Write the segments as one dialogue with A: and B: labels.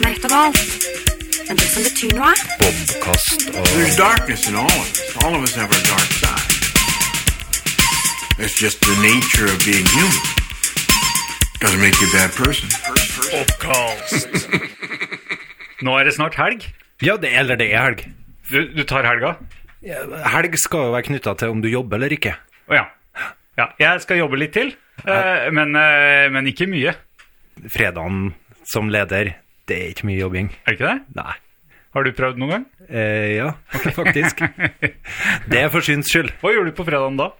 A: alt. Men det som betyr noe,
B: Bobkast og
C: There's darkness in all of us. All of us have our dark side. It's just the nature of being human. Doesn't make you a bad person.
D: Oppkast. Nå er det snart helg.
B: Ja, det, eller det er helg.
D: Du, du tar helga?
B: Helg skal jo være knytta til om du jobber eller ikke.
D: Å ja. ja. Jeg skal jobbe litt til, eh, men, eh, men ikke mye.
B: Fredagen som leder, det er ikke mye jobbing.
D: Er det ikke det?
B: Nei.
D: Har du prøvd noen gang?
B: Eh, ja, faktisk. Det er for syns skyld.
D: Hva gjorde du på fredagen da?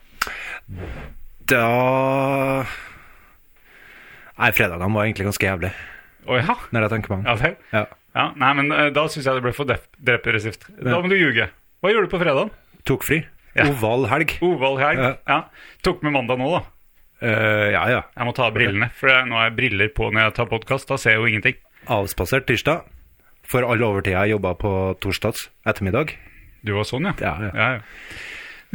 B: Da Nei, fredagene var egentlig ganske jævlig,
D: Å ja.
B: når jeg tenker meg om.
D: Ja vel.
B: Ja.
D: Ja, nei, men eh, da syns jeg det ble for def- depressivt. Da må du ljuge. Hva gjorde du på fredagen?
B: Tok fri.
D: Ja.
B: Oval helg.
D: Oval helg.
B: Ja.
D: Ja. Tok med mandag nå, da.
B: Eh, ja, ja.
D: Jeg må ta av brillene, for jeg- nå har jeg briller på når jeg tar podkast. Da ser jeg jo ingenting.
B: Avspasert tirsdag. For all overtida jeg jobba på torsdags ettermiddag.
D: Du var sånn, ja.
B: Ja, ja.
D: ja.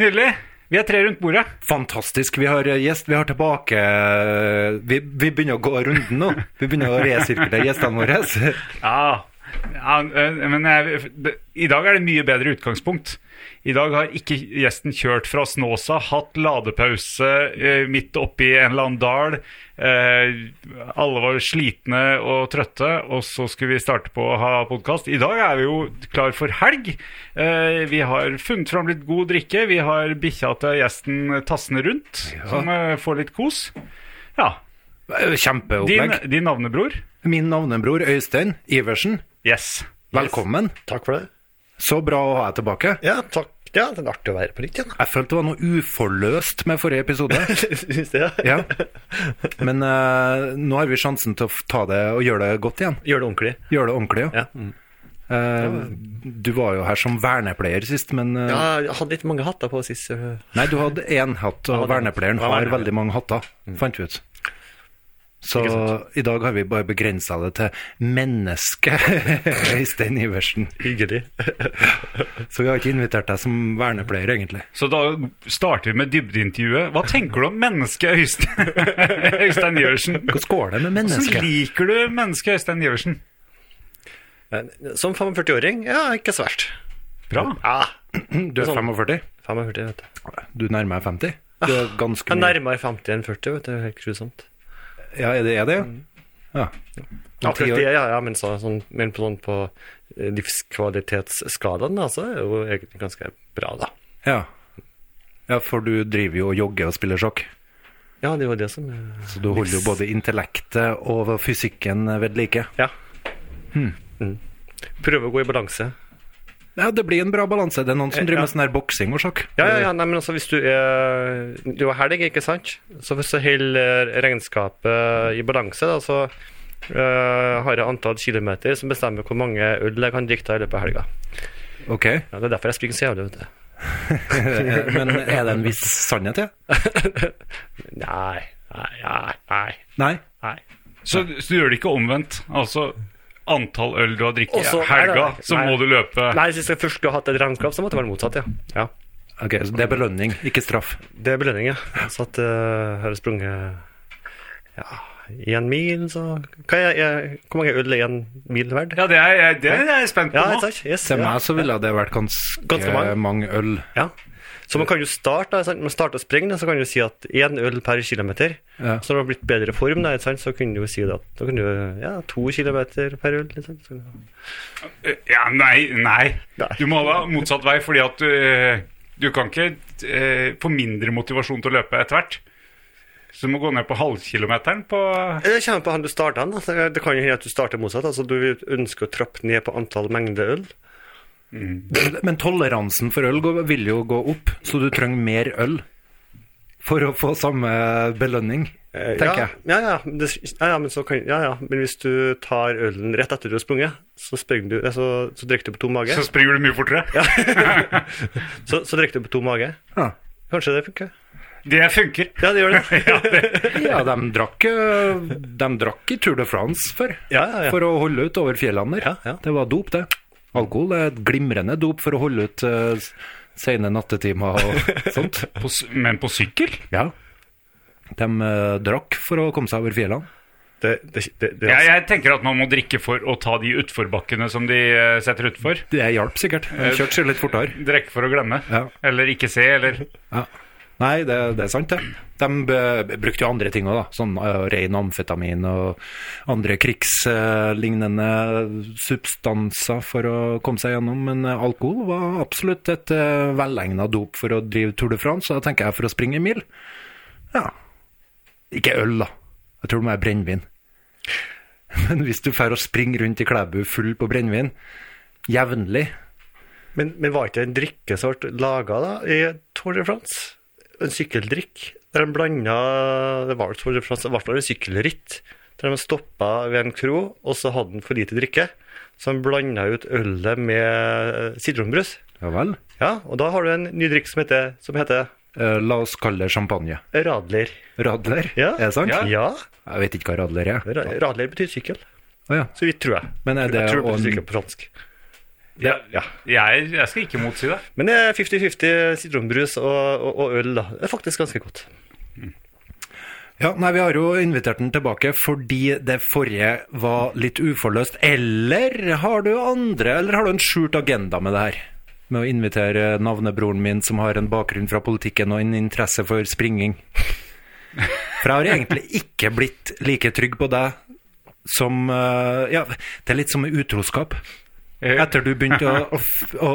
D: Nydelig. Vi er tre rundt bordet.
B: Fantastisk. Vi har eh, gjest. Vi har tilbake eh, Vi, vi begynner å gå runden nå. Vi begynner å resirkulere gjestene våre. Eh,
D: Ja, ja eh, men jeg, det- i dag er det mye bedre utgangspunkt. I dag har ikke gjesten kjørt fra Snåsa, hatt ladepause eh, midt oppi en eller annen dal. Eh, alle var slitne og trøtte, og så skulle vi starte på å ha podkast. I dag er vi jo klar for helg. Eh, vi har funnet fram litt god drikke. Vi har bikkja til gjesten tassende rundt, som eh, får litt kos. Ja. Din,
B: Kjempeopplegg.
D: din navnebror.
B: Min navnebror Øystein Iversen,
D: Yes.
B: velkommen.
E: Takk for det.
B: Så bra å ha deg tilbake.
E: Ja, takk. Ja, det er artig å være på nytt igjen. da.
B: Jeg følte det var noe uforløst med forrige episode.
E: Syns det? Ja.
B: Ja. Men eh, nå har vi sjansen til å f- ta det og gjøre det godt igjen.
E: Gjør det ordentlig.
B: Gjøre det ordentlig. Ja.
E: Ja.
B: Eh, du var jo her som vernepleier sist, men eh,
E: ja, jeg hadde litt mange hatter på sist. øh.
B: Nei, du hadde én hatt, og
E: hadde en hatt.
B: vernepleieren
E: Ja,
B: har
E: vernepleier. Mm.
B: veldig mange hatter, fant vi ut. Så
E: Ikke sant.
B: i dag har vi bare begrensa det til mennesket Øystein Iversen.
E: Hyggelig.
B: Så vi har ikke invitert deg som vernepleier, egentlig.
D: Så da starter vi med dybdeintervjuet. Hva tenker du om mennesket Øystein, Øystein Iversen?
B: Hvordan går det med
D: Hvordan
B: mennesket?
D: liker du mennesket Øystein Iversen?
E: Men, Som 45-åring, ja, ikke så verst.
D: Bra.
E: Ja,
B: Du
E: Sånn-
B: er 45.
E: 45, vet du.
B: Du nærmer deg 50. Du er ganske
E: Ah, Jeg
B: mye
E: nærmer 50 enn 40, vet du. Det er Helt grusomt.
B: Ja, er det er det?
E: Mm.
B: Ja.
E: Ja,
B: Om ti
E: akkurat det,
B: år.
E: ja, ja, men så, sånn, men på, sånn, på eh, livskvalitetsskalaen, da, så er det jo egentlig ganske bra, da.
B: Ja. ja, for du driver jo og jogger og spiller sjakk.
E: Ja, det er jo det som eh,
B: Så du holder jo både intellektet og fysikken ved like.
E: Ja. Mm. Prøve å gå i balanse.
B: Ja, det blir en bra balanse. Det er noen som driver med
E: Eh, Ja.
B: sånn her boksing og sjakk.
E: Ja, ja, ja, nei, men altså hvis du er Du har helg, ikke sant? Så hvis du holder regnskapet i balanse, da, så øh, har jeg antall kilometer som bestemmer hvor mange øl jeg kan drikke i løpet av helga.
B: Ok,
E: Ja, det er derfor jeg springer så jævlig, vet du.
B: Eh, men er det en viss sannhet, ja?
E: Nei, nei, nei, nei.
B: Nei?
E: nei.
D: Så, så du gjør det ikke omvendt? Altså antall øl du har drukket i
E: Også-
D: helga,
E: nei, nei,
D: så
E: nei.
D: må du løpe
E: Nei, Hvis jeg først skulle hatt et regnskap, så måtte det være motsatt, ja. ja.
B: Ok, så det er belønning, ikke straff.
E: Det er belønning, ja. Så at øh, har jeg sprunget ja, én mil, så hva er, er, Hvor mange øl er én mil verdt?
D: Ja, det er, jeg- det er jeg spent på
E: Ja,
D: nå.
E: ikke sant? Yes,
B: Til
E: ja.
B: meg så ville det vært ganske,
E: Ganske mange.
B: mange øl.
E: Ja. Så man kan jo starte, da, sant? man starter å springe, da, så kan du si at én øl per kilometer.
B: Ja.
E: Så når du har blitt bedre form, da, ikke sant? så kunne du jo si det at da kunne du ja, to kilometer per øl. Liksom. Så,
D: Ja, nei, nei.
E: Nei.
D: Du må ha motsatt vei, fordi at du, du kan ikke eh, få mindre motivasjon til å løpe etter hvert. Så du må gå ned på halvkilometeren på
E: det kommer på han du starter den. da. Det kan jo hende at du starter motsatt. Altså, du vil- ønsker å trappe ned på antall mengder øl.
B: Men toleransen for øl går- vil jo gå opp, så du trenger mer øl for å få samme belønning,
E: Eh,
B: tenker
E: ja,
B: jeg.
E: ja, ja, men det, ja, ja, men så kan, ja, ja, men hvis du tar ølen rett etter du har sprunget, så, springer du, eh, så, så drikker du på tom mage.
D: Så springer du mye fortere.
E: Så, så drikker du på tom mage.
B: Ja.
E: Kanskje det funker?
D: Det funker.
E: Ja, det gjør det.
D: Ja, det,
B: Ja, de drakk, eh, de drakk i Tour de France før,
E: Ja, ja, ja.
B: for å holde ut over fjellene der.
E: Ja, ja.
B: Det var dop, det. Alkohol er et glimrende dop for å holde ut eh, s- sene nattetimer og sånt.
D: På, s- men på sykkel?
B: Ja. De eh, drakk for å komme seg over fjellene.
F: Det, det, det, det,
D: Ja, jeg tenker at man må drikke for å ta de utforbakkene som de eh, setter utfor.
B: Det hjalp sikkert. Jeg Kjørte seg litt fortere.
D: Drikke for å glemme.
B: Ja.
D: Eller ikke se, eller
B: Ja. Nei, det, det er sant, det. De b- brukte jo andre ting òg, da. Sånn eh, ren amfetamin og andre krigslignende substanser for å komme seg gjennom. Men eh, alkohol var absolutt et uh, velegna dop for å drive Tour de France, og da tenker jeg for å springe en mil. Ja. Ikke øl, da. Jeg tror det må være brennevin. Men hvis du drar og springer rundt i Klæbu full på brennevin jevnlig
F: Men, men var ikke det en drikkesort laga da, i Tour de France? En sykkeldrikk der de blanda Det var vel Tour de France, i hvert fall en sykkelritt. Der de stoppa ved en kro, og så hadde han for lite drikke. Så han blanda ut ølet med eh, sitronbrus.
B: Ja vel?
F: Ja, og da har du en ny drikk som heter, som heter
B: Eh, la oss kalle det champagne.
F: radler.
B: Radler,
F: Ja.
B: er det sant?
D: Ja.
F: Ja,
B: Jeg vet ikke hva radler er.
F: ra- radler betyr sykkel.
B: Å ja.
F: Så vidt tror jeg.
B: Men er det
F: jeg tror det
B: å-
F: betyr sykkel på fransk.
D: ja,
F: ja.
D: Jeg, jeg skal ikke motsi det.
F: Men det er 50-50 sitronbrus og, og, og øl, da. Det er faktisk ganske godt.
B: ja, nei, Vi har jo invitert den tilbake fordi det forrige var litt uforløst. Eller har du andre Eller har du en skjult agenda med det her? Med å invitere navnebroren min, som har en bakgrunn fra politikken og en interesse for springing. For jeg har egentlig ikke blitt like trygg på deg som eh, Ja, det er litt som med utroskap.
D: Eh,
B: Etter du begynte å, å, f- å,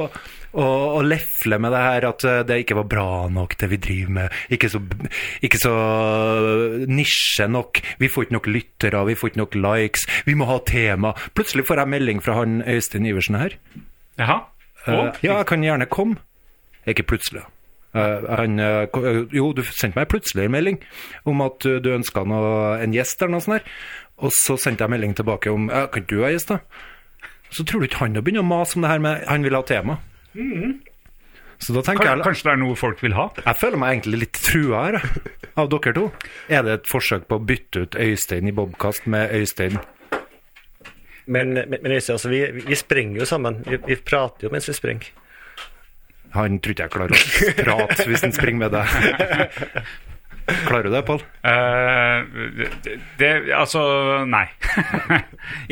B: å, å lefle med det her at eh, det ikke var bra nok, det vi driver med. Ikke så, b- ikke så eh, nisje nok. Vi får ikke nok lyttere, vi får ikke nok likes. Vi må ha tema. Plutselig får jeg melding fra han Øystein Iversen her.
D: Jaha.
B: Eh,
D: Og?
B: ja, jeg kan gjerne komme. Ikke plutselig. Eh, han, eh, ko- eh, jo, du sendte meg plutselig en melding om at eh, du ønska en gjest eller noe sånt. Der. Og så sendte jeg melding tilbake om uh, Kan du ha gjest, da? Så tror du ikke han har begynt å mase om det her med Han vil ha tema. Så da
D: Mm-hmm. Kan,
B: tenker jeg
D: kanskje det er noe folk vil ha?
B: Jeg føler meg egentlig litt trua her, jeg, av dere to. Er det et forsøk på å bytte ut Øystein i Bobkast med Øystein
F: Men, men, men Øystein, altså, vi, vi sprenger jo sammen. Vi, vi prater jo mens vi sprenger.
B: Han tror ikke jeg klarer å prate hvis han springer med deg. Klarer du det, Pål?
D: Eh, det, det Altså, nei.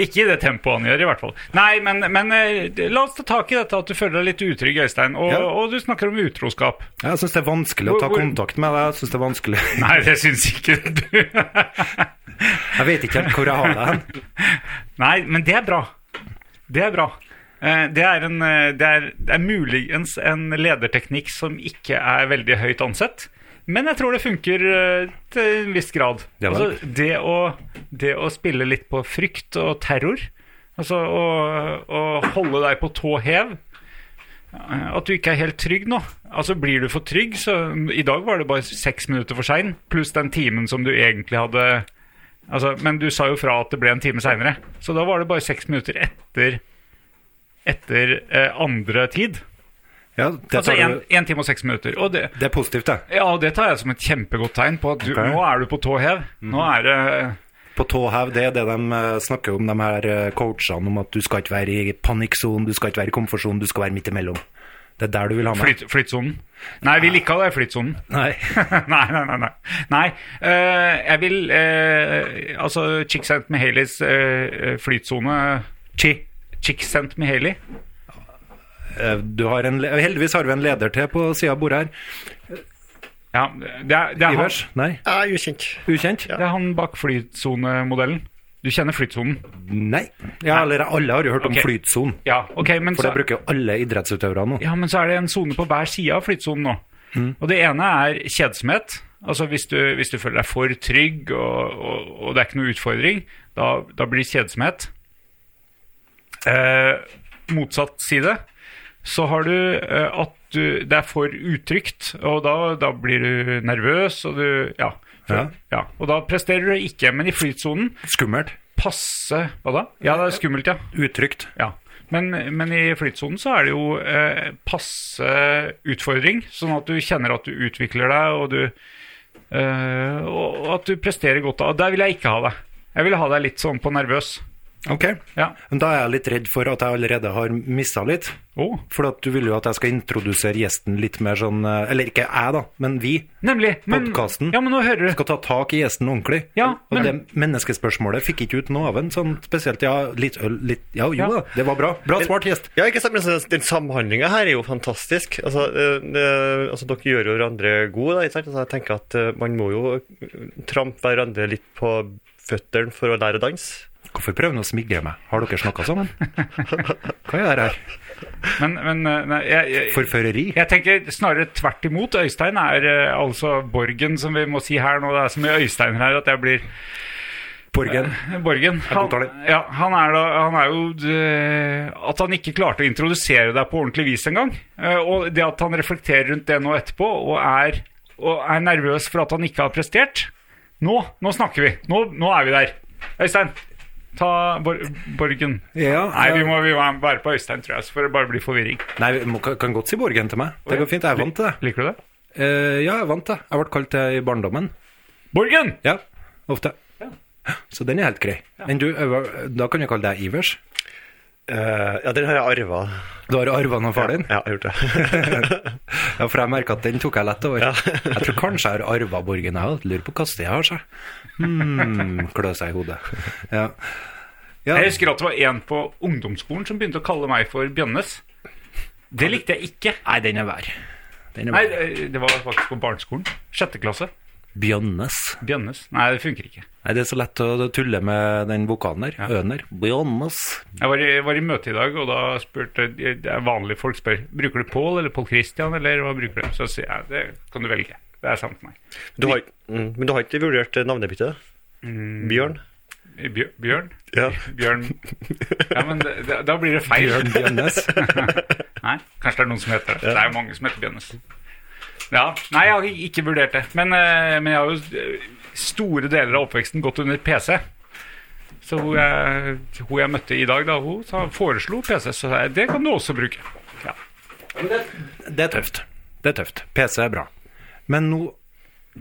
D: ikke i det tempoet han gjør, i hvert fall. Nei, men, men eh, la oss ta tak i dette at du føler deg litt utrygg, Øystein. Og,
B: Ja.
D: og du snakker om utroskap.
B: Jeg syns det er vanskelig å ta
D: Hvor- hvor-
B: kontakt med deg. Jeg synes det er vanskelig.
D: Nei, det syns ikke du.
B: Jeg vet ikke helt hvor jeg har deg hen.
D: nei, men det er bra. Det er bra. Eh, Det er, en, eh, det, er, det er muligens en lederteknikk som ikke er veldig høyt ansett, men jeg tror det funker eh, til en viss grad.
B: Ja vel.
D: altså, det, å, det å spille litt på frykt og terror, altså å, å holde deg på tå hev eh, at du ikke er helt trygg nå. Altså Blir du for trygg, så I dag var det bare seks minutter for sein, pluss den timen som du egentlig hadde Altså, men du sa jo fra at det ble en time seinere, så da var det bare seks minutter etter Etter eh, andre tid.
B: Ja, det,
D: Altså
B: tar du,
D: én time og seks minutter. Og det,
B: det er positivt, det.
D: ja, og det tar jeg som et kjempegodt tegn på at du,
B: Ok. Mhm.
D: nå er du på tå hev. Nå er det eh,
B: På tå hev, det er det de eh, snakker om, de her eh, coachene, om at du skal ikke være i panikksonen, du skal ikke være i komfortsonen, du skal være midt imellom. Det er der du vil ha meg.
D: flyt, flyttsonen. Nei, vi liker deg i flyttsonen.
B: Nei.
D: nei, nei, nei. nei. nei eh, jeg vil eh, Altså, Chicksent Mihalis uh, flytsone Chi. Chicksent Mihaly.
B: Eh, Du har en, le- heldigvis har vi en leder til på sida av bordet her.
D: Ja, det er, det er han-
B: Ivers? Nei?
F: Jeg er ukjent.
B: Ukjent?
D: Det er han bak flytsonemodellen. Du kjenner flytsonen?
B: Nei. Ja, eller alle har jo hørt
D: Ok.
B: om flytsonen,
D: Ja, ok, men
B: for
D: så,
B: det bruker jo alle idrettsutøvere nå.
D: ja, men så er det en sone på hver side av flytsonen nå.
B: Mm.
D: Og det ene er kjedsomhet. Altså hvis du, hvis du føler deg for trygg og, og, og det er ikke noe utfordring, da, da blir kjedsomhet. Eh, motsatt side, så har du eh, at du, det er for utrygt, og da, da blir du nervøs, og du ja,
B: Ja.
D: ja. Og da presterer du ikke, men i flytsonen
B: Skummelt.
D: passe Hva da? Ja, det er skummelt, ja.
B: Utrygt.
D: ja. Men, men i flytsonen så er det jo eh, passe utfordring, sånn at du kjenner at du utvikler deg, og du eh, Og og at du presterer godt. Og der vil jeg ikke ha deg. Jeg vil ha deg litt sånn på nervøs.
B: Ok.
D: Ja.
B: Men da er jeg litt redd for at jeg allerede har missa litt.
D: Oh.
B: For at du vil jo at jeg skal introdusere gjesten litt mer sånn eh, Eller ikke jeg, da, men vi.
D: Nemlig. Men,
B: Podcasten.
D: ja, men nå hører du.
B: Skal ta tak i gjesten ordentlig.
D: Ja,
B: Og det
D: men-
B: menneskespørsmålet fikk ikke ut noe av en sånn spesielt Ja, litt øl, litt Ja, jo
D: Ja.
B: da, det var bra. Bra svart gjest.
E: Ja, ikke sant, men altså, Den samhandlinga her er jo fantastisk. Altså, eh, eh, altså Dere gjør jo hverandre gode. da, ikke sant? Altså, jeg tenker at eh, Man må jo eh, trampe hverandre litt på føttene for å lære å danse.
B: Hvorfor prøver han å smigre meg? Har dere snakka sammen? Hva er det her?
D: Men, men eh, nei, jeg, jeg,
B: Forføreri?
D: Jeg tenker snarere tvert imot. Øystein er eh, altså Borgen, som vi må si her nå. Det er så mye Øysteiner her at jeg blir
B: Borgen?
D: Borgen. Han,
B: godtar det.
D: ja, han, er da, han er jo eh, At han ikke klarte å introdusere deg på ordentlig vis engang. eh, Og det at han reflekterer rundt det nå etterpå, og er, og er nervøs for at han ikke har prestert Nå, nå snakker vi. Nå, nå er vi der. Øystein, ta Bor Borgen.
B: Ja,
D: Nei, vi
B: ja.
D: må, vi må være på Øystein, tror jeg, så får det bare bli forvirring.
B: Nei, vi må, kan godt si Borgen til meg. Det går fint. Jeg er vant til det.
D: Liker du det?
B: Eh, ja, jeg er vant til det. Jeg ble kalt det i barndommen.
D: Borgen!
B: Ja, ofte. Så den er helt grei. Enn du, Øyva- da kan vi kalle deg Ivers.
E: Eh, ja, den har jeg arva.
B: Du har arva av far din?
E: Ja, jeg har gjort det.
B: Ja, for jeg merker at den tok jeg lett over. jeg tror kanskje jeg har arva Borgen, jeg òg. Lurer på hva sted jeg har seg. Hmm, klø seg i hodet. Ja. ja.
D: Jeg husker at det var en på ungdomsskolen som begynte å kalle meg for Bjønnes. Det likte jeg ikke.
B: Nei, den er vær. Den er
D: Nei,
B: vær.
D: det var faktisk på barneskolen. Sjette klasse.
B: Bjønnes.
D: Bjønnes. Nei, det funker ikke.
B: Nei, det er så lett å tulle med den vokalen der. Øner. Bjønnes.
D: Jeg var i, var i møte i dag, og da spurte det er vanlige folk spør Bruker du Pål eller Pål Christian, eller hva bruker du? Så sier jeg det kan du velge. Det er samme for meg.
E: Du har, mm, men du har ikke vurdert eh, navnebyttet? Bjørn?
D: Bjør, Bjørn?
E: Mm. Ja.
D: Bjørn Ja, men det, det, da blir det feil.
B: Bjørn Bjønnes.
D: Nei, kanskje det er noen som heter det. Det er jo mange som heter Bjønnes. Ja, Nei, jeg har ikke vurdert det. Men, eh, men jeg har jo eh, store deler av oppveksten gått under PC. Så hun jeg, hun jeg møtte i dag, da, hun sa, foreslo PC, så sa jeg, det kan du også bruke. Ja.
B: Det er tøft. Det er tøft. PC er bra. Men nå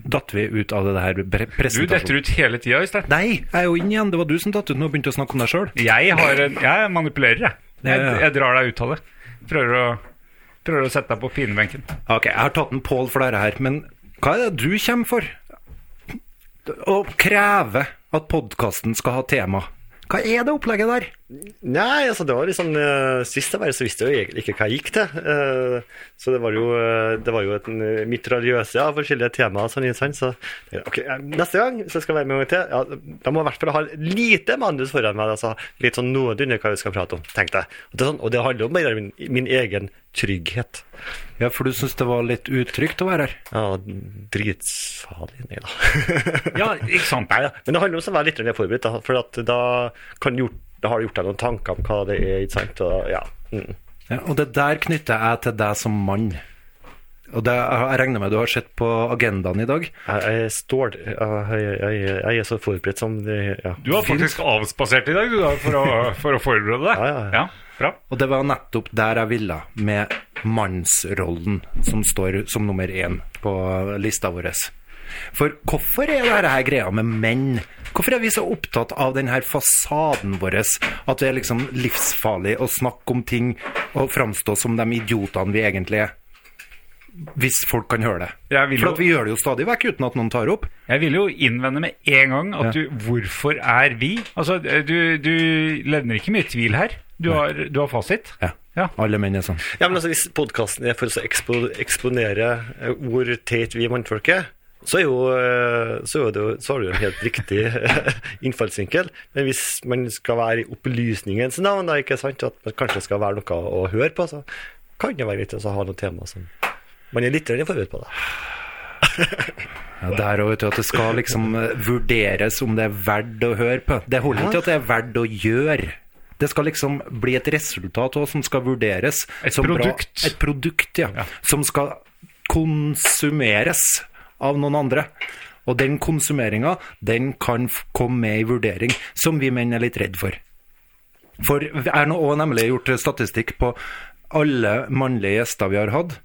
B: datt vi ut av det her pre-
D: Du detter
B: presentasjonen.
D: ut hele tida, Øystein.
B: Nei, jeg er jo inn igjen. Det var du som datt ut nå og begynte å snakke om deg sjøl.
D: Jeg, har en, jeg manipulerer, jeg. Jeg,
B: Ja, ja.
D: jeg drar deg ut av det. Prøver å, prøver å sette deg på pinebenken.
B: Ok, jeg har tatt en Pål for dette her, men hva er det du kommer for? Å kreve at podkasten skal ha tema. Hva er det opplegget der?
E: Nei, altså det var liksom eh, Sist jeg var her, så visste jeg jo egentlig ikke hva jeg gikk til. Eh, så det var jo, eh, det var jo et eh, mitraljøse av forskjellige temaer. og Sånn, ikke sant? så ja, ok, eh, neste gang hvis jeg skal være med en gang til, ja, da må jeg i hvert fall ha lite manus foran meg. Altså, litt sånn noenlunde hva vi skal prate om, tenkte jeg. Og det, er sånn, og det handler jo mer om min, min egen trygghet.
B: Ja, for du syns det var litt utrygt å være her?
E: Ja, dritfarlig. Nei da.
D: Ja, ikke sant?
E: Nei da. Men det handler om å være litt mer forberedt, da, for at da, kan du gjort, da har du gjort deg noen tanker om hva det er. ikke sant? Og, ja. mm.
B: Ja, og det der knytter jeg til deg som mann. Og det, jeg regner med du har sett på agendaen i dag.
E: Jeg, jeg står jeg, jeg, jeg, jeg er så forberedt som det ja.
D: Du har faktisk avspasert i dag, du, da, for å, for å forberede deg.
E: Ja, ja, ja.
D: bra.
B: Og det var nettopp der jeg ville, med mannsrollen som står som nummer én på lista vår. For hvorfor er det her greia med menn? Hvorfor er vi så opptatt av den her fasaden vår, at det er liksom livsfarlig å snakke om ting og framstå som de idiotene vi egentlig er? Hvis folk kan høre det.
D: Jeg vil
B: For
D: jo-
B: at vi gjør det jo stadig vekk uten at noen tar opp.
D: Jeg vil jo innvende med en gang at du Hvorfor er vi? Altså, du, du levner ikke mye tvil her. Du har, du har fasit.
B: Ja.
D: Ja.
B: Alle menn er sånn.
E: ja, men altså Hvis podkasten er for å så ekspo, eksponere eh, hvor teit vi mannfolk er, så, er jo, eh, så, er det, jo- så har du jo en helt riktig eh, innfallsvinkel. Men hvis man skal være i opplysningens navn, da, ikke sant, at man kanskje skal være noe å høre på, så kan det være greit å så ha noen tema som man er litt forberedt på. da.
B: Ja, der og vet du, at det skal liksom eh, vurderes om det er verdt å høre på. Det holder ikke at det er verdt å gjøre. Det skal liksom bli et resultat også, som skal vurderes.
D: Et
B: som
D: produkt.
B: Bra, et produkt, ja, Som skal konsumeres av noen andre. Og den konsumeringa, den kan f- komme med i vurdering, som vi menn er litt redd for. For jeg har nå også nemlig gjort statistikk på alle mannlige gjester vi har hatt,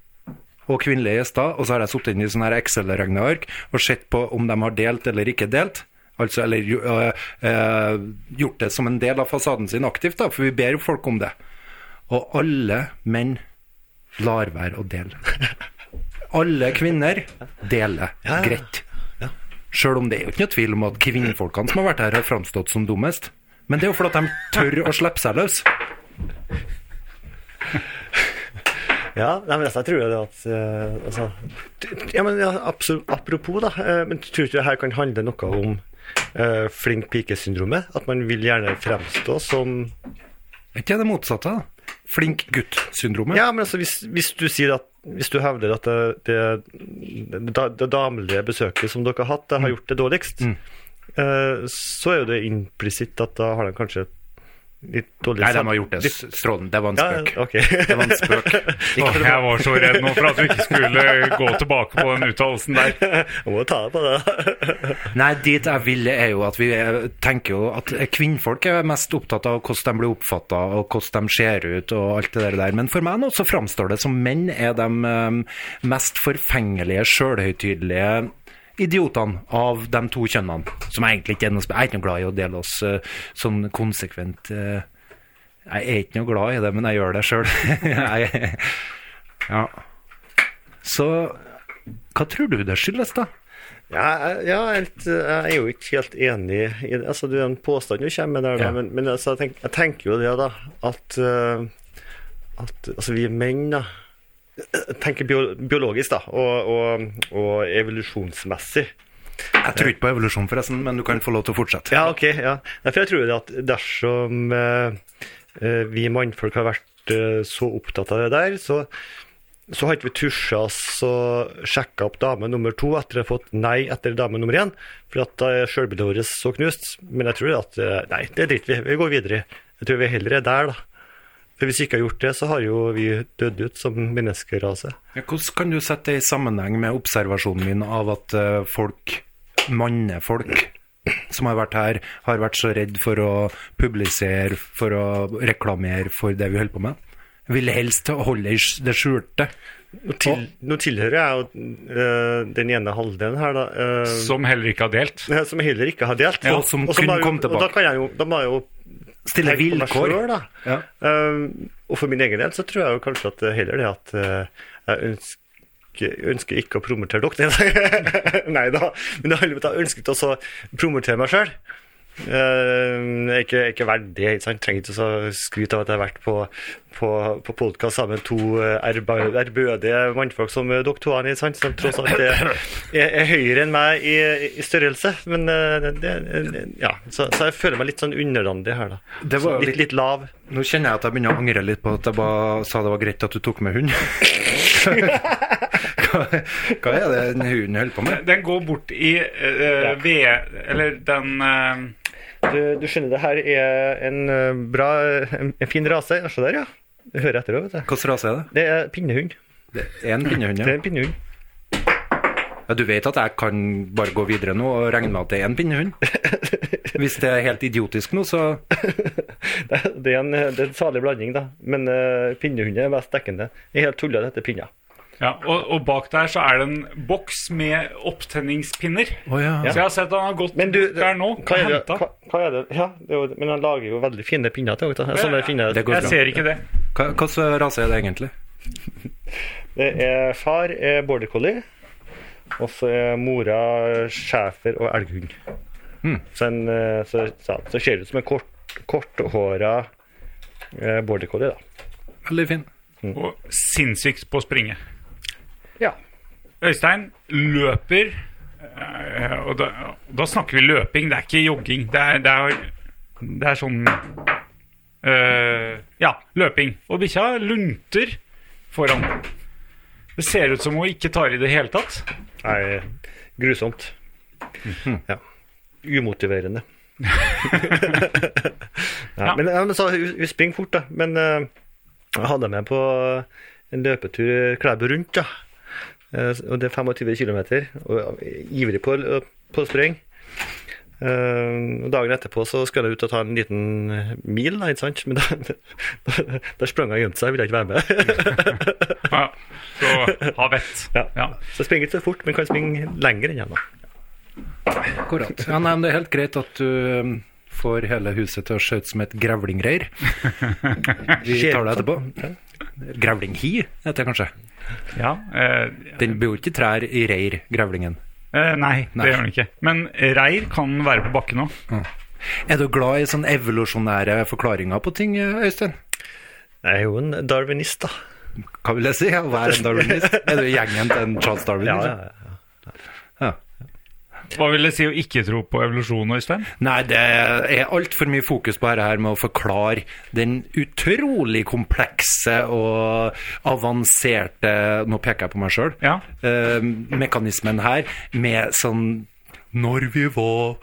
B: og sånn kvinnelige gjester, og så har jeg sittet inn i sånne her Excel-regneark og sett på om de har delt eller ikke delt. Altså, eller jo- øh, øh, gjort det som en del av fasaden sin aktivt, da, for vi ber jo folk om det. Og alle menn lar være å dele. Alle kvinner deler greit. Sjøl om det er jo ikke noe tvil om at kvinnfolkene som har vært her, har framstått som dummest. Men det er jo fordi at de tør å slippe seg løs.
G: Ja, nei, men altså, jeg tror jo det at eh, altså,
E: T- Ja, men ja, absolutt, Apropos, da. eh, Men tror du ikke det her kan handle noe om eh, flink pike-syndromet? At man vil gjerne fremstå som
B: Er ikke det det motsatte? da? Flink gutt-syndromet.
E: Ja, men altså, hvis, hvis du sier at hvis du hevder at det, det, det, det damelige besøket som dere har hatt, det har
B: Mm.
E: gjort det dårligst, eh, så er jo det implisitt at da har de kanskje litt dårlig
B: Nei, de har gjort det s- strålende. Det var en
E: Ja,
B: spøk.
E: ok.
B: Det var en spøk.
D: Åh, jeg var så redd nå for at vi ikke skulle gå tilbake på den uttalelsen der.
E: Jeg må jo ta på det.
B: Nei, dit jeg ville er jo at vi eh, tenker jo at kvinnfolk er mest opptatt av hvordan de blir oppfatta og hvordan de ser ut og alt det der. Men for meg nå så framstår det som menn er de eh, mest forfengelige, sjølhøytidelige idiotene av de to kjønnene. Som jeg egentlig ikke er noe sp- Jeg er ikke noe glad i å dele oss eh, sånn konsekvent eh, Jeg er ikke noe glad i det, men jeg gjør det sjøl. Jeg- ja. Så hva tror du det skyldes, da?
E: Ja, jeg- ja jeg, er litt, jeg er jo ikke helt enig i det. Altså, det er en påstand du kommer med der, da,
B: Ja.
E: men, men altså, jeg, tenk, jeg tenker jo det, da, at, eh, at Altså, vi menn, da. Jeg tenker bio, biologisk, da, og, og, og evolusjonsmessig.
B: Jeg tror ikke på evolusjon, forresten, men du kan få lov til å fortsette.
E: Ja, ok. Ja. Nei, for jeg tror jo det at dersom eh, eh, vi mannfolk har vært eh, så opptatt av det der, så, så har ikke vi tusja oss og sjekka opp dame nummer to etter å ha fått nei etter dame nummer én, for at da er sjølbildet vårt så knust. Men jeg tror at eh, Nei, det driter vi i. Vi går videre. Jeg tror vi heller er der, da. For hvis vi ikke har gjort det, så har jo vi dødd ut som menneskerase.
B: Hvordan kan du sette det i sammenheng med observasjonen min av at eh, folk, mannefolk, som har vært her, har vært så redd for å publisere, for å reklamere for det vi holder på med? Vil helst holde i s- det skjulte.
E: Nå, til, nå tilhører jeg jo eh, den ene halvdelen her, da. eh,
D: Som heller ikke har delt.
E: Nei, Som jeg heller ikke har delt.
B: Ja, som
E: så må
B: kun
E: jeg jo-
B: kom tilbake.
E: Og da, kan jeg jo, da må jeg jo
B: Stille
E: tenke på meg
B: vilkår.
E: selv, da.
B: Ja.
E: Ehm, og for min egen del så tror jeg jo kanskje at eh, heller det at eh, jeg ønsker, ønsker ikke å promotere dere. Nei, Nei da. Men det handler om at jeg ønsket også å promotere meg sjøl. jeg er Eh, ikke, jeg er ikke verdt det. ikke sant? Trenger ikke å skryte av at jeg har vært på, på, på podkast sammen med to eh, erba- ærbødige mannfolk som eh, dere to, er, ikke sant? som tross alt er, er, er høyere enn meg i, i størrelse. Men eh, det, det, ja. så, så jeg føler meg litt sånn underlandig her, da.
B: Det var
E: Så
B: litt-
E: litt, litt lav.
B: Nå kjenner jeg at jeg begynner å angre litt på at jeg bare sa det var greit at du tok med hund. hva, hva er det den hunden holder på med?
D: Den går bort i eh, ved... Eller den eh,
E: Du, du skjønner, det her er en eh, bra, en, en fin rase. Ja, Se der, ja. Du hører etter òg, vet du.
B: Hvilken rase er det?
E: Det er pinnehund.
B: Det er en pinnehund,
E: Det
B: ja.
E: er en pinnehund.
B: Ja, du vet at jeg kan bare gå videre nå og regne med at det er en pinnehund? Hvis det er helt idiotisk nå, så
E: Det, det er en, det er en salig blanding, da. Men uh, pinnehund er mest dekkende. Jeg er helt tulla det heter pinner.
D: Ja, og, og bak der så er det en boks med opptenningspinner.
B: Å ja.
D: Så jeg har sett han har gått
E: Men du,
D: der nå og
E: hva er det?
D: henta.
E: Hva, hva er det? Ja, det er jo, men han lager jo veldig fine pinner til dere. Sånne fine
B: Det går
D: Jeg
B: bra.
D: ser ikke det.
B: Hva- Hvilken rase er det egentlig?
E: Det er far er border collie, og så er mora schæfer og elghund. Så, en, eh, så, så, så ser det ut som en kort, korthåra eh, border collie, da.
B: Veldig fin.
D: Og sinnssykt på å springe.
E: Ja.
D: Øystein løper eh, Og da, og da snakker vi løping, det er ikke jogging. Det er, det er, det er sånn eh, Ja, løping. Og bikkja lunter foran. Det ser ut som hun ikke tar i det hele tatt.
E: Nei, grusomt.
B: Mhm.
E: Ja. Umotiverende. Nei,
D: Ja.
E: Men, ja, men så, hun hun springer fort, da. Men eh, jeg hadde med på en løpetur Klæbu rundt, da. Eh, og det er 25 km, og jeg er ivrig på, på å springe. Eh, og dagen etterpå så skal jeg ut og ta en liten eh, mil, da, ikke sant? men da, da, da sprang jeg og gjemte seg, ville jeg ikke være med.
D: Ja, så ha vett.
E: Ja.
D: Ja.
E: Så jeg springer ikke så fort, men kan springe lenger enn jeg, da.
B: akkurat. Ja, nei, men det er helt greit at du eh, får hele huset til å se ut som et grevlingreir. Vi tar det etterpå. Grevlinghi heter det kanskje.
D: Ja, eh,
B: Den bor jo ikke i trær i reir, grevlingen.
D: eh, nei,
B: Nei.
D: det gjør den ikke. Men reir kan være på bakken òg.
B: Er du glad i sånne evolusjonære forklaringer på ting, eh, Øystein?
F: Jeg er jo en darwinist, da.
B: Hva vil jeg si? Ja, Hver en darwinist. Er du i gjengen til en Charles Darwin?
F: Ja,
B: liksom?
F: ja, ja.
D: Hva vil det si å ikke tro på evolusjon, Øystein?
B: Nei, det er altfor mye fokus på dette her med å forklare den utrolig komplekse og avanserte Nå peker jeg på meg sjøl.
D: Ja.
B: mekanismen her med sånn Når vi var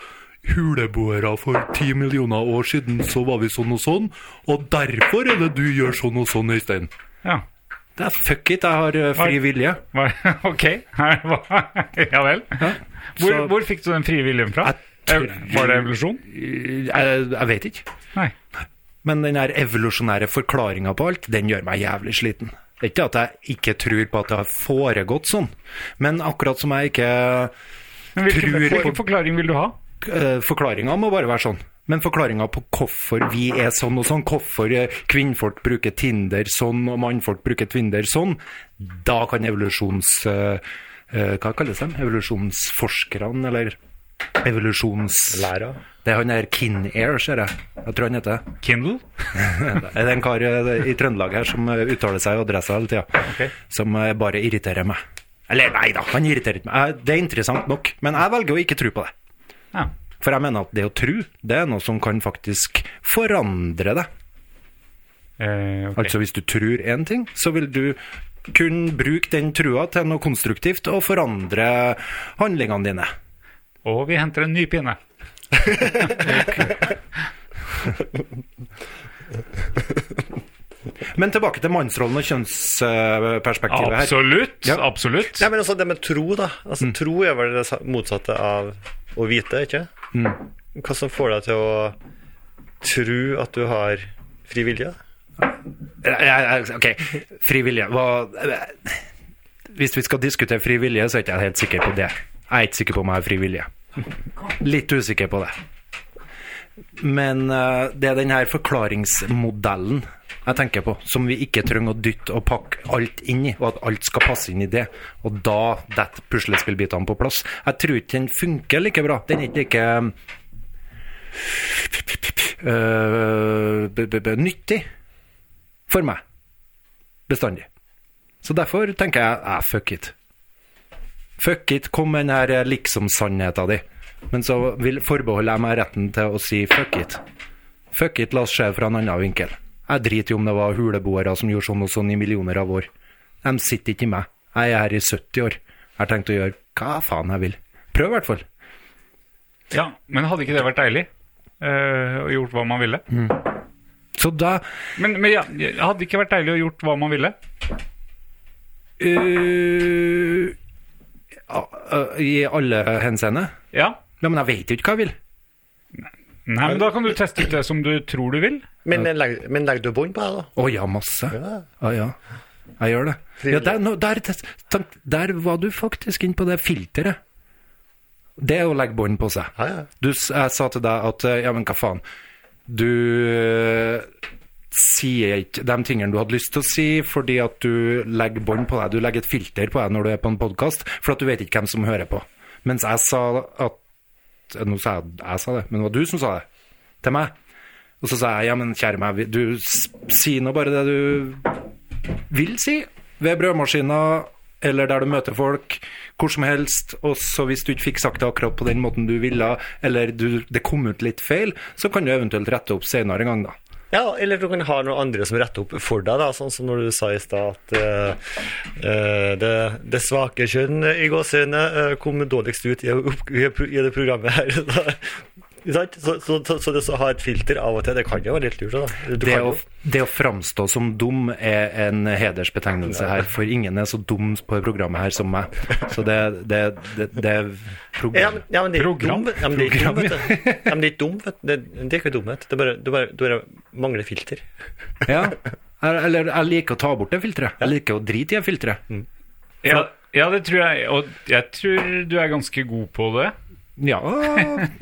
B: huleboere for ti millioner år siden, så var vi sånn og sånn, og derfor er det du gjør sånn og sånn, Øystein.
D: Ja.
B: Det er fuck it, jeg har eh, fri vilje.
D: Hva, ok. Her var- Ja vel. Hvor,
B: så-
D: hvor fikk du den frie viljen fra?
B: Jeg
D: Eh, Var det evolusjon?
B: Jeg, jeg vet ikke.
D: Nei.
B: Men den her evolusjonære forklaringa på alt, den gjør meg jævlig sliten. Det er ikke at jeg ikke tror på at det har foregått sånn, men akkurat som jeg ikke
D: Men hvilken,
B: Tror
D: hvilken
B: på-
D: forklaring vil du ha?
B: eh, Forklaringa må bare være sånn. Men forklaringa på hvorfor vi er sånn og sånn, hvorfor eh, kvinnfolk bruker Tinder sånn og mannfolk bruker Tinder sånn, da kan evolusjons... eh, eh, Hva kalles de? Evolusjonsforskerne, eller evolusjons...
F: Læra.
B: Det er han der Kin-Air, ser jeg. Jeg tror han heter det.
D: Kindle?
B: Det er en kar eh, i Trøndelag her som eh, uttaler seg i adressa hele tida, som eh, bare irriterer meg. Eller nei da, han irriterer ikke meg. Eh, Det er interessant nok, men jeg velger å ikke tro på det.
D: Ja.
B: For jeg mener at det å tro, det er noe som kan faktisk forandre deg.
D: Eh, ok.
B: Altså hvis du tror én ting, så vil du kunne bruke den trua til noe konstruktivt og forandre handlingene dine.
D: Og vi henter en ny pinne.
B: Men tilbake til mannsrollen og
D: Ah,
B: kjønnsperspektivet her.
D: Absolutt.
B: Ja.
D: Absolutt.
F: Nei, men altså, det med tro, da. Altså, Tro er vel det sa- motsatte av å vite, ikke Hva som får deg til å tro at du har fri vilje?
B: Jeg- jeg- jeg- Ok, fri vilje. Hva Hvis vi skal diskutere fri vilje, så er ikke jeg helt sikker på det. Jeg er ikke sikker på om jeg har fri vilje. Litt usikker på det. Men eh, det er den her forklaringsmodellen jeg tenker på, som vi ikke trenger å dytte og pakke alt inn i, og at alt skal passe inn i det. Og da detter puslespillbitene på plass. Jeg tror ikke den funker like bra. Den er ikke like eh, b- b- b- nyttig for meg. Bestandig. Så derfor tenker jeg ah, fuck it. Fuck it, kom med den her eh, liksom-sannheta di. Men så vil forbeholder jeg meg retten til å si fuck it. Fuck it, la oss se fra en annen vinkel. Jeg driter i om det var huleboere som gjorde sånn og sånn i millioner av år. De sitter ikke i meg. Jeg er her i 70 år. Jeg har tenkt å gjøre hva faen jeg vil. Prøv i hvert fall.
D: Ja, men hadde ikke det vært deilig? Eh, og gjort hva man ville?
B: Så da
D: Men, men ja, hadde det ikke vært deilig å gjort hva man ville?
B: øh, ja, øh, I alle henseende.
D: Ja.
B: Ja, men jeg vet jo ikke hva jeg vil.
D: Nei, men da kan du teste ut det som du tror du vil.
F: Men, legg- men legger du bånd på deg, da?
B: Å ja, masse.
F: Ja.
B: Ja, ja. Jeg gjør det. Ja, der, nå- der, tenk, der var du faktisk inn på det filteret. Det er å legge bånd på seg.
F: Ja, ja.
B: Du, s- jeg sa til deg at eh, ja, men hva faen. Du eh, sier ikke de tingene du hadde lyst til å si fordi at du legger bånd på deg. Du legger et filter på deg når du er på en podkast, for at du vet ikke hvem som hører på. Mens jeg sa at eh, Nå sa jeg jeg sa det, men det var du som sa det til meg. Og så sa jeg ja, men kjære meg, vi- du s- si nå bare det du vil si. Ved brødmaskina eller der du møter folk, hvor som helst. Og så hvis du ikke fikk sagt det akkurat på den måten du ville, eller du, det kom ut litt feil, så kan du eventuelt rette opp senere en gang, da.
F: Ja, eller du kan ha noen andre som retter opp for deg, da, sånn som når du sa i stad at eh, eh, det, det svake kjønn i gåseøynene eh, kom dårligst ut i, opp- i, pro- i det programmet her. Da. Ikke sant? Så, så, så, så det å ha et filter av og til, det kan jo være litt lurt. Da. Du
B: Det
F: kan
B: å,
F: jo-
B: det å framstå som dum er en hedersbetegnelse her, for ingen er så dum på det programmet her som meg. Så det, det, det, det er
F: ja, men,
B: program.
F: ja, men det er ikke
D: Program.
F: dum, vet- ja, men det er ikke dum, vet du. Ja, men det er ikke dum, vet du. Det, det er ikke dumhet. Det er bare, du bare, du bare mangler filter.
B: Ja. Eller jeg liker å ta bort det filteret. Jeg liker å drite i det filteret.
D: Ja, ja det tror jeg. Og jeg tror du er ganske god på det.
B: Ja,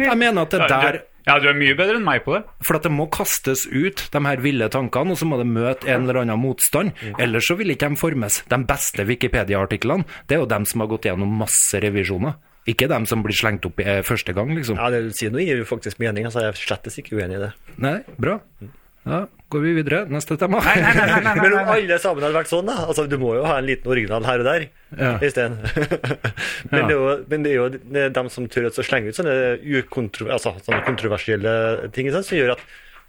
B: jeg mener at det der
D: Ja, du er mye bedre enn meg på det.
B: For at det må kastes ut, de her ville tankene, og så må det møte en eller annen motstand. Ellers så vil ikke de formes. De beste Wikipedia-artiklene, det er jo dem som har gått gjennom masse revisjoner. Ikke dem som blir slengt opp eh, første gang, liksom.
E: Ja, det du sier nå gir jo faktisk mening, altså jeg er slettes ikke uenig i det.
B: Nei, bra. Da går vi videre. Neste tema.
D: Nei, nei, nei, nei, nei,
E: Men om
D: nei, nei.
E: alle sammen hadde vært sånn, da, altså du må jo ha en liten original her og der
B: Ja.
E: isteden. men,
B: Ja.
E: det er jo- men det er jo de- dem som tør å slenge ut sånne, ukontro, altså, sånne kontroversielle ting, ikke sant, som gjør at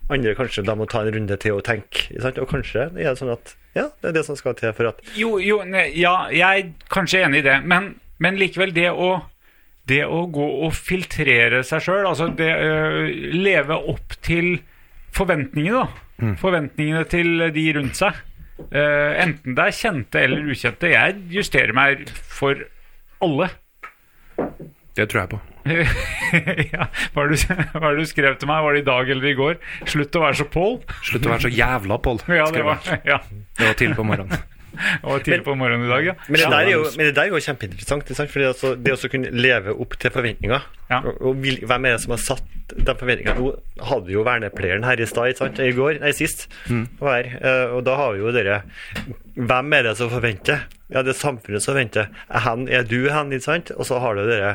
E: andre kanskje da må ta en runde til og tenke, ikke sant? og kanskje er det sånn at ja, det er det som skal til for at
D: Jo, jo, ne, ja, jeg er kanskje enig i det, men, men likevel det å det å gå og filtrere seg sjøl, altså det øh, leve opp til forventningene, da.
E: Mm.
D: Forventningene til de rundt seg. Eh, enten det er kjente eller ukjente. Jeg justerer meg for alle.
B: Det tror jeg på.
D: ja, hva har du, hva er det du skrev til meg? Var det i dag eller i går? Slutt å være så Pål.
B: Slutt å være så jævla Pål.
D: Ja,
B: skrev
D: det var,
B: jeg.
D: ja,
B: det var tidlig på morgenen.
D: det var tidlig på morgenen i dag, ja.
E: Men det, der er jo, men det der er jo kjempeinteressant. Ikke sant? Fordi altså, det å kunne leve opp til forventninger
D: Ja.
E: og, og vil, Hvem er det som har satt de forventningene? Nå hadde jo vernepleieren her i stad, ikke sant? I går, nei, sist. Var her, eh, og da har vi jo dere Hvem er det som forventer? Ja, det er samfunnet som forventer. Hen er du hen, ikke sant? Og så har du dere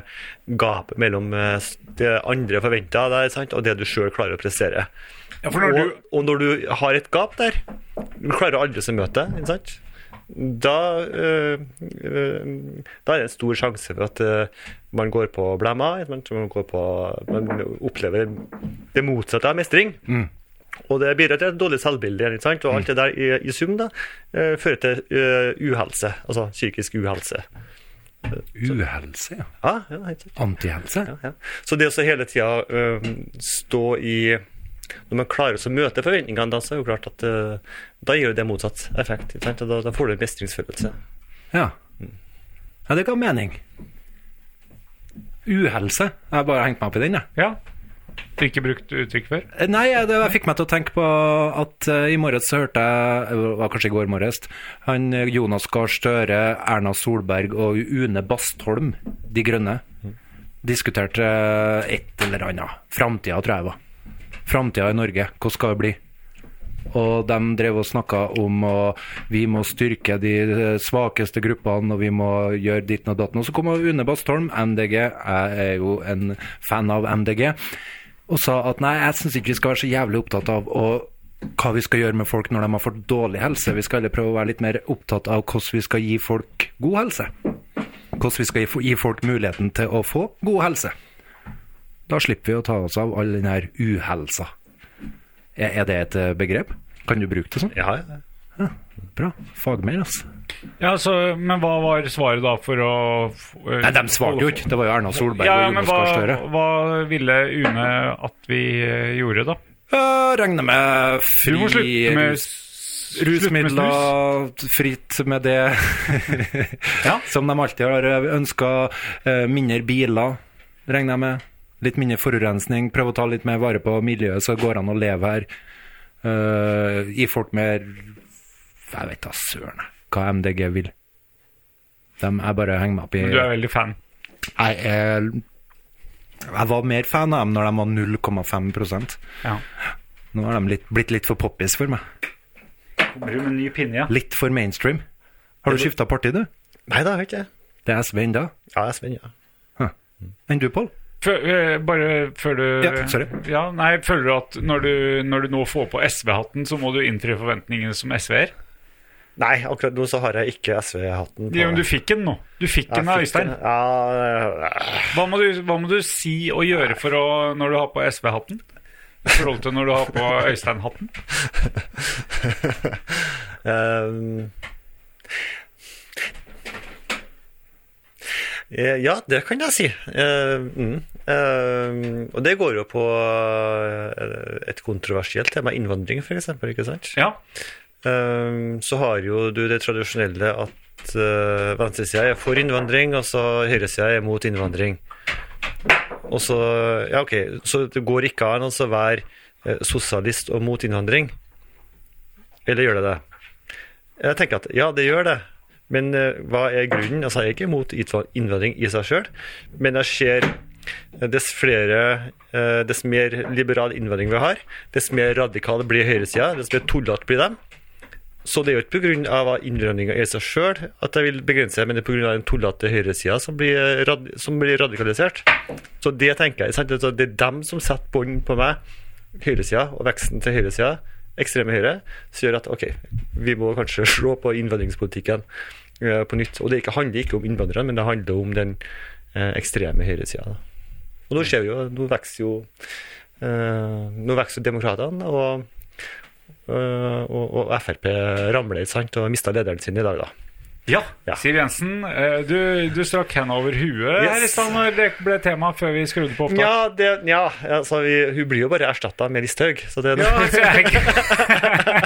E: gapet mellom eh, det andre forventer av deg, ikke sant? og det du sjøl klarer å prestere.
D: Ja, for når
E: og,
D: du,
E: og når du har et gap der, du klarer aldri å møte det, ikke sant? Da, øh, øh, da er det en stor sjanse for at øh, man går på blemma, ikke sant? man, går på, man opplever det motsatte av mestring.
D: Mm.
E: Og det bidrar til et dårlig selvbilde, ikke sant? og alt det der i, i sum da, øh, fører til øh, uhelse, altså psykisk uhelse.
B: Uhelse, ja.
E: Ja, ja, ikke sant?
B: Antihelse.
E: ja. Så det å så hele tida øhm, stå i Når man klarer å møte forventningene, da, så er det jo klart at øh, da gir jo det motsatt effekt. ikke sant? Og Da, da får du en mestringsfølelse.
B: Ja. ja, det ga mening. Uhelse. Jeg har bare hengt meg opp i den, jeg.
D: Ja. Ikke brukt uttrykk før?
B: Nei, jeg- det fikk meg til å tenke på at eh, i morges så hørte jeg, eh, det var kanskje i går morges, han eh, Jonas Gahr Støre, Erna Solberg og Une Bastholm, De Grønne, diskuterte eh, et eller annet. Framtida, tror jeg det var. Framtida i Norge, hvordan skal det bli? Og de drev og snakka om at vi må styrke de eh, svakeste gruppene, og vi må gjøre ditten og datten. Og så kom Une Bastholm, MDG, jeg er jo en fan av MDG, og sa at nei, jeg syns ikke vi skal være så jævlig opptatt av å hva vi skal gjøre med folk når de har fått dårlig helse. Vi skal heller prøve å være litt mer opptatt av hvordan vi skal gi folk god helse. Hvordan vi skal gi- gi folk muligheten til å få god helse. Da slipper vi å ta oss av all den her uhelsa. Er er det et eh, begrep? Kan du bruke det sånn?
E: Ja, ja.
B: Bra. Fagmail, altså.
D: Ja, så, Men hva var svaret da for å eh,
B: Nei, de svarte jo ikke. Det var jo Erna Solberg
D: Ja,
B: og
D: men
B: Jonas
D: hva,
B: Gahr Støre.
D: hva ville Une at vi eh, gjorde, da?
B: Jeg Regner med
D: Du må
B: fri
D: slutte med
B: rus,
D: s- slutte med snus.
B: rusmidler, fritt med det
D: Ja.
B: som de alltid har ønska. Mindre biler, regner jeg med. Litt mindre forurensning. Prøve å ta litt mer vare på miljøet, så det går an å leve her. Eh, gi folk mer Jeg vet da søren jeg, hva MDG vil. De, jeg bare henger meg opp i
D: Du er veldig fan.
B: jeg, er- jeg var mer fan av dem når de var 0,5 prosent.
D: Ja.
B: Nå har de litt, blitt litt for poppis for meg.
D: Kommer du med ny pinne, ja?
B: Litt for mainstream. Har du skifta parti, du?
E: Nei da, vet jeg.
B: Det er SV ennå.
E: Ja, jeg er spent, ja.
B: Enn du, Pål?
D: eh, bare før du
B: Ja, sorry.
D: Ja, nei, føler du at når du, når du nå får på SV-hatten, så må du innfri forventningene som SV-er?
E: Nei, akkurat nå så har jeg ikke SV-hatten på.
D: Jo, men du fikk den nå. Du fikk
E: Jeg
D: den av
E: fikk den.
D: Øystein.
E: Ja, øh,
D: Hva må, du, hva må du si og gjøre for å, når du har på SV-hatten? I forhold til når du har på Øystein-hatten?
E: Ehm. Eh, Ja, det kan jeg si. Eh, mm. Ehm, og det går jo på eh, et kontroversielt tema, innvandring f.eks., ikke sant?
D: Ja.
E: Ehm, så har jo du det tradisjonelle at uh, venstresida er for innvandring, og så høyresida er mot innvandring. Og så Ja, OK, så det går ikke an å så være eh, sosialist og mot innvandring? Eller gjør det det? Jeg tenker at ja, det gjør det. Men eh, hva er grunnen? Altså, jeg er ikke imot innva- innvandring i seg sjøl, men jeg ser Dess flere, eh, dess mer liberal innvandring vi har, dess mer radikale blir høyresida, dess mer tullete blir de. Så det er jo ikke pga. innvandringa i seg sjøl at jeg vil begrense, men det er pga. den tullete høyresida som, blir eh, rad- som blir radikalisert. Så det tenker jeg. Sant? Altså, Det er dem som setter bånd på meg, høyresida, og veksten til høyresida, ekstreme høyre, som gjør at OK, vi må kanskje slå på innvandringspolitikken eh, på nytt. Og det ikke, handler ikke om innvandrerne, men det handler om den eh, ekstreme høyresida. da. Og nå ser vi jo, nå vokser jo eh, Nå vokser jo demokratene, og, eh, og, og Frp ramler, ikke sant, og mista lederen sin i dag, da.
D: Ja.
E: Ja.
D: Siv Jensen, eh, du, du strakk hendene over huet
E: Yes.
D: her i stad når det ble tema før vi skrudde på opptak.
E: Ja, det, ja altså, vi, hun blir jo bare erstatta med Listhaug, så det
D: Ja, altså, jeg.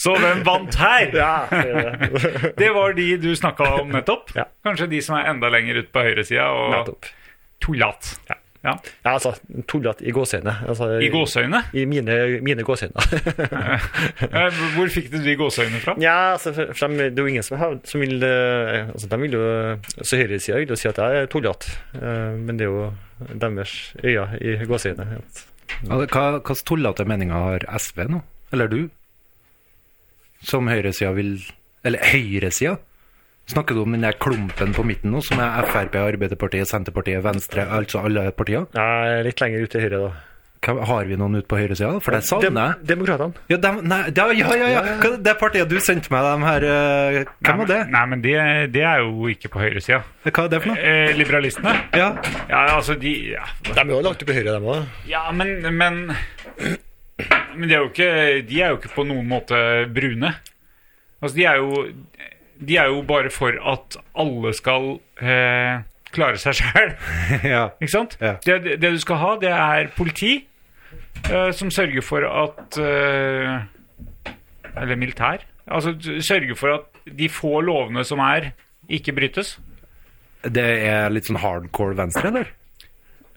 D: Så hvem vant her?
E: Ja, det er det.
D: Det var de du snakka om nettopp.
E: Ja.
D: Kanskje de som er enda lenger ut på høyresida og
E: Nettopp.
D: tullat.
E: Ja.
D: Ja.
E: Ja, altså, tullete i gåseøyne. Altså,
D: I gåseøyne?
E: I mine, mine gåseøyne.
D: Eh, Hvor fikk du de gåseøynene fra?
E: Ja, altså, for, for dem, det er jo ingen som, har, som vil eh, altså, de vil jo, Så høyresida vil jo si at jeg er tullete, eh, men det er jo deres øyne i gåseøyne. at-
B: Altså, Hva hvilke tullete meninger har SV nå? Eller du? Som høyresida vil Eller høyresida? Snakker du om den der klumpen på midten nå, som er Frp, Arbeiderpartiet, Senterpartiet, Venstre, altså alle partier?
E: Nei, litt lenger ut til høyre, da.
B: Hva- Har vi noen ute på høyresida? da? For det savner jeg.
E: Dem- Demokratene.
B: Ja, dem, nei, da, ja, ja, ja. Hva, det partiet du sendte meg, dem her eh,
D: Nei,
B: Hvem var det?
D: men- Nei, men det, det er jo ikke på høyresida.
B: Hva er det for noe?
D: Eh, liberalistene?
B: Ja.
D: Ja, altså, de Ja,
E: De er jo langt oppe i høyre, dem òg.
D: ja men, men Men de er, jo ikke, de er jo ikke på noen måte brune. Altså, de er jo De er jo bare for at alle skal eh, klare seg sjæl.
B: ja.
D: Ikke sant?
B: Ja.
D: Det, det du skal ha, det er politi eh, som sørger for at eh, Eller militær. Altså t- sørger for at de få lovene som er, ikke brytes.
B: Det er litt sånn hardcore venstre, eller?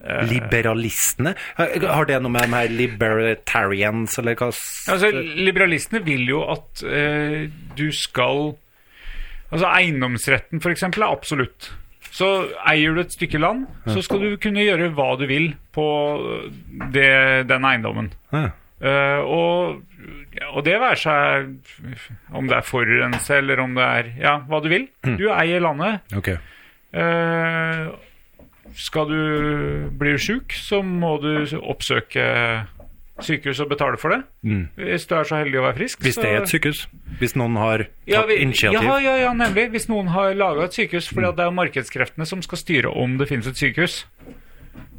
B: Eh. Liberalistene? Har har det noe med de her libertarians, eller hva s-
D: Altså, liberalistene vil jo at eh, du skal Altså, eiendomsretten, for eksempel, er absolutt. Så eier du et stykke land, så skal du kunne gjøre hva du vil på det, den eiendommen.
B: Ja.
D: Eh, og, og det være seg om det er forurense eller om det er Ja, hva du vil. Du eier landet.
B: Ok.
D: Eh, skal du bli sjuk, så må du oppsøke sykehus og betale for det.
B: Mm.
D: Hvis du er så heldig å være frisk.
B: Hvis det er et sykehus? Hvis noen har tatt
D: ja, vi,
B: initiativ?
D: Ja, ja, ja, nemlig. Hvis noen har laga et sykehus. For det er jo markedskreftene som skal styre om det finnes et sykehus.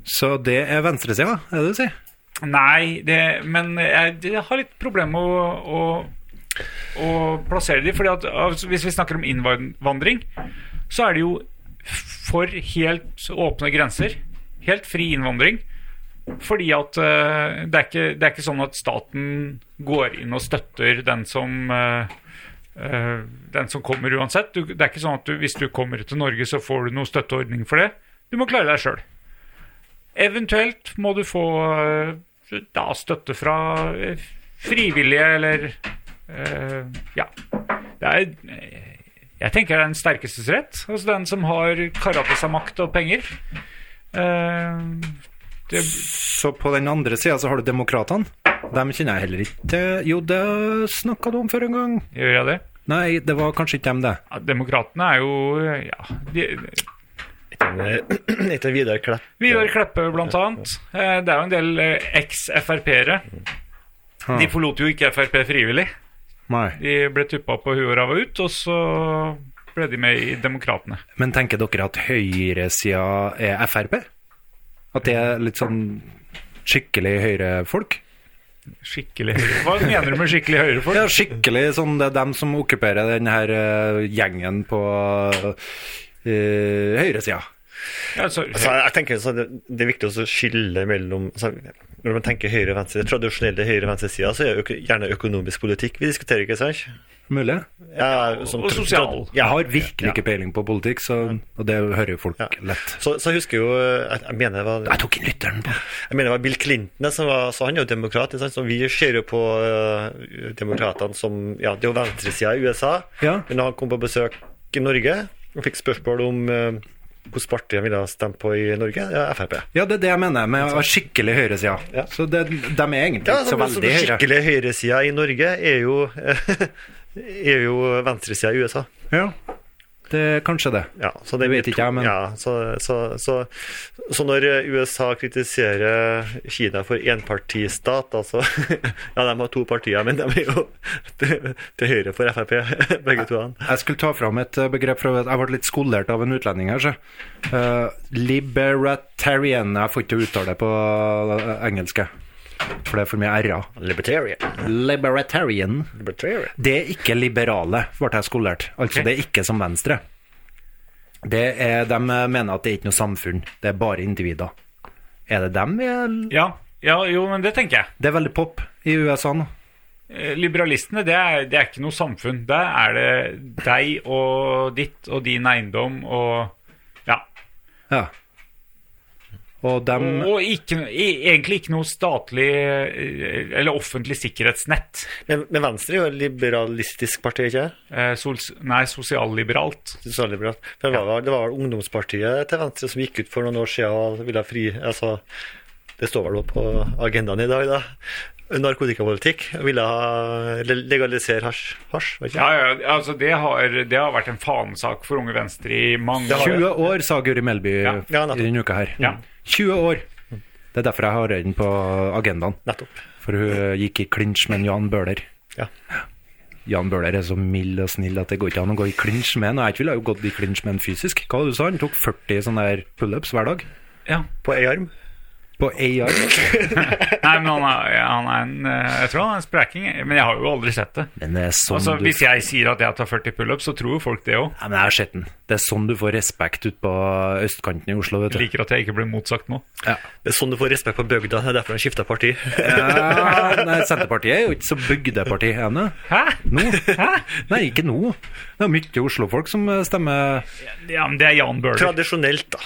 B: Så det er venstresida, er det du sier?
D: Nei, det, men jeg, jeg har litt problemer med å, å, å plassere dem. Fordi at altså, hvis vi snakker om innvandring, så er det jo for helt åpne grenser. Helt fri innvandring. Fordi at eh, det, er ikke, det er ikke sånn at staten går inn og støtter den som eh, eh, den som kommer uansett. Du, det er ikke sånn at du, hvis du kommer til Norge, så får du noen støtteordning for det. Du må klare deg sjøl. Eventuelt må du få eh, da støtte fra eh, frivillige eller eh, Ja. Det er eh, Jeg tenker det er den sterkestes rett. Altså den som har kara til seg makt og penger. Eh, det,
B: Så på den andre sida så har du demokratene. Dem kjenner jeg heller ikke til. Jo, det snakka du om før en gang.
D: gjør jeg det?
B: Nei, det var kanskje ikke dem, det.
D: Ja, Demokratene er jo eh, Ja. De,
E: eh, Etter Vidar Klepp.
D: Vidar Kleppe, blant annet. Eh, Det er jo en del eh, eks-Frp-ere.
B: Ah.
D: De forlot jo ikke Frp frivillig.
B: Nei.
D: De ble tuppa på huet og ræva ut, og så ble de med i Demokratene.
B: Men tenker dere at høyresida er Frp? At det er litt sånn skikkelig høyrefolk?
D: Skikkelig høyre. Hva mener du med skikkelig høyrefolk?
B: Ja, skikkelig sånn det er dem som okkuperer den her eh, gjengen på eh, høyresida.
D: Ja, så-
E: Altså, jeg tenker så det, det er viktig også å skille mellom altså, Når man tenker høyre- og venstre, tradisjonelle høyre- og venstresida, så er det øko, gjerne økonomisk politikk vi diskuterer, ikke sant?
B: Mulig?
E: Ja, som
D: Og
E: tra-
D: sosial.
E: Ja,
B: Jeg har virkelig ikke peiling på politikk, så, og det hører jo folk lett.
E: Så, så husker jeg jo jeg, jeg mener det var
B: Jeg tok inn lytteren på
E: Jeg mener det var Bill Clinton, som var, så han er jo demokrat. ikke Sant? Så vi ser jo på uh, demokratene som ja, Det er jo venstresida i USA.
B: Ja.
E: Men han kom på besøk i Norge og fikk spørsmål om eh, hvilket parti han ville ha stemt på i Norge? Ja, Frp.
B: Ja, det er det jeg mener med å ha skikkelig høyresida. Så det, de er egentlig
E: Ja,
B: ikke
E: altså,
B: så
E: men
B: veldig
E: den
B: høyre.
E: skikkelige høyresida i Norge er jo, er jo venstresida i USA.
B: Ja, det er kanskje det.
E: Ja, så
B: Det
E: blir
B: vet ikke
E: to-
B: jeg, men-
E: ja, så, så, så, så når USA kritiserer Kina for enpartistat, altså Ja, de har to partier, men de er jo til, til høyre for Frp, begge to.
B: Jeg skulle ta fram et eh, begrep fra Jeg ble litt skolert av en utlending her, så. Eh, libertarian Jeg får ikke uttale det på eh, engelske, for det er for mye r-er.
E: Libertarian.
B: Libertarian. Det er ikke liberale, ble jeg skolert. Altså, det er ikke som venstre. Det er, de mener at det er ikke noe samfunn, det er bare individer. Er det dem vi er
D: Ja, ja, jo, men det tenker jeg.
B: Det er veldig pop i USA nå.
D: Eh, Liberalistene, det er, det er ikke noe samfunn. Der er det deg og ditt og din eiendom og Ja.
B: Ja. Og dem
D: Og ikke, e- egentlig ikke noe statlig eh, eller offentlig sikkerhetsnett.
E: Men, men Venstre er jo et liberalistisk parti, ikke sant?
D: Eh, Sols, nei, sosialliberalt.
E: Sosialliberalt. For Det var vel- det var vel ungdomspartiet til Venstre som gikk ut for noen år siden og ville ha fri altså, Det står vel på agendaen i dag, da. Narkotikapolitikk. og Ville ha le- legalisere hasj. hasj vet ikke?
D: Ja, ja, altså det har, det har vært en fanesak for Unge Venstre i mange år.
B: 20 år, sa Guri Melby
D: Ja,
E: ja, nettopp.
B: i denne uka her.
D: Ja.
B: 20 år. Det er derfor jeg har den på agendaen.
E: Nettopp.
B: For hun gikk i klinsj med en Jan Bøhler.
E: Ja.
B: Jan Bøhler er så mild og snill at det går ikke an å gå i klinsj med ham. Jeg ville jo gått i klinsj med ham fysisk. Hva var det du sa Han tok 40 sånne der pullups hver dag?
D: Ja.
E: På ei arm.
B: På én arm.
D: Nei, men han er, han er en eh, Jeg tror han er en spreking, men jeg har jo aldri sett det.
B: Men det er sånn
D: Altså,
B: du
D: Hvis jeg sier at jeg tar 40 pullups, så tror jo folk det òg.
B: Nei, men jeg har sett den. Det er sånn du får respekt ute på østkanten i Oslo, vet du.
D: Liker at jeg ikke blir motsagt nå.
E: Det er sånn du får respekt på bygda. Det er derfor han skifta parti.
B: Ja, nei, Senterpartiet er jo ikke så bygdeparti ennå.
D: Hæ?
B: Nå? Nei, ikke nå. Det er mye Oslo-folk som eh, stemmer
D: Ja, men det er Jan Bøhler.
E: Tradisjonelt, da.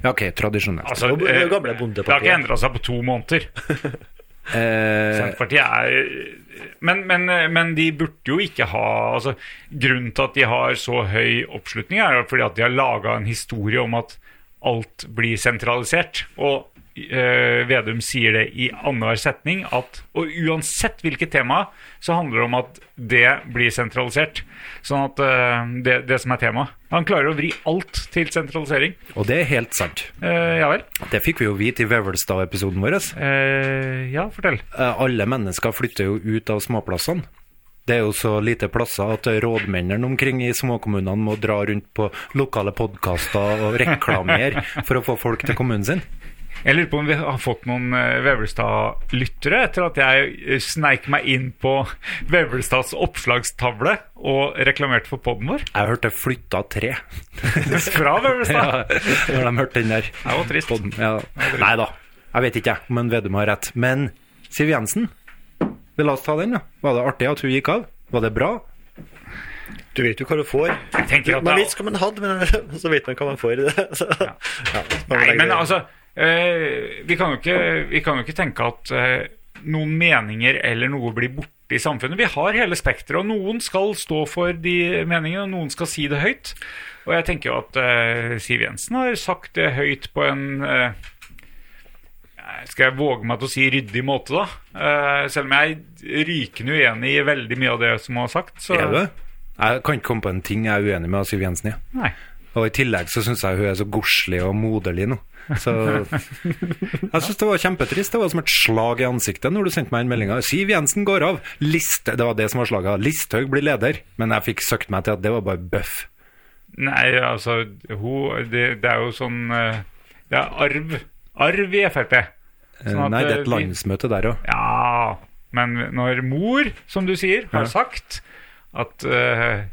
B: Ja, ok, tradisjonelt.
D: Altså,
E: Det er jo gamle
D: eh,
E: bondepartiet.
D: Det har ikke endra seg på to måneder.
B: Eh,
D: Senterpartiet er men, men, men de burde jo ikke ha altså, Grunnen til at de har så høy oppslutning, er jo fordi at de har laga en historie om at alt blir sentralisert. Og eh, Vedum sier det i annenhver setning at Og uansett hvilket tema, så handler det om at det blir sentralisert. Sånn at eh, det, det som er temaet. Han klarer å vri alt til sentralisering.
B: og det er helt sant.
D: Eh, ja vel.
B: Det fikk vi jo vite i Vevelstad-episoden vår.
D: Eh, ja, fortell.
B: Eh, Alle mennesker flytter jo ut av småplassene. Det er jo så lite plasser at rådmennene omkring i småkommunene må dra rundt på lokale podkaster og reklamere for å få folk til kommunen sin.
D: Jeg lurer på om vi har fått noen eh, Vevelstad-lyttere etter at jeg eh, sneik meg inn på Vevelstads oppslagstavle og reklamerte for poden vår
B: Jeg hørte 'flytta tre'
D: fra Vevelstad.
B: ja, når de hørte den der.
D: Det var trist.
B: podden. Ja. Nei da, jeg vet ikke jeg, om en Vedum har rett. Men Siv Jensen, vi la oss ta den, da. Var det artig at hun gikk av? Var det bra?
E: Du vet jo hva du får.
D: Jeg tenker at
E: Man
D: det
E: vet hva man hadde, men så vet man hva man får i det. Så, ja. så man
D: Nei,
E: legger
D: men
E: det-
D: altså eh, vi, kan jo ikke, vi kan jo ikke tenke at eh, noen meninger eller noe blir borte i samfunnet. Vi har hele spekteret, og noen skal stå for de meningene, og noen skal si det høyt. Og jeg tenker jo at eh, Siv Jensen har sagt det høyt på en eh, Skal jeg våge meg til å si ryddig måte, da? Eh, selv om jeg er rykende uenig i veldig mye av det som hun har sagt. Så,
B: Er du? Jeg kan ikke komme på en ting jeg er uenig med Siv Jensen i.
D: Nei.
B: Og i tillegg så syns jeg hun er så godslig og moderlig nå. Så jeg syns det var kjempetrist. Det var som et slag i ansiktet når du sendte meg den meldinga. 'Siv Jensen går av'. Liste, det var det som var slaget. Listhaug blir leder. Men jeg fikk søkt meg til at det var bare bøff.
D: Nei, altså hun, det, det er jo sånn eh, Det er arv. Arv i Frp.
B: Eh,
D: Sånn at,
B: Nei, det er
D: eh,
B: et
D: vi-
B: landsmøte der òg.
D: Ja, men når mor, som du sier, har sagt at eh,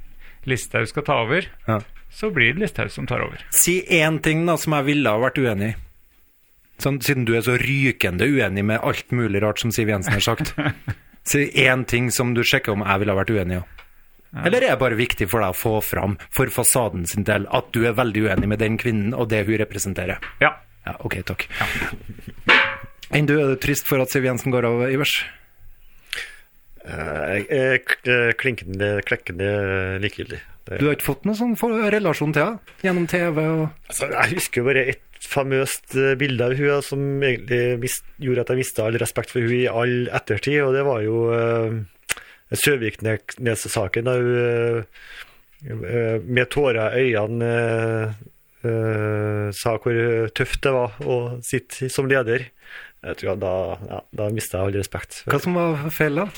D: Listhaug skal ta over,
B: Ja.
D: så blir det Listhaug som tar over.
B: Si én ting da som jeg ville ha vært uenig i. Sånn, siden du er så rykende uenig med alt mulig rart som Siv Jensen har sagt. Si én ting som du sjekker om jeg ville ha vært uenig i. Eller er det bare viktig for deg å få fram for fasaden sin del at du er veldig uenig med den kvinnen og det hun representerer?
D: Ja.
B: Ja, ok, takk. Enn du, er du trist for at Siv Jensen går av, Ivers?
E: Eh, eh, k- eh, Klinkende, klekkende likegyldig.
B: Du har ikke fått noen sånn for relasjon til henne gjennom TV? og...
E: Altså, jeg husker jo bare et famøst eh, bilde av hun som egentlig mist, gjorde at jeg mista all respekt for hun i all ettertid, og det var jo eh, Søviknes-saken, da hun eh, eh, med tårer i øynene eh, eh, sa hvor tøft det var å sitte som leder. Jeg tror at da, ja, da mista jeg all respekt.
B: Hva som var feil, da?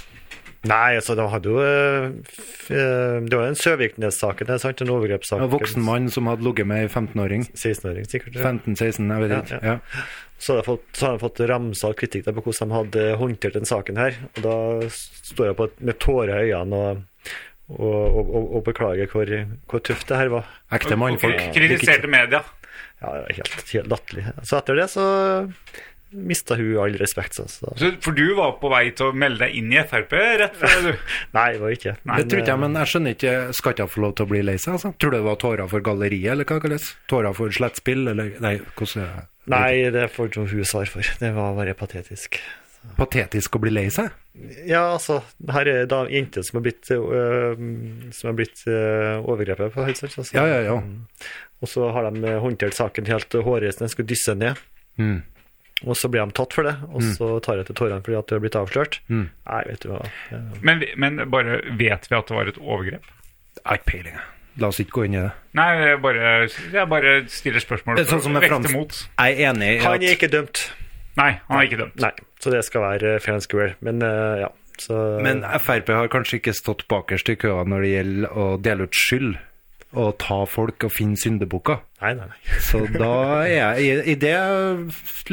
E: Nei, altså, de hadde jo eh, f- eh, Det var jo en Søviknes-saken, det er sant? En overgrepssak.
B: En voksen mann som hadde ligget med ei 15-åring?
E: 16-åring, sikkert.
B: 15-16, jeg vet ikke.
E: Ja,
B: Ja,
E: Så har jeg fått, så har jeg fått ramsa kritikk der på hvordan de hadde håndtert den saken her. Og da står jeg på et, med tårer i øynene og, og, og, og, og beklager hvor, hvor tøft det her var.
B: Ekte mannfolk.
D: Og kritiserte media.
E: Ja, det var helt, helt latterlig. Så etter det så mista hun all respekt. Så, så.
D: Så, for du var på vei til å melde deg inn i Frp rett før du
E: Nei, det var ikke
B: Det tror ikke jeg, men jeg skjønner ikke Skal ikke jeg få lov til å bli lei seg, altså? Tror du det var tårer for galleriet, eller hva kalles? Tårer for slettspill, eller Nei, hvordan er det?
E: Nei, det får ikke hun svar for. Det var bare patetisk.
B: Patetisk å bli lei seg?
E: Ja, altså, her er da en jente som har blitt, øh, som har blitt øh, overgrepet på, helt sant? Altså.
B: Ja, ja, ja.
E: Og så har de eh, håndtert saken helt eh, hårreisende, skulle dysse ned.
B: Mm.
E: Og så blir de tatt for det, og så tar jeg til tårene fordi at du har blitt avslørt.
B: Mm.
E: Nei, vet du hva. Eh,
D: men, vi- men bare vet vi at det var et overgrep?
B: Jeg har ikke peiling, jeg. La oss ikke gå inn i det.
D: Nei, jeg bare, jeg bare stiller spørsmål.
B: Det er sånn som med
D: Vekter
B: Frans-
D: mot.
B: Jeg er enig i
E: Han er
B: at
E: ikke dømt.
D: Nei, han er ikke dømt.
E: Nei, så det skal være eh, fair and square. Men eh, ja, så
B: Men Frp har kanskje ikke stått bakerst i køa når det gjelder å dele ut skyld og ta folk og finne syndebukker.
E: Nei, nei, nei.
B: Så da er jeg, i, i det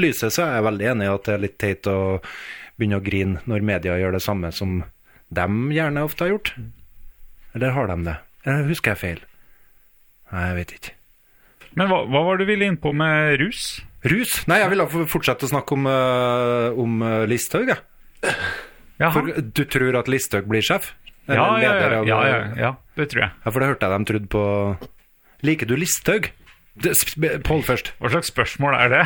B: lyset så er jeg veldig enig i at det er litt teit å begynne å grine når media gjør det samme som de gjerne ofte har gjort. Eller har de det? Eller husker jeg feil? Nei, jeg vet ikke.
D: Men hva, hva var det du ville inn på med rus?
B: Rus? Nei, jeg ville fortsette å snakke om, eh, om eh, Listhaug, jeg.
D: Jaha.
B: For du tror at Listhaug blir sjef? Eller
D: ja, ja,
B: leder
D: ja,
B: av-
D: ja, ja, ja, det tror jeg.
B: Ja, for det hørte jeg de trodde på Liker du Listhaug? Det- sp- sp- Pål først.
D: Hva slags spørsmål er det?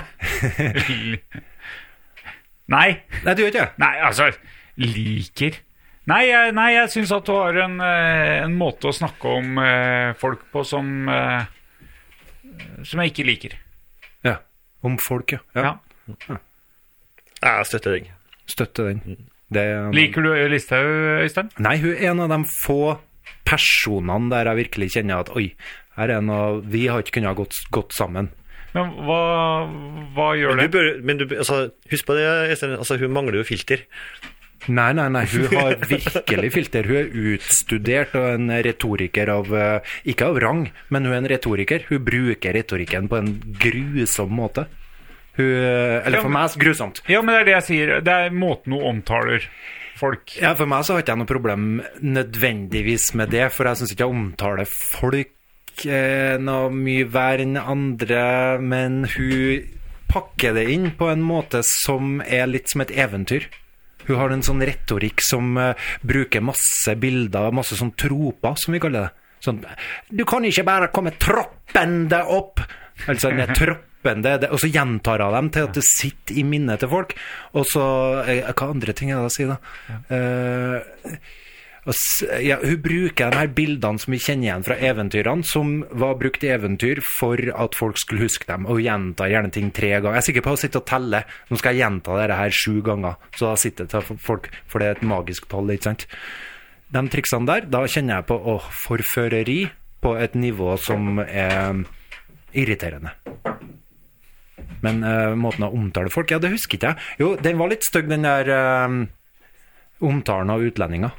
D: nei,
B: Nei, du gjør ikke det?
D: nei, altså Liker Nei, jeg, nei, jeg syns at du har en, eh, en måte å snakke om eh, folk på som eh, Som jeg ikke liker.
B: Ja. Om folk, ja. ja.
D: Ja.
E: Jeg støtter deg.
B: Støtte den. Det,
D: Liker du Listhaug, Øystein?
B: Nei, hun er en av de få personene der jeg virkelig kjenner at oi, her er noe Vi har ikke kunnet ha gått, gått sammen.
D: Men hva, hva gjør
E: Men
D: det?
E: du bør, men du, altså, husk på det, Øystein, altså, hun mangler jo filter.
B: Nei, nei, nei, hun har virkelig filter. Hun er utstudert og en retoriker av eh, Ikke av rang, men hun er en retoriker. Hun bruker retorikken på en grusom måte. Hun eh, Eller for meg, grusomt.
D: Ja, men det er det jeg sier. Det er måten hun omtaler folk
B: Ja, For meg så har ikke jeg noe problem nødvendigvis med det, for jeg syns ikke jeg omtaler folk eh, noe mye verre enn andre, men hun pakker det inn på en måte som er litt som et eventyr. Hun har en sånn retorikk som eh, bruker masse bilder, masse sånn troper, som vi kaller det. Sånn Du kan ikke bare komme troppende opp! Altså, den er troppende, det, og så gjentar hun dem til at det sitter i minnet til folk. Og så eh, Hva andre ting er det å si, da? Eh, og s- ja, hun bruker de her bildene som vi kjenner igjen fra eventyrene, som var brukt i eventyr for at folk skulle huske dem, og hun gjentar gjerne ting tre ganger. Jeg er sikker på å sitte og telle. Nå skal jeg gjenta dette her sju ganger, så da sitter det til folk, for det er et magisk tall, ikke sant. De triksene der, da kjenner jeg på åh, forføreri på et nivå som er irriterende. Men eh, måten å omtale folk, ja, det husker ikke jeg. Jo, den var litt stygg, den der eh, omtalen av utlendinger.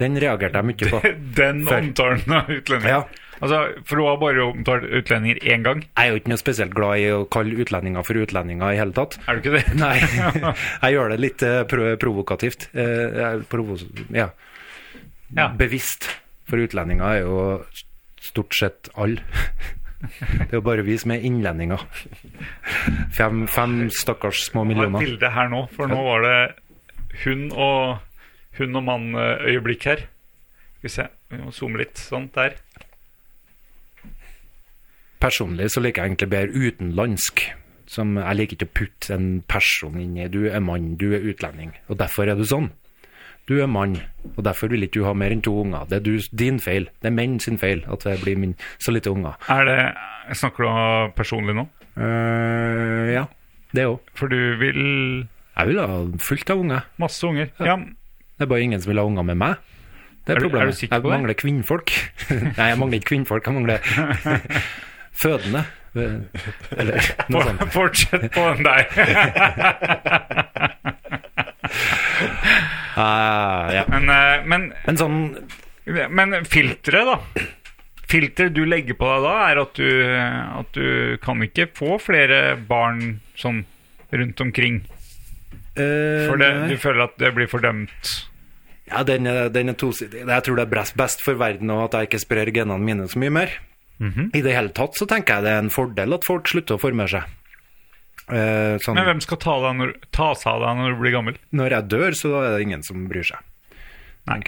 B: Den reagerte jeg mye på.
D: Den
B: Før.
D: omtalen av utlendinger.
B: Ja.
D: Altså, for hun har bare omtalt utlendinger én gang,
B: Jeg er jo ikke noe spesielt glad i å kalle utlendinger for utlendinger i hele tatt.
D: er du ikke det?
B: Nei, jeg gjør det litt eh, pro provokativt. Eh, jeg provo ja.
D: Ja.
B: Bevisst. For utlendinger er jo stort sett alle. Det er jo bare vi som er innlendinger. Fem, fem stakkars
D: Jeg
B: små
D: har et
B: millioner.
D: bilde her nå, for nå var det hun og, hun og mann-øyeblikk her. Skal vi se, vi må zoome litt. Sånn, der.
B: Personlig så liker jeg egentlig bedre utenlandsk. Som jeg liker ikke å putte en person inn i. Du er mann, du er utlending. Og derfor er du sånn. Du er mann, og derfor vil ikke du ha mer enn to unger. Det er du, din feil. Det er menn sin feil at det blir min, så lite unger.
D: Er det, snakker du personlig nå?
B: Eh, ja, det òg.
D: For du vil
B: Jeg vil ha fullt av unger.
D: masse unger. Ja.
B: Det er bare ingen som vil ha unger med meg.
D: Er
B: Det er
D: du- er
B: problemet.
D: du sikker på
B: jeg
D: det?
B: mangler kvinnfolk. Nei, jeg mangler ikke kvinnfolk, jeg mangler fødende. Eller noe sånt.
D: Fortsett på den der.
B: Eh, ja.
D: Men, eh, men
B: Men sånn
D: Men filteret, da. Filteret du legger på deg da, er at du, at du kan ikke få flere barn sånn rundt omkring.
B: eh,
D: For det,
B: nei.
D: du føler at det blir fordømt.
B: Ja, den er, den er tosidig. Jeg tror det er best, best for verden og at jeg ikke sprer genene mine så mye mer.
D: Mhm.
B: I det hele tatt så tenker jeg det er en fordel at folk slutter å formere seg. Eh, sånn,
D: Men hvem skal ta, deg når, ta seg av deg når du blir gammel?
B: Når jeg dør, så er det ingen som bryr seg.
D: Nei.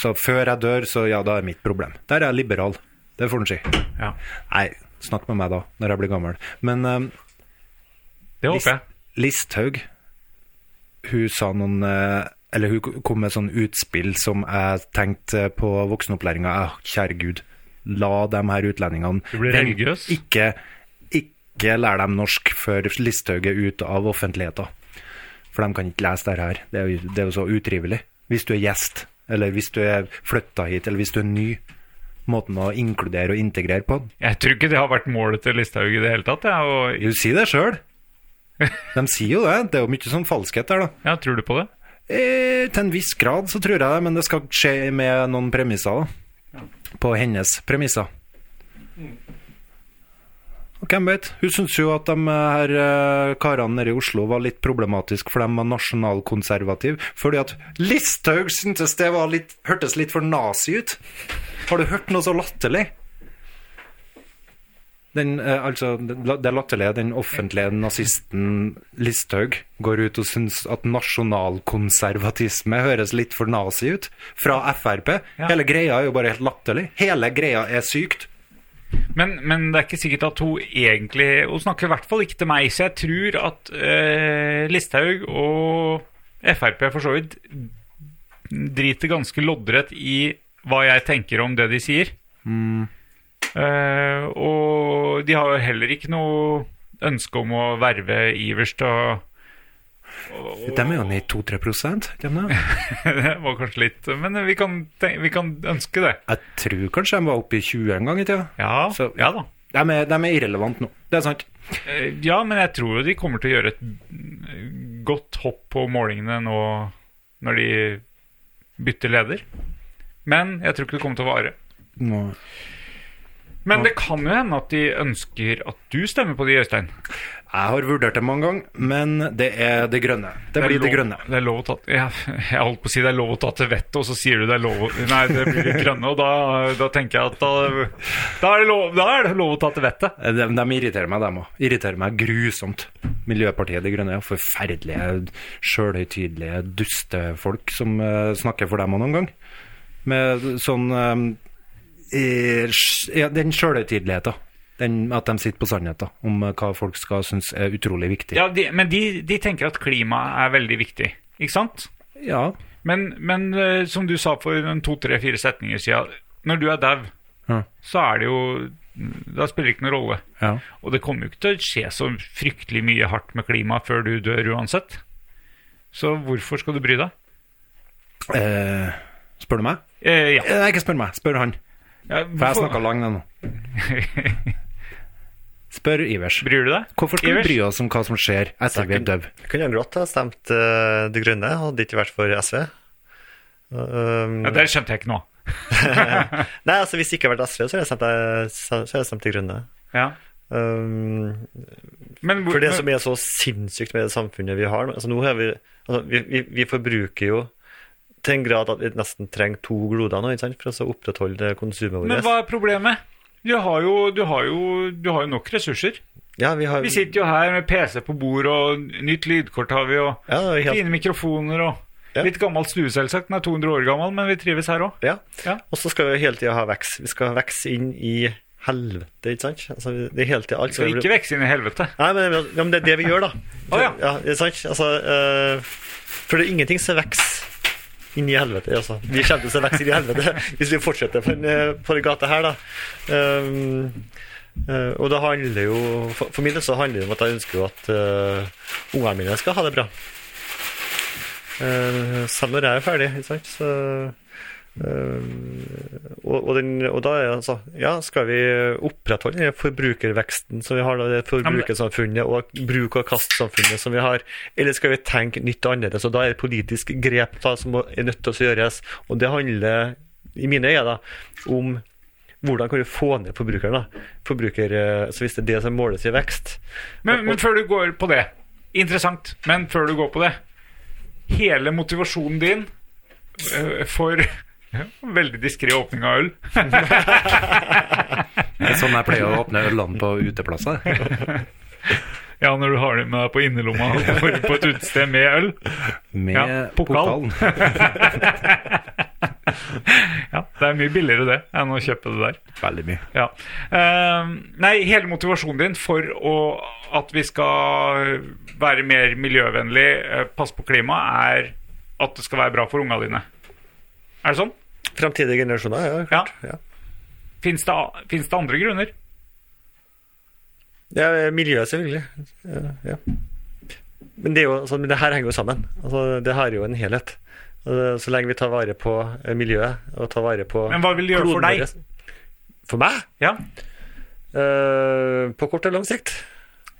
B: Så før jeg dør, så ja, da er mitt problem. Der er jeg liberal. Det får en si.
D: Ja.
B: Nei, snakk med meg da, når jeg blir gammel. Men eh,
D: Det
B: List-
D: håper jeg.
B: Listhaug Hun sa noen eh, Eller hun kom med sånn utspill som jeg tenkte på voksenopplæringa. Ah, kjære Gud, la de her utlendingene
D: Du blir
B: Den-
D: religiøs?
B: Ikke, ikke lær dem norsk før Listhaug er ute av offentligheten. For de kan ikke lese det her. Det er jo, det er jo så utrivelig. Hvis du er gjest, eller hvis du er flytta hit, eller hvis du er ny. Måten å inkludere og integrere på.
D: Jeg tror ikke det har vært målet til Listhaug i det hele tatt. Jeg,
B: Du sier det sjøl. De sier jo det. Det er jo mye sånn falskhet der, da.
D: og, ja, tror du på det?
B: Eh, til en viss grad så tror jeg det, men det skal skje med noen premisser. da. På hennes premisser. Og hvem vet? Hun syntes jo at de her eh, karene nede i Oslo var litt problematiske, for de var nasjonalkonservative. Fordi at Listhaug syntes det var litt, hørtes litt for nazi ut. Har du hørt noe så latterlig? Den, eh, altså, det det latterlige, den offentlige nazisten Listhaug går ut og syns at nasjonalkonservatisme høres litt for nazi ut. Fra Frp. Hele greia er jo bare helt latterlig. Hele greia er sykt.
D: Men, men det er ikke sikkert at hun egentlig Hun snakker i hvert fall ikke til meg, så jeg tror at eh, Listhaug og Frp for så vidt driter ganske loddrett i hva jeg tenker om det de sier. Eh, og de har jo heller ikke noe ønske om å verve Ivers til å
B: De er jo nede i 2-3 prosent, ikke sant?
D: Det var kanskje litt Men vi kan, ten- vi kan ønske det.
B: Jeg tror kanskje de var oppe i 20 en gang i tida.
D: Ja,
B: Så-
D: ja da.
B: De er, de er irrelevante nå. Det er sant.
D: Eh, Ja, men jeg tror jo de kommer til å gjøre et mm, godt hopp på målingene nå når de bytter leder. Men jeg tror ikke det kommer til å vare.
B: Nå.
D: Men det kan jo hende at de ønsker at du stemmer på de, Øystein.
B: Jeg har vurdert det mange ganger, men det er det grønne. Det blir det
D: lov-
B: grønne.
D: Det er lov å ta ja, Jeg holdt på å si det er lov å ta til vettet, og så sier du det er lov å- Nei, det blir det grønne, og da, da tenker jeg at da, da, er det lov, da er det lov å ta til vettet.
B: Eh, De, de irriterer meg, dem òg. Irriterer meg grusomt. Miljøpartiet De Grønne er forferdelige, sjølhøytidelige dustefolk som eh, snakker for dem òg noen gang. Med sånn eh, eh, sj- ja, Den sjølhøytideligheta. Den, at de sitter på sannheten om eh, hva folk skal synes er utrolig viktig.
D: Ja, de, men de, de tenker at klima er veldig viktig, ikke sant?
B: ja.
D: Men, men eh, som du sa for en to-tre-fire setninger siden, når du er dau,
B: Ja.
D: så er det jo Da spiller det ikke noen rolle.
B: ja.
D: Og det kommer jo ikke til å skje så fryktelig mye hardt med klimaet før du dør uansett. Så hvorfor skal du bry deg?
B: Eh, spør du meg?
D: Eh, ja.
B: Eh, Nei, ikke spør meg. Spør han.
D: ja
B: For jeg
D: hvorfor-
B: snakka langt nå. Spør Ivers.
D: Bryr du deg?
B: Hvorfor skal
D: Ivers?
B: vi bry oss om hva som skjer etter vi er døde?
E: Jeg kunne gjerne godt ha stemt eh, De Grønne, hadde det ikke vært for SV. Um,
D: Ja, der skjønte jeg ikke noe.
E: Nei, altså Hvis det ikke hadde vært SV, så hadde jeg stemt, eh, så hadde jeg stemt De Grønne.
D: Ja.
E: Um,
D: Men, hvor-
E: For det som er så sinnssykt med det samfunnet vi har nå, altså nå har vi, altså vi, vi, vi forbruker jo til en grad at vi nesten trenger to gloder nå, ikke sant, for å så opprettholde konsumet
D: men
E: vårt.
D: hva er problemet? Du har, jo, du, har jo, du har jo nok ressurser.
E: Ja, vi har,
D: Vi sitter jo her med PC på bord, og nytt lydkort har vi, og
E: ja, det er helt,
D: Fine mikrofoner og
E: Ja.
D: litt gammel stue, selvsagt. Den er 200 år gammel, men vi trives her òg.
E: ja.
D: Ja.
E: Og så skal vi hele tida ha vekst. Vi skal ha vekst inn i helvete, ikke sant. Altså, det er hele tida alt
D: Skal ikke vokse inn i helvete.
E: Nei, men, ja, men det er det vi gjør, da.
D: Å, ja.
E: ja. det er sant. Altså, eh, for det er ingenting som vokser inn i helvete. Altså. Vi kommer til å se vekst inn i helvete hvis vi fortsetter på, den, eh, på den gata her, da. Ehm, eh, og det handler jo For, for min del så handler det om at jeg ønsker jo at eh, ungene mine skal ha det bra. Eh, selv når jeg er ferdig, ikke sant. Så, eh, og, og, den, og da er det altså Ja, skal vi opprettholde den forbrukerveksten som vi har, da, det
D: men-
E: forbrukersamfunnet og bruk-og-kast-samfunnet som vi har, eller skal vi tenke nytt og annerledes? Og da er det politisk grep da, som må- er nødt til å gjøres. Og det handler, i mine øyne, da, om hvordan kan vi få ned forbrukeren? da? Forbruker, eh, så Hvis det er det som måles i vekst
D: Men, men før du går på det Interessant, men før du går på det Hele motivasjonen din eh, For Veldig diskret åpning av øl
B: Det er sånn jeg pleier å åpne ølene på uteplasser.
D: Ja, når du har det med deg på innerlomma På på et utested med øl
B: Med
D: Ja, pokal.
B: pokalen.
D: Ja, det er mye billigere det Enn å kjøpe det der
B: Veldig mye.
D: Ja. Ehm, nei, hele motivasjonen din for å, at vi skal være mer miljøvennlig, eh, passe på klimaet, er at det skal være bra for unga dine. Er det sånn?
E: Framtidige generasjoner, ja.
D: Ja.
E: ja.
D: Fins det, a- finnes det andre grunner?
E: Ja, miljøet selvfølgelig. Ja, ja. Men det, er jo, altså, men det her henger jo sammen. Altså, det her er jo en helhet. Altså, Så lenge vi tar vare på eh, miljøet og tar vare på
D: Men hva vil det gjøre for
E: kloden
D: deg?
E: vår. For meg?
D: Ja.
E: Eh, på kort og lang sikt?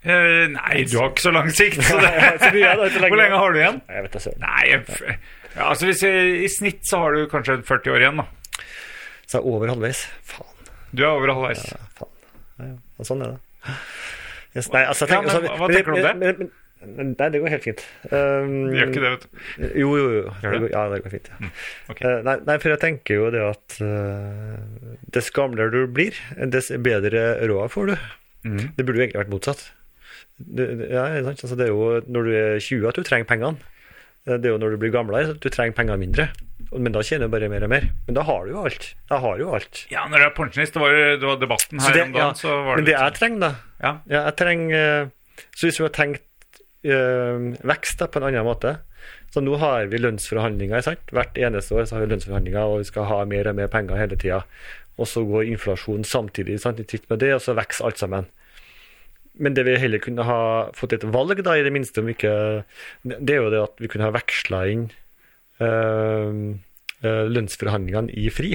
D: Eh, nei, du har ikke så lang sikt. Så det,
E: Så mye, da, så lenge-
D: hvor lenge har du igjen?
E: Jeg vet da søren.
D: Nei, jeg f- ja, altså hvis jeg, I snitt så har du kanskje 40 år igjen. da
E: Så jeg er over halvveis. Faen.
D: Du er over halvveis.
E: Ja, faen. Ja, ja. Og sånn er det. Yes, nei, altså, jeg
D: Ja,
E: tenker,
D: men
E: altså,
D: hva tenker du om det?
E: Men, men, men, nei, det går helt fint. Um,
D: Du gjør ikke det, vet du.
E: Jo, jo, jo.
D: Gjør
E: Det
D: det? Mm.
E: går, ja, det går fint. Ja.
D: ok.
E: Eh, nei, nei, for jeg tenker jo det at eh, dess gamlere du blir, dess bedre råd får du.
D: Mhm.
E: Det burde jo egentlig vært motsatt. Det, det- ja, ikke sant? Altså, det er jo når du er 20 at du trenger pengene. Eh, Det er jo når du blir gamlere at du trenger penger mindre. Og- Men da tjener du bare mer og mer. Men da har du jo alt. Da har du jo alt.
D: Ja, når du er pensjonist, det var, det var debatten
E: Så
D: her
E: det-
D: om
E: ja,
D: dagen, så var
E: Men
D: det
E: det
D: litt
E: jeg trenger, da
D: Ja.
E: jeg trenger eh, Så hvis vi har tenkt eh, vekst da, på en annen måte Så nå har vi lønnsforhandlinger, sant? Hvert eneste år så har vi lønnsforhandlinger, og vi skal ha mer og mer penger hele tida. Og så går inflasjonen samtidig sant? i tritt med det, og så vokser alt sammen. Men det vi heller kunne ha fått et valg, da, i det minste, om ikke Det er jo det at vi kunne ha veksla inn eh, eh, lønnsforhandlingene i fri.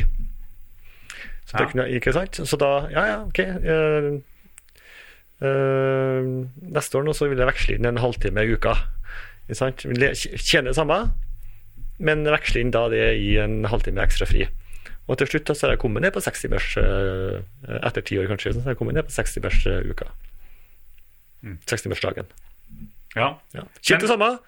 E: Så, det
D: Ja.
E: kunne, ikke sant? så da Ja, ja, OK. eh, Eh, neste år nå så vil jeg veksle inn en halvtime i uka. Ikke sant? Vil jeg Tjene det samme, men veksle inn da det i en halvtime ekstra fri. Og til slutt da så har jeg kommet ned på sekstimers eh, Etter ti år, kanskje, så har jeg kommet ned på eh, sekstimersuka. Sekstimersdagen.
D: Ja.
E: Ja. Tjent det samme.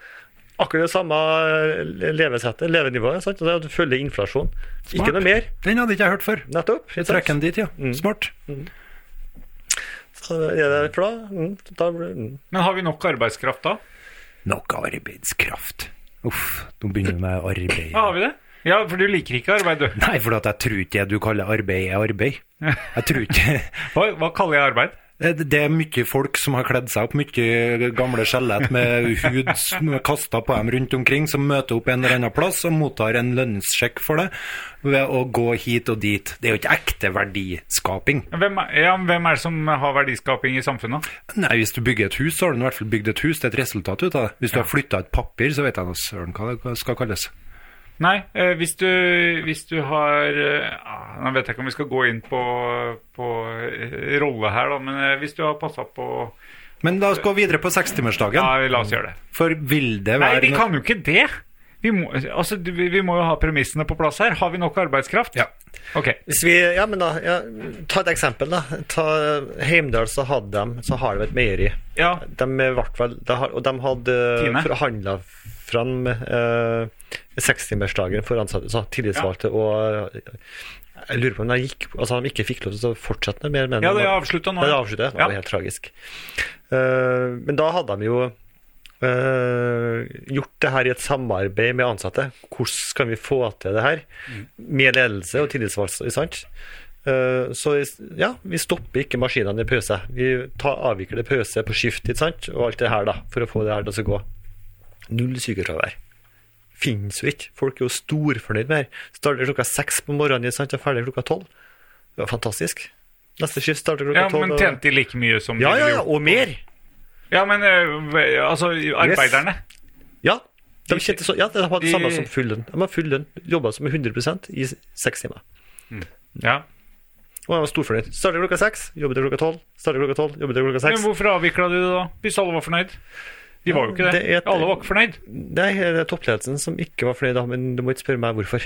E: Akkurat det samme eh, levesettet, levenivået. Sant? Og det er at du følger inflasjon. Ikke noe mer.
B: Den hadde ikke jeg hørt før.
E: Nettopp. ikke
B: Jeg
E: sant?
B: trekker den dit, ja. Smart.
E: Så er det for da, mm, da blir det- mm.
D: Men har vi nok arbeidskraft da?
B: Nok arbeidskraft. Uff, nå begynner vi med arbeid.
D: Ja, har vi det? Ja, for du liker ikke arbeid, du.
B: Nei, for at jeg tror ikke det du kaller arbeid, er arbeid. Jeg tror ikke
D: Hva, hva kaller jeg arbeid?
B: Det det er mye folk som har kledd seg opp, mye gamle skjelett med hud som er kasta på dem rundt omkring, som møter opp en eller annen plass og mottar en lønnssjekk for det ved å gå hit og dit. Det er jo ikke ekte verdiskaping.
D: Hvem er, ja, men hvem er det som har verdiskaping i samfunnet?
B: Nei, hvis du bygger et hus, så har du i hvert fall bygd et hus. Det er et resultat ut av det. Hvis du har flytta et papir, så vet jeg nå søren hva det skal kalles.
D: Nei, eh, hvis, du, hvis du har eh, ah, Nå vet jeg ikke om vi skal gå inn på, på eh, rolle her, da, men eh, hvis du har passa på
B: Men la oss gå videre på
D: Ja,
B: sekstimersdagen.
D: la oss gjøre det.
B: For vil det
D: Nei,
B: være
D: vi
B: noe-
D: kan jo ikke det! Vi må, altså, du- vi vi må jo ha premissene på plass her. Har vi nok arbeidskraft?
B: Ja.
D: Ok.
E: Hvis vi, ja, men da, ja, ta et eksempel. da. Ta eh, Heimdal, så hadde de, så har de et meieri.
D: Ja.
E: De er i hvert fall, de har, og de hadde eh,
D: Tine.
E: forhandla fram eh, sekstimersdagen for ansatte, så tillitsvalgte. og eh, jeg lurer på om de, gikk, altså, de ikke fikk lov til å fortsette mer med
D: ja, det er
E: de-
D: avslutta nå.
E: ja, det avsluttet. Det var
D: Ja.
E: helt tragisk. Eh, men da hadde de jo eh, gjort det her i et samarbeid med ansatte. Hvordan kan vi få til det her?
D: Mm.
E: Med ledelse og tillitsvalgte, ikke sant? Eh, så i- ja, vi stopper ikke maskinene i pause. Vi tar, avvikler pause på skift, ikke sant? Og alt det her, da, for å få det her til å gå. Null sykefravær. finnes jo ikke. Folk er jo storfornøyd med det. Starter klokka seks på morgenen sant, og er ferdig klokka tolv. Det er fantastisk. Neste skift starter klokka
D: Ja,
E: tolv.
D: men
E: og-
D: tjente de like mye som
E: ja,
D: de
E: ja,
D: ville
E: ja,
D: gjort?
E: og mer.
D: Ja, men eh, altså, arbeiderne
E: Ja. De, tjente så, ja, de hadde det samme
D: De-
E: som full lønn. De har full lønn. Jobba som 100 i seks timer.
D: Ja.
E: Og jeg var storfornøyd. Starter klokka seks, jobber til klokka tolv. Starter klokka tolv, jobber til klokka
D: Men
E: seks.
D: hvorfor avvikla de det da, hvis alle var fornøyd? De var jo ikke det.
E: det er et-
D: Alle var ikke fornøyd.
E: Nei, eh, det er toppledelsen som ikke var fornøyd, da, men du må ikke spørre meg hvorfor.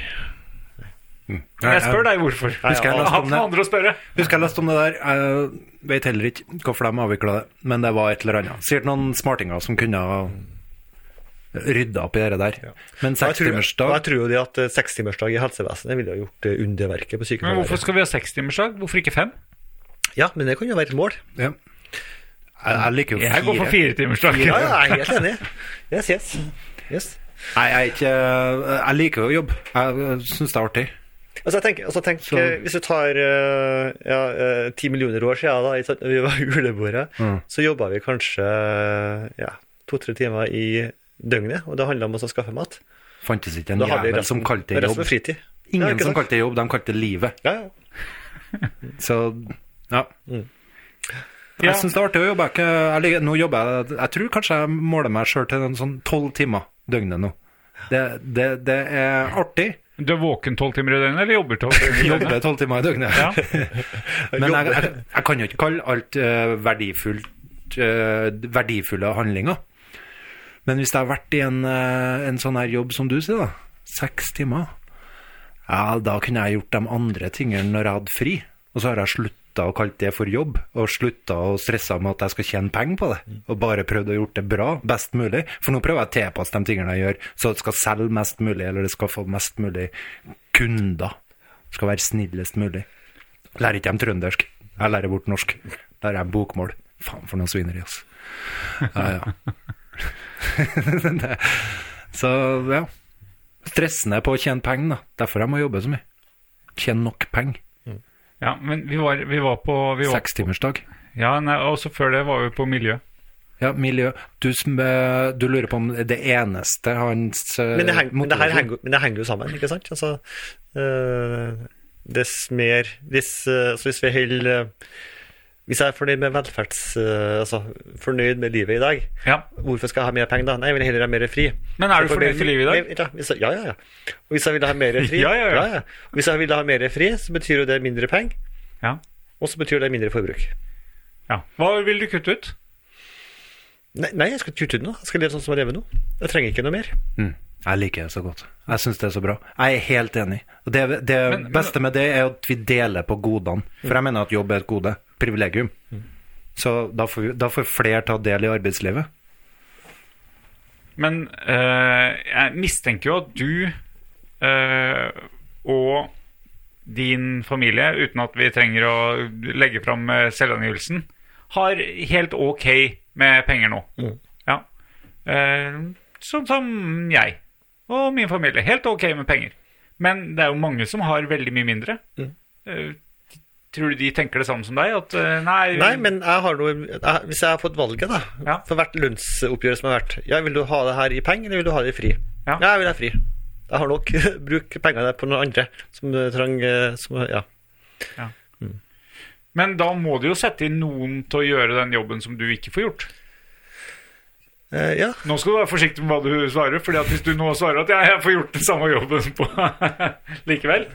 D: Jeg spør deg hvorfor.
B: Husker jeg leste
D: Han
B: om
D: har
B: det.
D: andre å spørre.
B: Husker jeg leste om det der. Jeg vet heller ikke hvorfor de avvikla det, men det var et eller annet. Sikkert noen smartinger som kunne ha rydda opp i det der. Men
E: Jeg tror, og jeg
B: sekstimersdag
E: tror jo det at eh, sekstimersdag i helsevesenet ville ha gjort eh, underverket på
D: Men hvorfor
E: sykefraværet.
D: skal vi ha sekstimersdag? Hvorfor ikke fem?
E: Ja, men det kan jo være et mål.
B: ja. jeg, jeg liker jo
D: Jeg går for firetimersdag.
E: Ja, ja, jeg er helt enig. Yes, yes. yes.
B: Nei, jeg, er ikke, jeg liker jo å jobbe. Jeg syns det er artig.
E: Altså, jeg tenker, altså, tenk,
B: Så-
E: eh, Hvis du tar eh, ja, eh, 10 millioner år siden, da, ikke sant, når vi var i julebordet,
B: Mm.
E: så jobba vi kanskje ja, to-tre timer i døgnet, og det handla om å skaffe mat.
B: Fantes ikke en
E: Da hadde vi
B: jævel
E: resten,
B: som kalte det
E: resten
B: jobb.
E: var fritid. Ja,
B: Ingen
E: ikke
B: som
E: sant?
B: kalte det jobb, de kalte det livet.
E: Ja, ja.
B: Så ja.
E: Mm.
D: Ja.
B: Jeg syns det er artig å jobbe. Jeg, er ikke- jeg, liker- nå jobber jeg, jeg tror kanskje jeg måler meg sjøl til en sånn tolv timer døgnet nå. Det, det, det er artig.
D: Du er våken tolv timer i døgnet, eller jobber tolv timer i døgnet?
B: Jobbe tolv timer i døgnet.
D: Ja.
B: Men jeg, jeg, jeg kan jo ikke kalle alt eh, verdifullt, eh, verdifulle handlinger. Men hvis jeg har vært i en, eh, en sånn her jobb som du sier, da, seks timer, ja, da kunne jeg gjort de andre tingene når jeg hadde fri. Og så har jeg slutta å kalle det for jobb, og slutta å stresse med at jeg skal tjene penger på det. Og bare prøvd å gjort det bra, best mulig. For nå prøver jeg å tilpasse de tingene jeg gjør, så det skal selge mest mulig, eller det skal få mest mulig kunder. Det skal være snillest mulig. Lærer ikke dem trøndersk. Jeg lærer bort norsk. Der er bokmål. Faen for noen svineri, altså. Ja, ja. Det- så ja. Stressende på å tjene penger, da. Derfor jeg må jobbe så mye. Tjene nok penger.
D: Ja, men vi var, vi var på vi var,
B: Sekstimersdag.
D: Ja, nei, og så før det var vi på miljø.
B: Ja, miljø. Du, som, eh, du lurer på om det eneste hans eh,
E: Men det, henger, men, det her
B: motivasjon-
E: henger, men det henger jo sammen, ikke sant? Altså, øh, dess mer Hvis, øh, altså hvis vi holder øh, Hvis jeg er fornøyd med velferds... øh, altså fornøyd med livet i dag,
D: Ja.
E: hvorfor skal jeg ha mer penger da? Nei, jeg vil heller ha mer fri.
D: Men er du
E: Så får
D: fornøyd
E: mer-
D: med livet i dag?
E: Nei, Ja, hvis jeg, ja, ja, ja. Og hvis jeg vil ha mer fri,
D: Ja, ja, ja.
E: Og Hvis jeg vil ha mer fri, så betyr jo det mindre penger,
D: Ja.
E: og så betyr det mindre forbruk.
D: ja. Hva vil du kutte ut?
E: Nei, nei jeg skal ikke kutte ut noe. Jeg skal leve sånn som jeg lever nå. Jeg trenger ikke noe mer.
B: Mm. Jeg liker det så godt. Jeg syns det er så bra. Jeg er helt enig. Og Det, det
D: Men-
B: beste med det er at vi deler på godene. For jeg mener at jobb er et gode. Privilegium.
E: Mm.
B: Så da får, vi- da får flere ta del i arbeidslivet.
D: Men eh, jeg mistenker jo at du eh, og din familie, uten at vi trenger å legge fram eh, selvangivelsen, har helt ok med penger nå.
E: Mm.
D: Ja. Eh, sånn som jeg og min familie. Helt ok med penger. Men det er jo mange som har veldig mye mindre.
E: Mm.
D: Eh, tror du de tenker det samme som deg? At eh, nei,
E: Nei, men jeg har noe, jeg, hvis jeg har fått valget, da,
D: Ja.
E: for hvert lønnsoppgjør som har vært ja, Vil du ha det her i penger, eller vil du ha det i fri?
D: Ja.
E: jeg vil ha fri. Jeg har nok. Bruk pengene der på noen andre som eh, trang eh, som, Ja.
D: men da må du jo sette inn noen til å gjøre den jobben som du ikke får gjort.
E: Eh, ja.
D: Nå skal du være forsiktig med hva du svarer, fordi at hvis du nå svarer at ja, jeg får gjort den samme jobben på likevel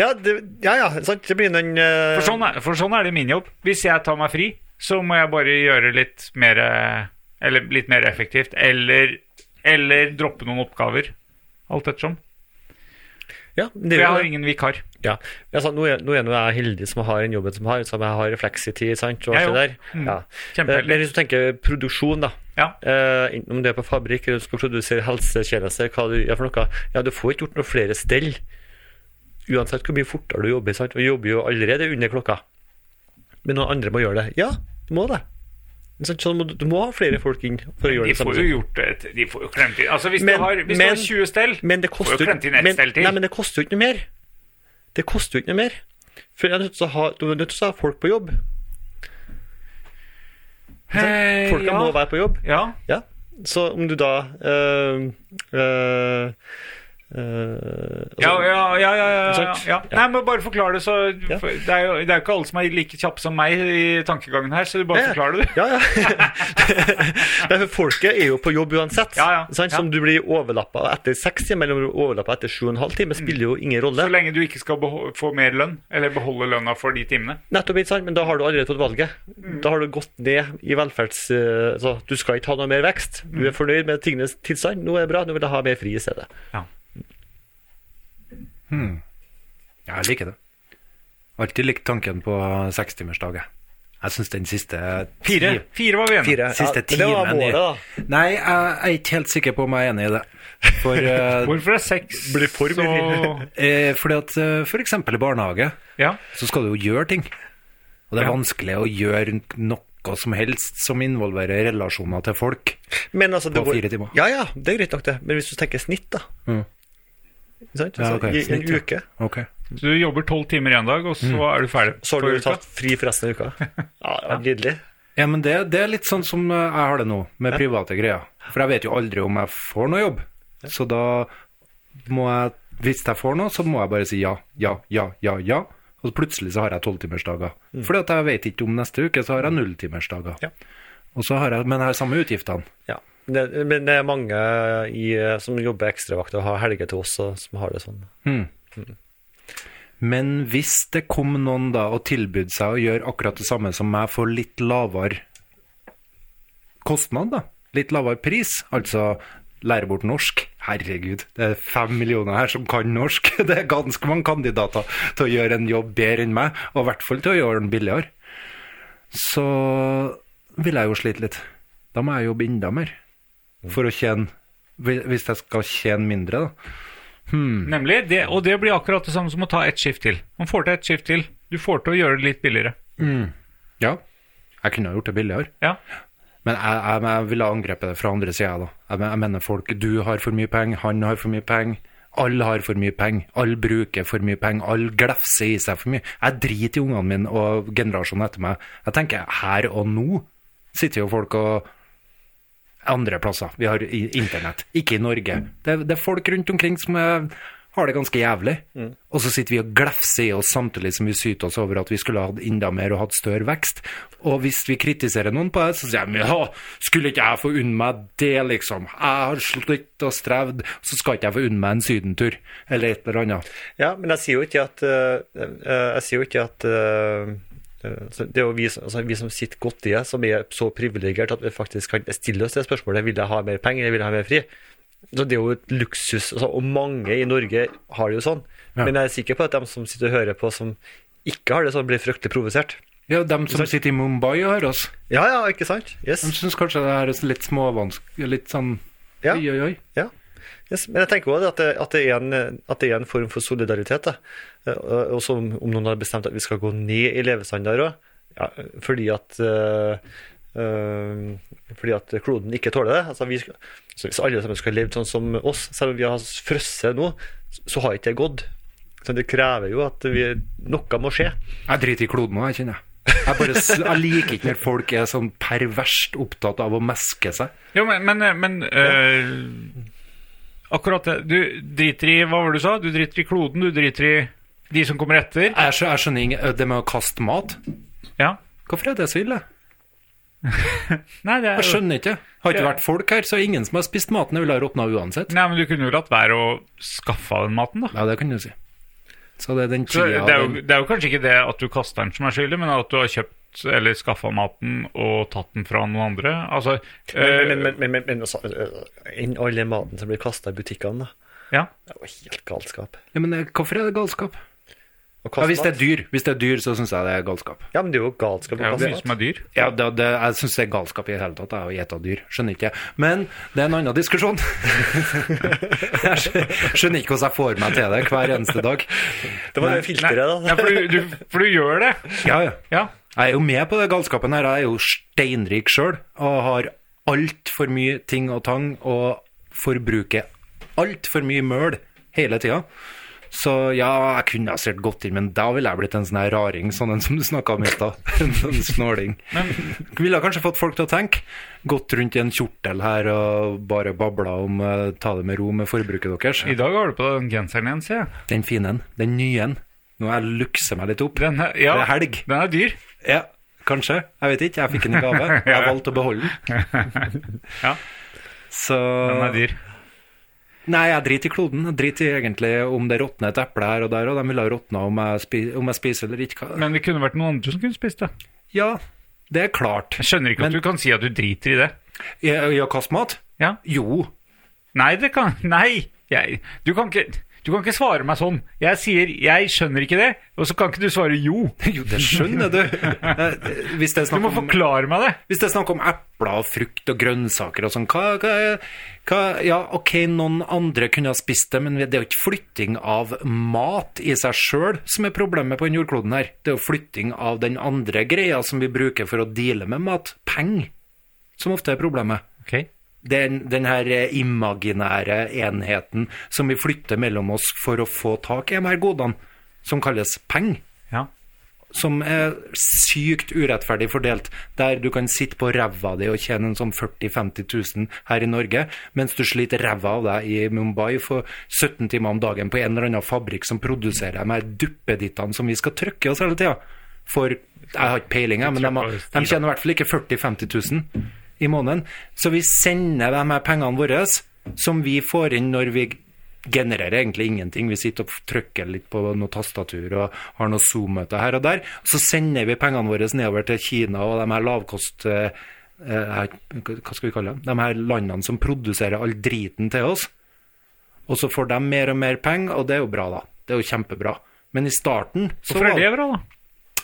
E: Ja, det, ja, ja, sant. Det blir noen eh,
D: for sånn, er, for sånn er det i min jobb. Hvis jeg tar meg fri, så må jeg bare gjøre litt mer eh, Eller litt mer effektivt. Eller, eller droppe noen oppgaver. Alt ettersom.
E: Ja,
D: For
E: det, er
D: jeg
E: jo
D: har
E: det.
D: ingen vikar.
E: ja. Ja, sant, nå, er, nå er nå jeg heldig som har den jobben som har, som jeg har refleksitid, sant, og
D: Jeg
E: alt det der.
D: jo. Mm.
E: Ja. Eh,
D: Kjempeheldig.
E: Men hvis du tenker produksjon, da.
D: Ja.
E: Eh, enten om det er på fabrikk, eller du skal produsere helsetjenester, hva du gjør for noe. Ja, du får ikke gjort noe flere stell. Uansett hvor mye fortere du jobber. Sant? Og jobber jo allerede under klokka. Men noen andre må gjøre det. Ja, du må det. Men sant, Så du, må, du må ha flere folk inn for å gjøre
D: De
E: det
D: får
E: samme.
D: jo gjort et De får jo klemt inn Altså, hvis
E: Men-
D: du har, hvis du
E: men-
D: har 20 stell
E: Men det
D: Får jo
E: koster jo
D: klemt inn ett
E: men-
D: stell til.
E: Nei, men det koster jo ikke noe mer. Det koster jo ikke noe mer. For jeg er nødt til å ha, du er nødt til å ha folk på jobb.
D: eh,
E: Folka
D: ja,
E: må være på jobb.
D: eh, ja.
E: Ja. Så om du da eh, eh, eh, altså,
D: Ja, ja, ja, ja, ja, ja,
E: Sant?
D: ja. Nei, men bare forklar det, så
E: Ja.
D: for- det, er jo, det er jo ikke alle som er like kjappe som meg i tankegangen her, så du bare
E: Ja, ja.
D: forklarer det, du.
E: Ja, ja. Nei, for folket er jo på jobb uansett.
D: Ja, ja.
E: Sant?
D: Ja.
E: Som du blir overlappa etter seks timer, eller om du blir overlappa etter sju og en halv time, spiller jo ingen rolle.
D: Så lenge du ikke skal beho- få mer lønn, eller beholde lønna for de timene.
E: Nettopp, ikke sant? Men da har du allerede tatt valget.
D: Mm.
E: Da har du gått ned i velferds... eh, Altså, du skal ikke ha noe mer vekst. Du
D: Mm.
E: er fornøyd med tingenes tilstand. Nå er det bra, nå vil jeg ha mer fri i stedet.
B: Ja, jeg liker det. Alltid likt tanken på sekstimersdag, jeg. Jeg syns den siste
D: Fire,
B: ti-
D: fire var vi enige om.
E: Fire.
B: Siste
E: Ja, det var
B: timen i-
E: målet, da.
B: Nei, jeg er ikke helt sikker på om jeg er enig i det. For, eh,
D: Hvorfor er seks
E: Blir for mye.
D: så
B: eh, fordi at eh, for eksempel i barnehage
D: Ja.
B: så skal du jo gjøre ting. Og det er
D: Ja.
B: vanskelig å gjøre noe som helst som involverer relasjoner til folk.
E: Men altså, det
B: På fire timer.
E: Ja, ja, det er greit nok, det. Men hvis du tenker snitt, da.
B: Mm.
E: Ikke sant?
B: Ja,
E: Altså,
B: ok,
E: I
B: snitt,
E: en
B: ja.
E: uke.
B: Ok.
D: Så du jobber tolv timer en dag, og så er du ferdig.
E: Mm. Så
D: for
E: har du
D: uka.
E: tatt fri for resten av uka. Ja, det var Lidelig.
B: Ja, men det, det er litt sånn som eh, jeg har det nå, med private greier. For jeg vet jo aldri om jeg får noe jobb. Så da må jeg, hvis jeg får noe, så må jeg bare si ja, ja, ja, ja, ja. Og så plutselig så har jeg tolvtimersdager. Fordi at jeg vet ikke om neste uke, så har jeg nulltimersdager.
E: Ja.
B: Og så har jeg, men jeg har samme utgiftene.
E: Ja. Det, men det er mange i, eh, som jobber ekstravakt og har helger til oss, og, som har det sånn.
B: Men hvis det kom noen da og tilbød seg å gjøre akkurat det samme som meg for litt lavere kostnad, da. Litt lavere pris. Altså lære bort norsk. Herregud, det er fem millioner her som kan norsk. Det er ganske mange kandidater til å gjøre en jobb bedre enn meg, og i hvert fall til å gjøre den billigere. Så vil jeg jo slite litt. Da må jeg jobbe enda mer for å tjene Hvis jeg skal tjene mindre, da.
D: Nemlig. Det, og det blir akkurat det samme som å ta ett skift til. Man får til ett skift til. Du får til å gjøre det litt billigere.
B: Ja, jeg kunne ha gjort det billigere.
D: Ja.
B: Men jeg, jeg, jeg ville ha angrepet det fra andre sida, da. Jeg, men- jeg mener folk Du har for mye penger, han har for mye penger. Alle har for mye penger. Alle bruker for mye penger. Alle glefser i seg for mye. Jeg driter i ungene mine og generasjonen etter meg. Jeg tenker her og nå sitter jo folk og andre plasser. Vi har i- internett. Ikke i Norge. Det, er- det er folk rundt omkring som er, har det ganske jævlig. Og så sitter vi og glefser i oss samtidig som vi syter oss over at vi skulle hatt enda mer og hatt større vekst. Og hvis vi kritiserer noen på det, så sier de ja, skulle ikke jeg få unne meg det, liksom. Jeg har slitt og strevd, så skal ikke jeg få unne meg en sydentur, eller et eller annet.
E: Ja, men jeg sier jo ikke at eh, eh, Jeg sier jo ikke at eh, eh, så Det er jo vi, som- altså, vi som sitter godt i det, som er så privilegert at vi faktisk kan stille oss det spørsmålet Vil jeg ha mer penger, eller vil jeg ha mer fri? Så Det er jo et luksus, altså, og mange i Norge har det jo sånn.
B: Ja.
E: Men jeg er sikker på at de som sitter og hører på, som ikke har det sånn, blir fryktelig provosert.
B: Ja, dem som sitter i Mumbai og hører oss,
E: Ja, ja, ikke sant? Yes.
B: de syns kanskje det her er litt småvanskelig, litt sånn
E: Ja.
B: oi, oi, oi.
E: Ja. Yes. Men jeg tenker også at det, at, det er en, at det er en form for solidaritet. Da. Eh, Og og så om, om noen har bestemt at vi skal gå ned i levestandard òg, ja, fordi at eh, eh, fordi at kloden ikke tåler det. Altså, vi skal, så hvis alle sammen skulle ha levd sånn som oss, selv om vi har frosset nå, så har ikke det gått. Så det krever jo at vi, noe må skje.
B: Jeg driter i kloden nå, jeg kjenner jeg. Jeg, bare, s- jeg liker ikke når folk er sånn perverst opptatt av å meske seg.
D: Jo, men, men, men eh, Akkurat det. Du driter i Hva var det du sa? Du driter i kloden, du driter i de som kommer etter.
B: Jeg, skjø- jeg skjønner ikke det med å kaste mat.
D: Ja.
B: Hvorfor er det så ille?
D: Nei, det er
B: Jeg skjønner ikke. Har ikke vært folk her, så ingen som har spist maten, ville ha råtna uansett.
D: Nei, men du kunne jo latt være å skaffe av den maten, da.
B: Ja, det kan du si. Så det er den
D: Så
B: tida
D: det, er jo, det er jo kanskje ikke det at du kaster den som er skyldig, men at du har kjøpt eller skaffa maten og tatt den fra noen andre. Altså eh,
E: Men, men, men, men, men også, eh, inn alle maten som blir kasta i butikkene, da.
D: Ja.
E: Det er jo helt galskap.
B: ja, Men eh, hvorfor er det galskap?
E: Å
B: Ja,
E: kaste
B: hvis det er
E: mat.
B: dyr, hvis det er dyr så syns jeg det er galskap.
E: Ja, men det er jo galskap
D: Det er jo
E: å kaste
D: mye
E: mat.
D: som er dyr.
B: Ja, det, det, Jeg syns det er galskap i det hele tatt, jeg, å gjete dyr. Skjønner ikke. Men det er en annen diskusjon. jeg skjø- skjønner ikke hvordan jeg får meg til det hver eneste dag.
E: Det var det
D: Nei,
E: filteret, da.
D: nei, for, du, du, for du gjør det.
B: Ja, ja.
D: Ja.
B: Jeg er jo med på det galskapen her. Jeg er jo steinrik sjøl og har altfor mye ting og tang og forbruker altfor mye møl hele tida. Så ja, jeg kunne ha sikkert gått inn, men da ville jeg blitt en sånn her raring, sånn en som du snakka om i stad. En sånn snåling. Ville ha kanskje fått folk til å tenke. Gått rundt i en kjortel her og bare babla om eh, ta det med ro med forbruket deres.
D: I dag har du på deg den genseren igjen, ser jeg.
B: Den fine en. Den nye en. Nå har jeg lukset meg litt opp.
D: Den er, ja,
B: Det er helg.
D: Den er dyr.
B: Ja, kanskje. Jeg vet ikke. Jeg fikk den i gave. Jeg valgte å beholde den.
D: Ja.
B: Så
D: Den er dyr.
B: Nei, jeg driter i kloden. Jeg driter i egentlig om det råtner et eple her og der, og de ville ha råtna om, jeg spi- om jeg spiser eller ikke. Hva-
D: Men det kunne vært noen andre som kunne spist det.
B: Ja, det er klart.
D: Jeg skjønner ikke
B: Men-
D: at du kan si at du driter i det.
B: I i å kaste mat?
D: Ja.
B: Jo.
D: Nei, det kan Nei! Jeg, du, kan ikke, du kan ikke svare meg sånn. Jeg sier 'jeg skjønner ikke det', og så kan ikke du svare 'jo'.
B: Jo, det skjønner du. Eh, Hvis det er
D: Du
B: snakk
D: må
B: om,
D: forklare meg det.
B: hvis det er snakk om epler og frukt og grønnsaker og sånn, hva, hva, hva Ja, OK, noen andre kunne ha spist det, men det er jo ikke flytting av mat i seg sjøl som er problemet på den jordkloden her. Det er jo flytting av den andre greia som vi bruker for å deale med mat. Penger, som ofte er problemet. den, den her eh, imaginære enheten som vi flytter mellom oss for å få tak i de her godene, som kalles penger,
D: Ja.
B: som er sykt urettferdig fordelt, der du kan sitte på ræva di og tjene en sånn 40 000-50 000 her i Norge, mens du sliter ræva av deg i Mumbai for 17 timer om dagen på en eller annen fabrikk som produserer de her duppedittene som vi skal trykke oss hele tida. For jeg har ikke peiling, jeg, men de, har- de tjener i hvert fall ikke 40 000-50 000 i måneden. Så vi sender de her pengene våre, som vi får inn når vi genererer egentlig ingenting. Vi sitter og trykker litt på noe tastatur og har noe Zoom-møte her og der. Så sender vi pengene våre nedover til Kina og de her lavkost... eh, eh, Hva skal vi kalle dem? De her landene som produserer all driten til oss. Og så får de mer og mer penger, og det er jo bra, da. Det er jo kjempebra. Men i starten så
D: Hvorfor er
B: var-
D: det bra, da?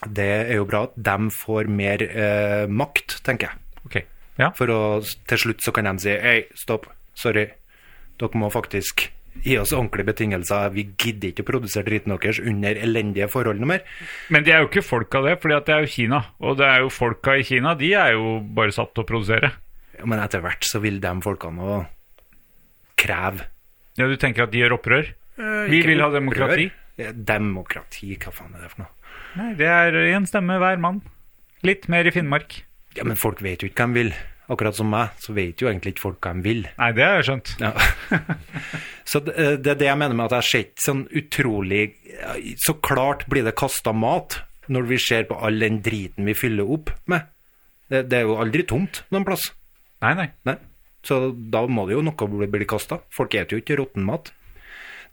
B: det er jo bra at de får mer eh, makt, tenker jeg.
D: Ok. Ja.
B: For å, til slutt så kan de si Hei, stopp, sorry. Dere må faktisk gi oss ordentlige betingelser. Vi gidder ikke å produsere driten deres under elendige forhold noe mer.
D: Men de er jo ikke folka det, fordi at det er jo Kina. Og det er jo folka i Kina, de er jo bare satt til å produsere.
B: Men etter hvert så vil de folkene å kreve
D: Ja, Du tenker at de gjør opprør?
B: Eh,
D: Vi vil ha demokrati.
B: Ja, Demokrati, hva faen er det for noe?
D: Nei, det er én stemme hver mann. Litt mer i Finnmark.
B: Ja, Men folk vet jo ikke hva de vil. Akkurat som meg, så vet jo egentlig ikke folk hva de vil.
D: Nei, det har jeg skjønt.
B: Ja. så det, eh, det er det jeg mener med at jeg ser ikke sånn utrolig Så klart blir det kasta mat når vi ser på all den driten vi fyller opp med. Det, det er jo aldri tomt noen plass.
D: Nei, nei.
B: Nei. Så da må det jo noe bli, bli kasta. Folk spiser jo ikke råtten mat.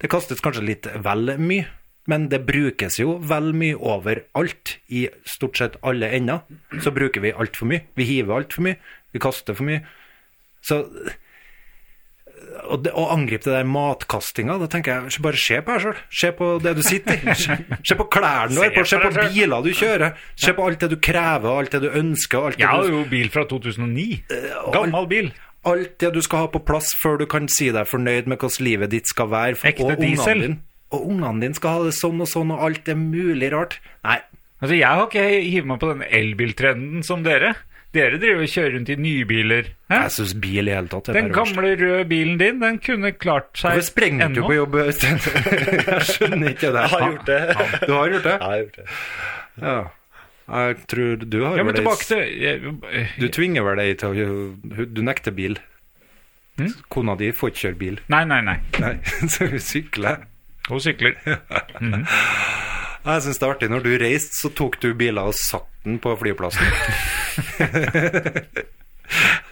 B: Det kastes kanskje litt vel mye, men det brukes jo vel mye overalt. I stort sett alle ender så bruker vi altfor mye. Vi hiver altfor mye. Vi kaster for mye. Så og det, å angripe det der matkastinga, da tenker jeg bare se på deg sjøl. Se på det du sitter i. Se, se på klærne du har på, se på biler du kjører. Se på alt det du krever, og alt det du ønsker. og Alt det
D: Jeg har
B: du
D: jo bil fra 2009. Gammel bil.
B: alt det du skal ha på plass før du kan si deg fornøyd med hvordan livet ditt skal være.
D: Ekte diesel.
B: Ungene din, og ungene dine skal ha det sånn og sånn, og alt er mulig rart. Nei,
D: Altså, Jeg har ikke hivet meg på den elbiltrenden som dere. Dere driver og kjører rundt i nybiler. Hæ?
B: jeg syns bil i hele tatt er
D: Den gamle røde bilen din, den kunne klart seg
B: Hvorfor sprenger du ikke på jobb, Øystein? Jeg skjønner ikke det.
E: Jeg har gjort det. Jeg
B: Du har gjort det?
E: har gjort det.
B: Ja. Jeg tror du har
D: Ja, men
B: vel det-
D: tilbake til eh,
B: Du tvinger vel deg til å Du nekter bil.
D: Hm?
B: Kona di får ikke kjøre bil.
D: Nei, nei, nei.
B: Nei, så hun sykler.
D: Hun sykler.
B: Jeg syns det er artig. Når du reiste, så tok du biler og satt den på flyplassen.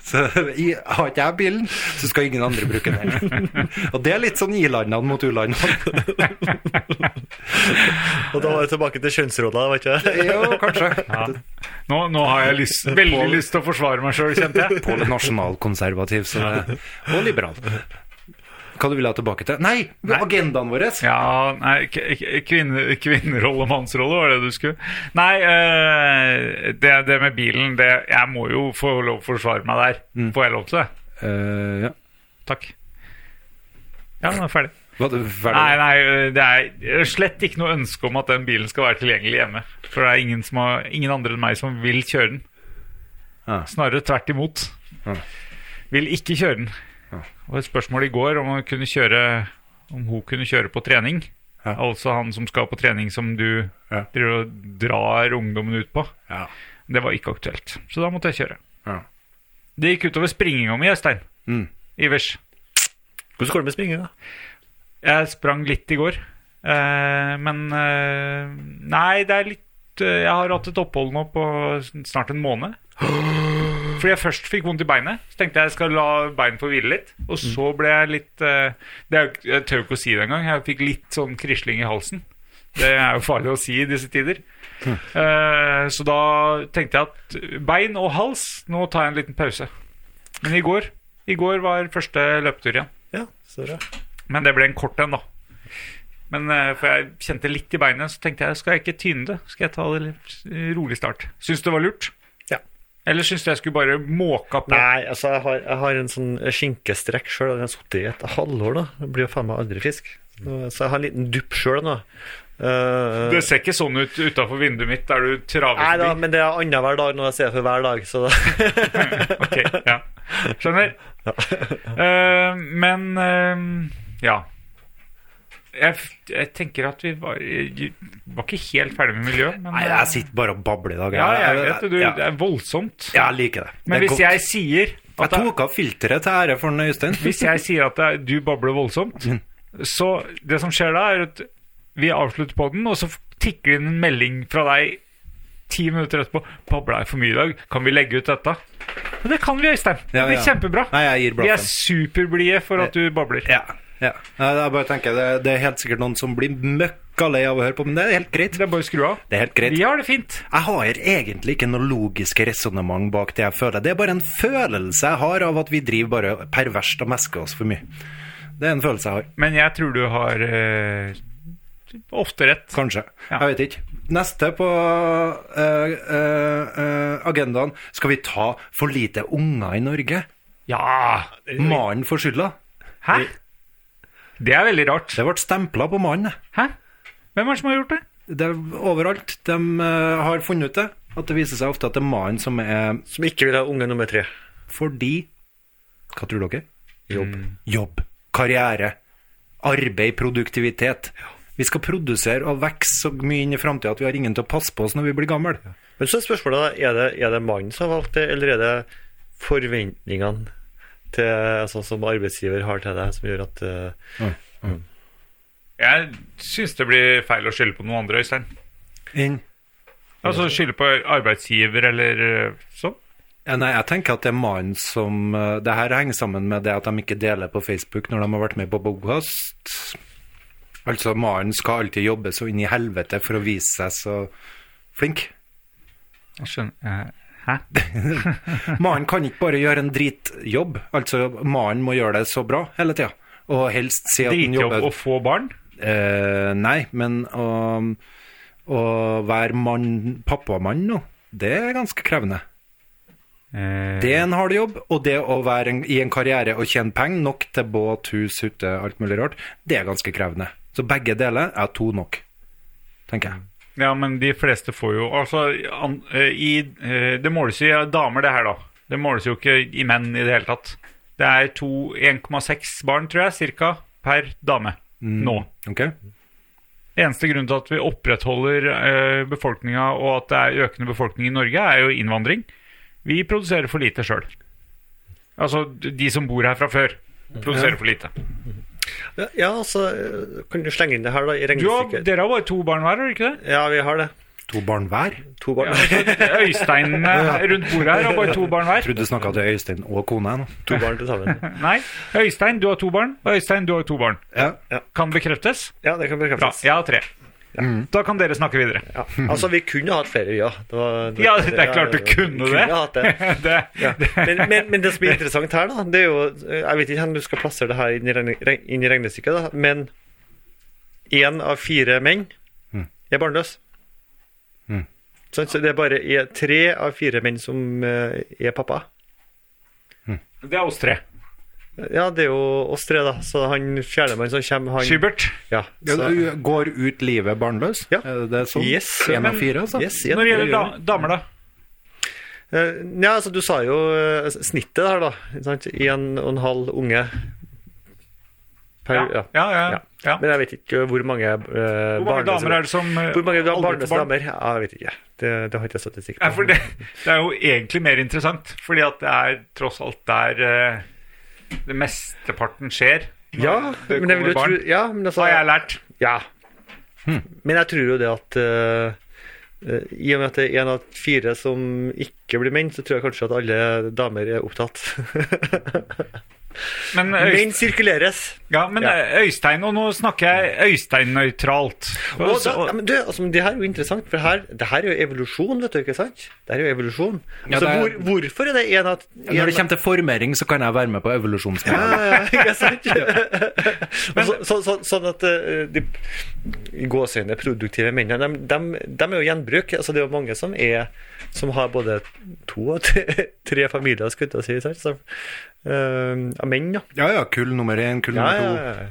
B: så i- har ikke jeg bilen, så skal ingen andre bruke den. og det er litt sånn i-landene mot u-landene.
E: Og da var jeg tilbake til kjønnsrolla, vet du.
B: jo, kanskje.
D: Nå, nå har jeg lyst, veldig lyst til å forsvare meg sjøl, kjente jeg.
B: Pål er nasjonalkonservativ så det, og liberal. Hva du vil ha tilbake til? Nei, agendaen vår!
D: Ja, nei, k- k- kvinne, kvinnerolle og mannsrolle var det du skulle Nei, eh, det, det med bilen det, Jeg må jo få lov å forsvare meg der. Får jeg lov til det?
B: Eh, ja.
D: Takk. Ja, nå er jeg ferdig.
B: Var du ferdig?
D: Nei, nei, det er øh, slett ikke noe ønske om at den bilen skal være tilgjengelig hjemme. For det er ingen, som har, ingen andre enn meg som vil kjøre den.
B: Ja.
D: Snarere tvert imot.
B: Ja.
D: Vil ikke kjøre den.
B: Ja.
D: Og et spørsmål i går om, å kunne kjøre, om hun kunne kjøre på trening.
B: Ja.
D: Altså han som skal på trening som du
B: Ja.
D: driver og drar ungdommen ut på.
B: Ja.
D: Det var ikke aktuelt, så da måtte jeg kjøre.
B: Ja.
D: Det gikk utover springinga mi, Øystein.
B: Mm.
D: Ivers.
E: Hvordan går det med springinga?
D: Jeg sprang litt i går, eh, men eh, Nei, det er litt eh, Jeg har hatt et opphold nå på snart en måned. Fordi jeg først fikk vondt i beinet, så tenkte jeg jeg skal la beinet få hvile litt. Og så ble jeg litt eh, det er, jo ikke- Jeg tør jo ikke å si det engang. Jeg fikk litt sånn krisling i halsen. Det er jo farlig å si i disse tider. Eh, så da tenkte jeg at bein og hals, nå tar jeg en liten pause. Men i går, i går var første løpetur igjen.
E: Ja, så bra.
D: Men det ble en kort en, da. Men eh, For jeg kjente litt i beinet, så tenkte jeg skal jeg ikke tyne det. Skal jeg ta det litt eh, rolig start. Syns du det var lurt?
E: Ja.
D: Eller syns du jeg skulle bare måka på?
E: Nei, altså, jeg har, jeg har en sånn skinkestrekk sjøl. Den har sittet i et halvår, da. Jeg blir jo faen meg aldri frisk. Nå- Så jeg har en liten dupp sjøl nå. Eh,
D: Det ser ikke sånn ut utafor vinduet mitt der du traver
E: nei da,
D: forbi.
E: men det er annenhver dag nå i stedet for hver dag, så da
D: Ok, ja. Skjønner. Eh, men eh, ja. Jeg, f- jeg tenker at vi var, var ikke helt ferdig med miljøet. Men, eh,
B: Nei, jeg sitter bare og babler i dag.
D: ja, jeg
B: jeg-
D: vet det. Du,
B: ja.
D: Det er voldsomt.
B: Jeg liker det.
D: Men
B: det er
D: hvis
B: godt.
D: jeg sier
B: Jeg
D: at det-
B: tok av filteret til ære for den, Øystein.
D: Hvis jeg sier at det er, du babler voldsomt,
B: Mm.
D: så det som skjer da, er at vi avslutter podden, og så tikker det inn en melding fra deg ti minutter etterpå. 'Babla jeg for mye i dag? Kan vi legge ut dette?' Og det kan vi, Øystein.
B: Ja,
D: det blir
B: ja.
D: kjempebra.
B: Nei, jeg gir
D: vi er
B: blaffen.
D: superblide for at du babler.
B: Ja. ja. Nei, Jeg bare tenker, det, det er helt sikkert noen som blir møkka lei av å høre på, men det er helt greit.
D: Det er bare å skru av.
B: Det er helt greit.
D: Vi har det fint.
B: Jeg har egentlig ikke noe logiske resonnement bak det jeg føler. Det er bare en følelse jeg har av at vi driver bare perverst og mesker oss for mye. Det er en følelse jeg har.
D: Men jeg tror du har eh, ofte rett.
B: Kanskje.
D: Ja.
B: Jeg vet ikke. Neste på eh, eh, eh, agendaen Skal vi ta for lite unger i Norge?
D: Ja!
B: Mannen får skylda.
D: Hæ? Det er veldig rart.
B: Det ble stempla på mannen. det.
D: Hæ? Hvem er det som har gjort det?
B: Det er overalt. De eh, har funnet ut det. At det viser seg ofte at det er mannen som er
E: Som ikke vil ha unge nummer tre.
B: fordi Hva tror dere?
E: Jobb.
B: Jobb, karriere, arbeid, produktivitet. Vi skal produsere og vokse så mye inn i framtida at vi har ingen til å passe på oss når vi blir gamle.
E: Men så er spørsmålet da, er det, er det mannen som har valgt det, eller er det forventningene til, sånn som arbeidsgiver har til deg, som gjør at eh,
D: Jeg syns det blir feil å skylde på noen andre, Øystein.
B: Inn.
D: Altså skylde på arbeidsgiver eller øh, sånn.
B: Ja, Nei, jeg tenker at det er mannen som eh, Det her henger sammen med det at de ikke deler på Facebook når de har vært med på podkast. Altså, mannen skal alltid jobbe så inn i helvete for å vise seg så flink.
D: Jeg skjønner. Hæ?
B: Mannen kan ikke bare gjøre en dritjobb. Altså, mannen må gjøre det så bra hele tida. Og helst si at han
D: Dritjobb
B: jobber
D: å få barn?
B: Eh, nei, men å, å være mann, pappamann nå, det er ganske krevende.
D: Eh,
B: Det er en hard jobb, og det å være en, i en karriere og tjene penger nok til båt, hus, hytte, alt mulig rart, det er ganske krevende. Så begge deler er to nok, tenker jeg.
D: Ja, men de fleste får jo Altså, an, øh, i øh, Det måles jo i damer, det her, da. Det måles jo ikke i menn i det hele tatt. Det er to 1,6 barn, tror jeg, cirka, per dame nå.
B: Mm. Ok?
D: Eneste grunnen til at vi opprettholder øh, befolkninga, og at det er økende befolkning i Norge, er jo innvandring. Vi produserer for lite sjøl. Altså, de som bor her fra før, produserer for lite.
E: Ja, ja, altså, eh, kan du slenge inn det her, da, i
D: Du har,
E: regnestykket?
D: dere har bare to barn hver, har dere ikke det?
E: Ja, vi har det.
B: To barn hver? Jeg
E: To barn.
D: Øysteinene eh, rundt bordet her har bare to barn hver.
B: trodde du snakka til Øystein og kona jeg, nå.
E: to barn til sammen.
D: Nei, Øystein, du har to barn, og Øystein, du har to barn.
B: Ja.
D: Kan bekreftes?
E: Ja, det kan
D: Bra.
E: bekreftes.
D: Jeg har tre. Da kan dere snakke videre.
E: Ja. Altså, vi kunne hatt flere, ja. Det var,
D: Ja, det er klart du
E: ja,
D: kunne det.
E: Hatt det.
D: Det,
E: Ja. Men, men, men det som er interessant her, da, det er jo Jeg vet ikke hvordan du skal plassere det her inn i, regne, reg- inn i regnestykket, da, men én av fire menn
D: Mm.
E: er barnløs. Sånn, Så det er bare er tre av fire menn som eh, er pappa.
D: det er oss tre.
E: Ja, det er jo oss tre, da. Så han fjernemannen som kommer, han
D: Skybert,
E: Ja, så,
B: du går ut livet barnløs?
E: Ja.
B: Er Det er sånn?
E: Yes,
B: En
D: men-
B: av fire, altså?
E: yes, ja,
D: når det gjelder da,
E: gjør vi.
D: damer, da?
E: Eh, Nja, altså, du sa jo eh, snittet der, da. ikke sant? Én og en halv unge Per,
D: Ja,
E: ja.
D: ja, ja, ja.
E: Men jeg vet ikke hvor mange eh,
D: Hvor mange damer er det som eh,
E: Hvor mange
D: aldri får
E: barnløse
D: barn?
E: damer? Ja, jeg vet ikke. Det, det har ikke jeg statistikk
D: Nei, for
E: på.
D: det, det er jo egentlig mer interessant, fordi at det er tross alt der eh, det mesteparten skjer. når
E: Ja,
D: det
E: men jeg vil
D: kommer
E: jo tro
D: barn.
E: Ja, men altså
D: Har jeg Hm. lært.
E: Ja. Men jeg tror jo det at eh, eh, I og med at det er én av fire som ikke blir menn, så tror jeg kanskje at alle damer er opptatt.
D: Men, Øystein-
E: menn sirkuleres.
D: ja, men eh, Øystein, og nå snakker jeg Øystein-nøytralt.
E: Og
D: Og
E: da,
D: så-
E: ja, men du, altså, men det her er jo interessant, for her, det her er jo evolusjon, vet du, ikke sant? Det her er jo evolusjon.
B: Ja,
E: altså,
B: det er-
E: hvor, hvorfor er det en at
B: Når det kommer til formering, så kan jeg være med på evolusjonsmodellen.
E: Ja, ikke sant? Og så, så, så, sånn at eh, de i gåseøyne produktive mennene, de, er jo gjenbruk. Altså, det er jo mange som er som har både to og tre, tre familier, skulle jeg til å si. sant? Så, eh, av menn, ja.
B: Ja ja, kull nummer én, kull
E: Ja,
B: nummer
E: ja,
B: to.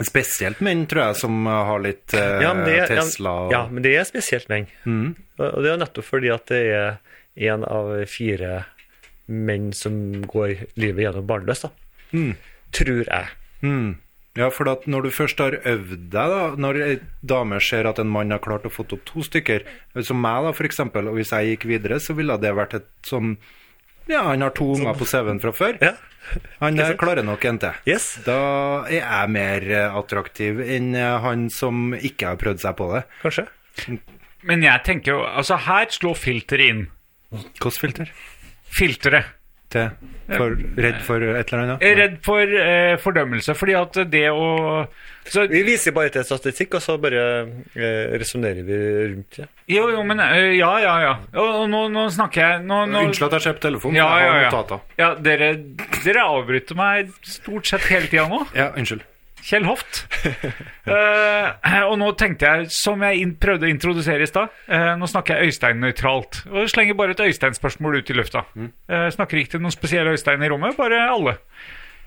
E: ja.
B: Spesielt menn, tror jeg, som eh, har litt eh,
E: Ja, men det, ja,
B: Tesla og
E: ja, men det er spesielt menn. Og og det er jo nettopp fordi at det er én av fire menn som går livet gjennom barnløst, da. Tror jeg.
B: Mm. Ja, for at når du først har øvd deg, da, når ei dame ser at en mann har klart å få opp to stykker, som meg da, for eksempel, og hvis jeg gikk videre, så ville det vært et sånn Ja, han har to unger på CV-en fra før.
E: Ja.
B: Han der klarer nok en til.
E: Yes.
B: Da er jeg mer eh, attraktiv enn eh, han som ikke har prøvd seg på det.
E: Kanskje.
D: men jeg tenker jo Altså, her slår filteret inn.
B: Hvilket filter?
D: Filteret.
B: Til for, redd for et eller annet?
D: Jeg er redd for eh, fordømmelse, fordi at det å så,
E: Vi viser bare til statistikk, og så bare eh, resonnerer vi rundt det.
D: Jo, jo, men eh, Ja, ja, ja. Og, og nå, nå snakker jeg nå, nå,
B: Unnskyld at jeg ser på telefonen.
D: Ja,
B: jeg
D: ja,
B: har
D: ja.
B: notater.
D: ja dere, dere avbryter meg stort sett hele tida nå.
B: Ja, unnskyld.
D: Kjell Hoft. Eh, og nå tenkte jeg, som jeg inn, prøvde å introdusere i stad eh, Nå snakker jeg Øystein nøytralt. Og jeg slenger bare et Øystein-spørsmål ut i lufta. Eh, snakker ikke til noen spesielle Øystein i rommet, bare alle.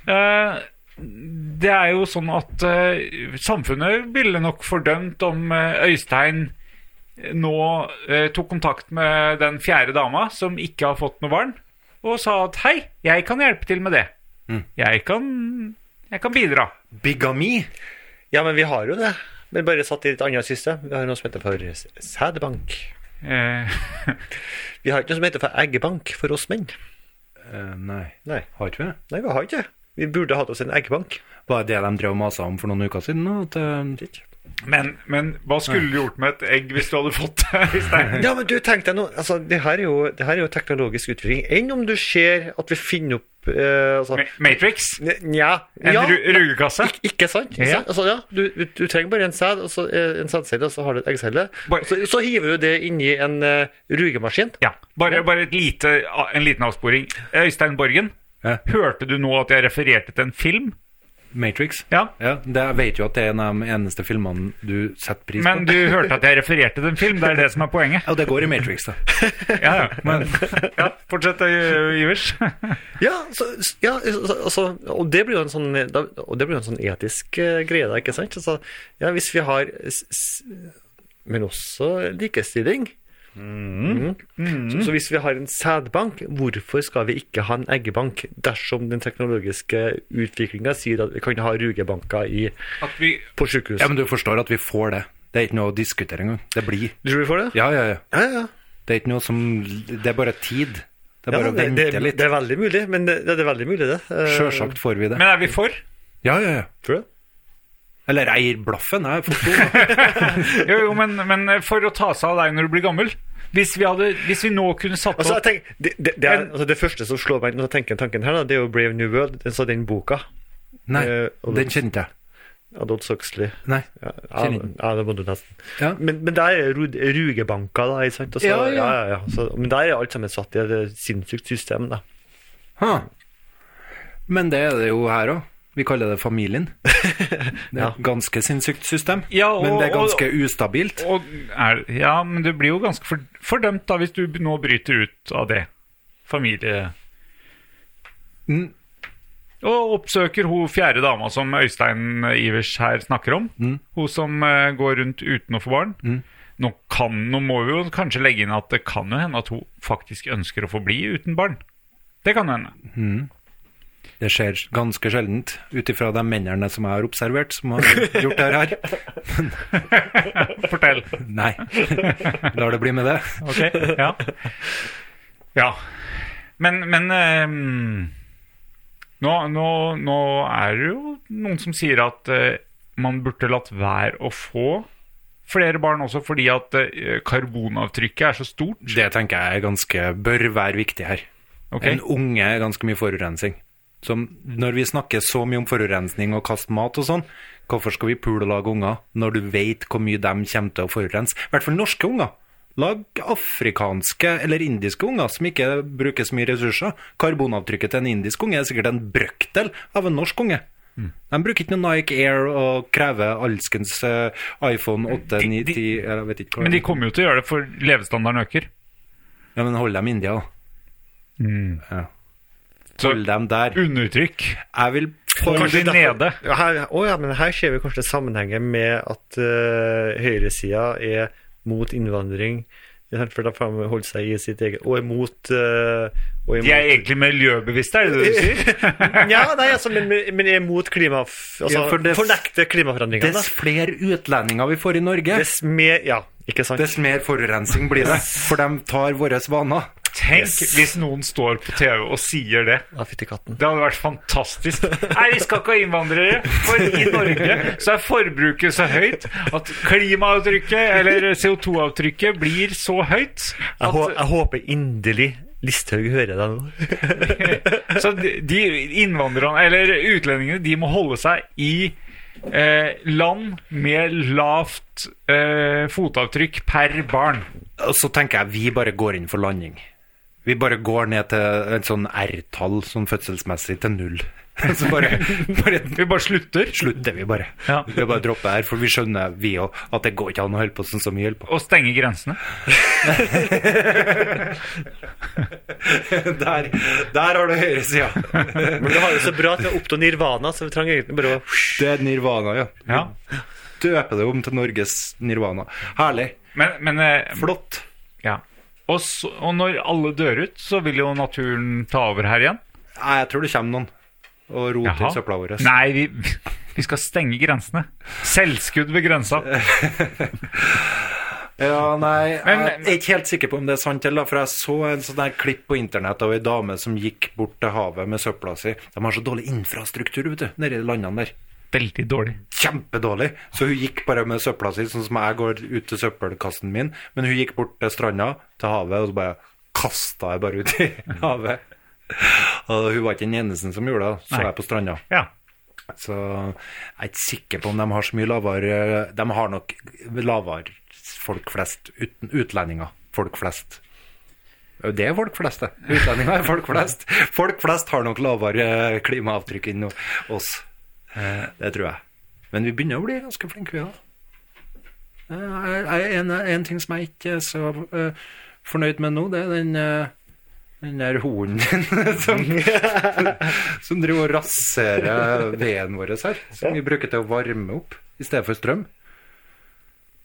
D: Eh, det er jo sånn at eh, samfunnet ville nok fordømt om eh, Øystein nå eh, tok kontakt med den fjerde dama som ikke har fått noe barn, og sa at hei, jeg kan hjelpe til med det. Jeg, kan, jeg kan bidra.
B: Bigami?
E: Ja, men vi har jo det. Men bare satt i et annet system. Vi har noe som heter for s- sædbank.
D: Eh,
E: Vi har ikke noe som heter for eggebank for oss menn.
B: Eh, nei.
E: Nei,
B: Har ikke vi det?
E: Nei vi har ikke det. Vi burde hatt oss en eggebank.
B: Var det det de drev og masa om for noen uker siden? da, At, eh,
D: men, men hva skulle du gjort med et egg hvis du hadde fått det? Øystein?
E: Ja, men du, tenk deg nå altså, det, her er jo, det her er jo teknologisk utvikling. Enn om du ser at vi finner opp eh, altså,
D: Ma- Matrix?
E: n- Nja.
D: En
E: Ja,
D: ru rugekasse?
E: ikke sant? Ikke
D: Ja.
E: sant? Altså, ja, du, du, du trenger bare en sæd, og så, eh, en sædcelle, og så har du et eggcelle.
D: Bare-
E: Og Så, så hiver du det inni en eh, rugemaskin.
D: Ja. Bare, bare et lite, en liten avsporing. Eh, Øystein Borgen,
B: Ja.
D: hørte du nå at jeg refererte til en film?
B: Matrix?
D: Ja.
B: Ja, det, jeg vet jo at det er en av de eneste filmene du setter pris
D: Men
B: på.
D: du hørte at jeg refererte til en film, det er det som er poenget.
B: Ja, det går i Matrix, da.
D: Ja, ja. Men, ja fortsett, Øy- Ivers.
E: Ja, så, ja så, altså, og det blir jo en sånn, da- og det blir jo en sånn etisk eh, greie, da, ikke sant? Altså, ja, hvis vi har s, s, Men også likestilling.
B: Mm.
E: Mhm. Så, så hvis vi har en sædbank, hvorfor skal vi ikke ha en eggebank dersom den teknologiske utviklinga sier at vi kan ha rugebanker i,
D: At vi
E: på sykehus?
B: Ja, Men du forstår at vi får det. Det er ikke noe å diskutere engang. Det blir.
E: Tror du vi får det?
B: Ja, ja, ja.
E: ja. ja.
B: Det er ikke noe som Det er bare tid. Det er
E: Ja,
B: bare å
E: det,
B: vente
E: det,
B: litt.
E: det er veldig mulig, men det, det er veldig mulig, det. Eh,
B: Sjølsagt får vi det.
D: Men er vi for?
B: Ja, ja, ja.
E: Tror du det?
B: Eller jeg gir blaffen, jeg. For to, da.
D: Jo, jo, men, men for å ta seg av deg når du blir gammel. Hvis vi, hadde, hvis vi nå kunne satt
E: Altså,
D: opp
E: jeg tenker, det, det, det, er, altså, det første som slår meg inn når jeg tenker tanken her, da, det er jo Brave New World, den, så den boka.
B: Nei,
E: Eh, og-
B: den kjente jeg.
E: Adolf Huxley.
B: Nei.
E: Ja, ja,
B: Kjenner den.
E: ja, det må du nesten.
B: Ja.
E: Men, men der er ru- rugebanker, da. Ikke sant? Og så-
B: Ja, ja.
E: ja, ja. Så, men der er alt sammen satt i et sinnssykt system, da.
B: Ha. Men det er det jo her òg. Vi kaller det familien. Det er
E: Ja.
B: et ganske sinnssykt system,
D: Ja, og-
B: men det er
D: og-
B: ganske ustabilt.
D: og er, Ja, men du blir jo ganske for, fordømt da hvis du b- nå bryter ut av det. Familie...
B: Mm.
D: Og oppsøker hun fjerde dama som Øystein Ivers her snakker om. Hun som eh, går rundt uten å få barn. Nå, kan, nå må vi jo kanskje legge inn at det kan jo hende at hun faktisk ønsker å få bli uten barn. Det kan jo hende.
B: Det skjer ganske sjeldent, ut ifra de mennene som jeg har observert, som har gjort det her.
D: Fortell.
B: Nei. Lar det bli med det.
D: Ok, ja. Ja. Men, men ehm, nå, nå, nå er det jo noen som sier at eh, man burde latt være å få flere barn også fordi at eh, karbonavtrykket er så stort.
B: Det tenker jeg er ganske, bør være viktig her.
D: Ok?
B: En unge er ganske mye forurensning. Som når vi snakker så mye om forurensning og kaste mat og sånn, hvorfor skal vi pule og lage unger når du vet hvor mye de kommer til å forurense? I hvert fall norske unger. Lag afrikanske eller indiske unger som ikke bruker så mye ressurser. Karbonavtrykket til en indisk unge er sikkert en brøkdel av en norsk unge.
D: Mm.
B: De bruker ikke noe Nike Air og krever alskens eh, iPhone 8, 9, 10 Jeg vet ikke hva
D: Men de kommer jo til å gjøre det, for levestandarden øker.
B: Ja, men hold dem i India, da. Ja.
D: Så
B: Hold dem der.
D: undertrykk.
B: Jeg vil
D: Hold de nede.
E: Ja, Her, å ja, men her ser vi kanskje sammenhengen med at uh, høyresida er mot innvandring. ikke sant, For de framholder seg i sitt eget Og er mot eh, og
D: De
E: er
D: er
E: mot-
D: egentlig miljøbevisste, er det det du sier?
E: ja, nei, altså, men, men- men er mot klima... Altså,
B: Ja, for det-
E: fornekter klimaforandringene.
B: Dess flere utlendinger vi får i Norge,
E: Dess mer Ja, ikke sant?
B: dess mer forurensning blir det. For de tar våre vaner.
D: Tenk hvis noen står på TV og sier det.
E: Ja, fytti katten.
D: Det hadde vært fantastisk. Nei, vi skal ikke ha innvandrere, for i Norge så er forbruket så høyt at klimaavtrykket, eller CO2-avtrykket, blir så høyt
E: Jeg, hå-
D: at
E: jeg håper inderlig Listhaug hører deg nå.
D: Så de de innvandrerne, eller utlendingene, de må holde seg i eh, land med lavt eh, fotavtrykk per barn.
B: Og så tenker jeg vi bare går inn for landing. Vi bare går ned til et sånn R-tall, sånn fødselsmessig, til null. Så bare, bare
D: Vi bare slutter.
B: slutter vi bare.
D: Ja.
B: Vi bare dropper her, for vi skjønner vi òg at det går ikke an å holde på sånn som vi holder på.
D: Og stenge grensene.
B: Der, der har du høyresida.
E: Men du har jo så bra at vi har oppnådd nirvana, så vi trenger egentlig bare å
B: Det er nirvana, ja.
D: Ja.
B: Døper det om til Norges nirvana. Herlig.
D: Men, men eh,
B: Flott.
D: ja. og, så, og når alle dør ut, så vil jo naturen ta over her igjen.
B: Nei, jeg tror det kommer noen og roter i
D: Jaha.
B: søpla vår.
D: Nei, vi, vi skal stenge grensene. Selvskudd ved grensa.
B: Ja, nei,
D: Men-
B: jeg er ikke helt sikker på om det er sant, eller, for jeg så en sånn der klipp på internett av ei dame som gikk bort til havet med søpla si. De har så dårlig infrastruktur vet du, nede i landene der.
D: Veldig dårlig.
B: Kjempedårlig. Så hun gikk bare med søpla si, sånn som jeg går ut til søppelkassen min. Men hun gikk bort til stranda, til havet, og så bare kasta jeg bare ut i havet. Og hun var ikke den eneste som gjorde det, så
D: Nei.
B: jeg på stranda.
D: Ja.
B: Så jeg er ikke sikker på om de har så mye lavere De har nok lavere folk flest, uten utlendinger. Folk flest. Det er folk flest, det. Utlendinger er folk flest. Folk flest har nok lavere klimaavtrykk enn oss. Eh, Det tror jeg. Men vi begynner å bli ganske flinke, vi da. Jeg- jeg- En, en ting som jeg ikke er så eh, fornøyd med nå, det er den, eh, den der hunden din som som driver og raserer veden vår her, som vi bruker til å varme opp i stedet for strøm.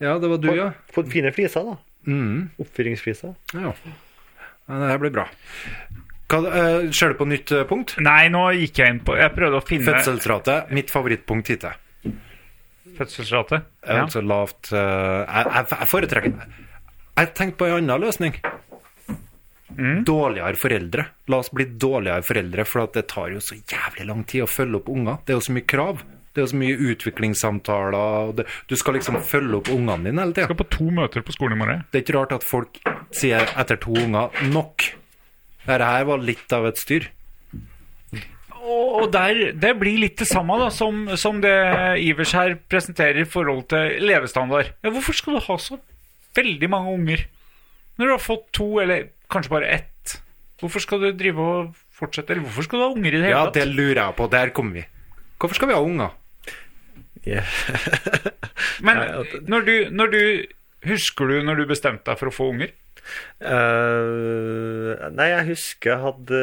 B: Ja, det var du, ja.
E: få fine fliser, da. Mm. Oppfyringsfliser.
B: ja. Men det her blir bra. Hva, eh, ser du på nytt eh, punkt?
D: Nei, nå gikk jeg inn på Jeg prøvde å finne
B: Fødselsrate, mitt favorittpunkt hittil.
D: fødselsrate.
B: Ja.
D: Ja.
B: Altså lavt eh, jeg, jeg, jeg foretrekker Jeg tenkte på en annen løsning.
D: Mm.
B: Dårligere foreldre. La oss bli dårligere foreldre, for at det tar jo så jævlig lang tid å følge opp unger. Det er jo så mye krav. Det er jo så mye utviklingssamtaler. Og det, du skal liksom følge opp ungene dine hele tida.
D: Skal på to møter på skolen i morgen.
B: Det er ikke rart at folk sier etter to unger nok. Dette her var litt av et styr.
D: Og, og der, det blir litt det samme da, som, som det Ivers her presenterer i forhold til levestandard. Ja, hvorfor skal du ha så veldig mange unger når du har fått to, eller kanskje bare ett? Hvorfor skal du drive og fortsette? Eller hvorfor skal du ha unger i det hele
B: Ja,
D: tatt?
B: det lurer jeg på. Der kommer vi. Hvorfor skal vi ha unger?
D: Men når du, når du Husker du når du bestemte deg for å få unger?
E: Eh, nei, jeg husker jeg hadde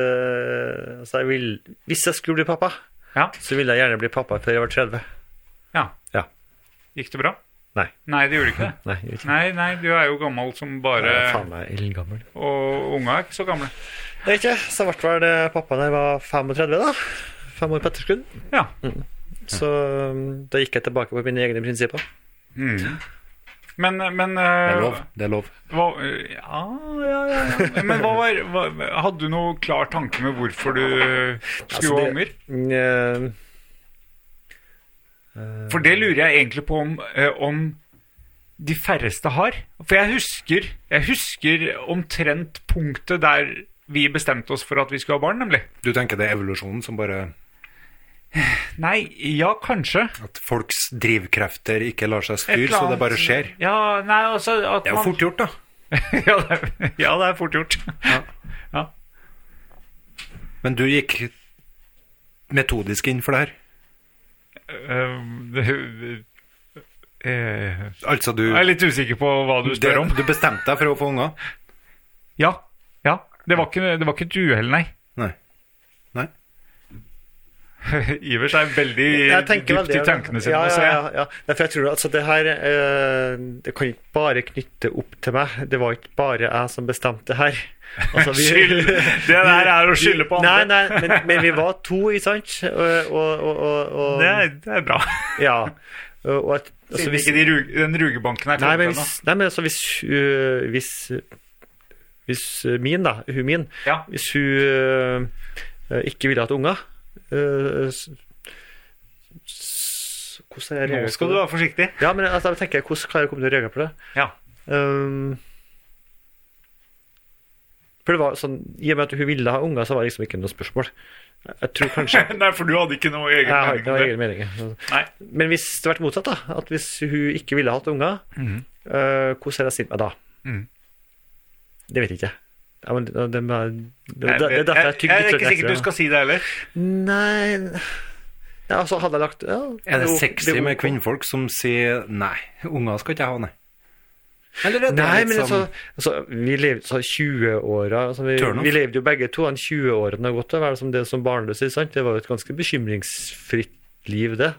E: Altså, jeg vil, hvis jeg skulle bli pappa,
D: Ja.
E: så ville jeg gjerne bli pappa før jeg var 30.
D: Ja.
E: Ja.
D: Gikk det bra?
E: Nei.
D: Nei, det gjorde ikke det.
E: Nei, jeg vet ikke.
D: Nei, nei, du er jo gammel som
E: Jeg er
D: bare
E: faen meg eldgammel.
D: Og unga er ikke så gamle.
E: Det er ikke, så ble vel eh, pappa der var 35, da. Fem år på etterskudd. Mm.
D: Ja.
E: Så um, da gikk jeg tilbake på mine egne prinsipper.
D: Mm. Men, men
B: Det er
D: eh,
B: lov. Det er lov.
D: Hva, ja, ja, ja, ja. Men hva var hva, Hadde du noe klar tanke med hvorfor du skulle ha
E: Altså,
D: unger?
E: det- Mm, eh,
D: For det lurer jeg egentlig på om, eh, om de færreste har. For jeg husker, jeg husker omtrent punktet der vi bestemte oss for at vi skulle ha barn, nemlig.
B: Du tenker det er evolusjonen som bare
D: Nei, ja, kanskje.
B: At folks drivkrefter ikke lar seg
D: Et
B: styre,
D: eller
B: så det
D: annet.
B: bare skjer.
D: Ja, nei, altså at
B: Det er jo
D: man-
B: fort gjort, da.
D: ja, det er, ja, det er fort gjort.
B: Men du gikk metodisk inn for det her.
D: Um, det- eh,
B: Altså, du
D: jeg er litt usikker på hva du spør om.
B: det- Du bestemte deg for å få unger.
D: Ja. ja. Det, var ikke, det var ikke et uhell, nei.
B: Nei. Nei.
D: Ivers er veldig
E: jeg
D: dypt
E: tenker veldig
D: i tankene sine.
E: ja,
D: nå
E: ja,
D: ser jeg.
E: ja, ja. Nei, for jeg tror altså det her eh, Det kan ikke bare knytte opp til meg. Det var ikke bare jeg som bestemte det her. Altså,
D: Skyld. Det der er å skylde på andre.
E: Nei, nei, men, men vi var to, ikke sant? Og, og, og, og, og
D: Det, er, det er bra.
E: Ja. Og, og at, altså,
D: Siden
E: hvis,
D: ikke de rug, den rugebanken er
E: nei, men
D: kommet ennå.
E: hvis, nei, men altså hvis, øh, hvis Hvis eh, min, da, hun min
D: Ja.
E: Hvis hun øh, øh, ikke ville hatt unger øh, s- s- Hvordan er det
D: Nå skal du være forsiktig.
E: ja, men altså, jeg tenker, hvordan klarer jeg å komme til å reagere på det?
D: Ja.
E: Ehm, for det var sånn, I og med at hun ville ha unger, så var det liksom ikke noe spørsmål. Jeg tror kanskje
D: Nei, for du hadde ikke noe
E: Jeg
D: egen
E: har
D: mening om
E: ikke noen
D: det.
E: egne meninger.
D: Nei.
E: Men hvis det hadde vært motsatt, da at hvis hun ikke ville hatt unger,
D: Mhm.
E: eh, hvordan hadde jeg stilt meg da?
D: Mhm.
E: Det vet jeg ikke. Ja, men, det, det, det, det,
D: Jeg,
E: det er derfor jeg tygger
D: er
E: litt
D: ikke sikker
E: ekstra.
D: du skal si det heller.
E: Nei ja, altså, Hadde jeg lagt ja,
B: Er det
E: jo-
B: sexy
E: er
B: med
E: ok.
B: kvinnfolk som sier nei, unger skal ikke jeg ha, nei? Eller er det
E: Nei,
B: litt
E: men
B: sånn-
E: altså, altså Vi levde så 20-åra altså, vi,
B: Turn off.
E: vi levde jo begge to han 20-årene godt av å være som det som barnløse. sant? Det var jo et ganske bekymringsfritt liv, det.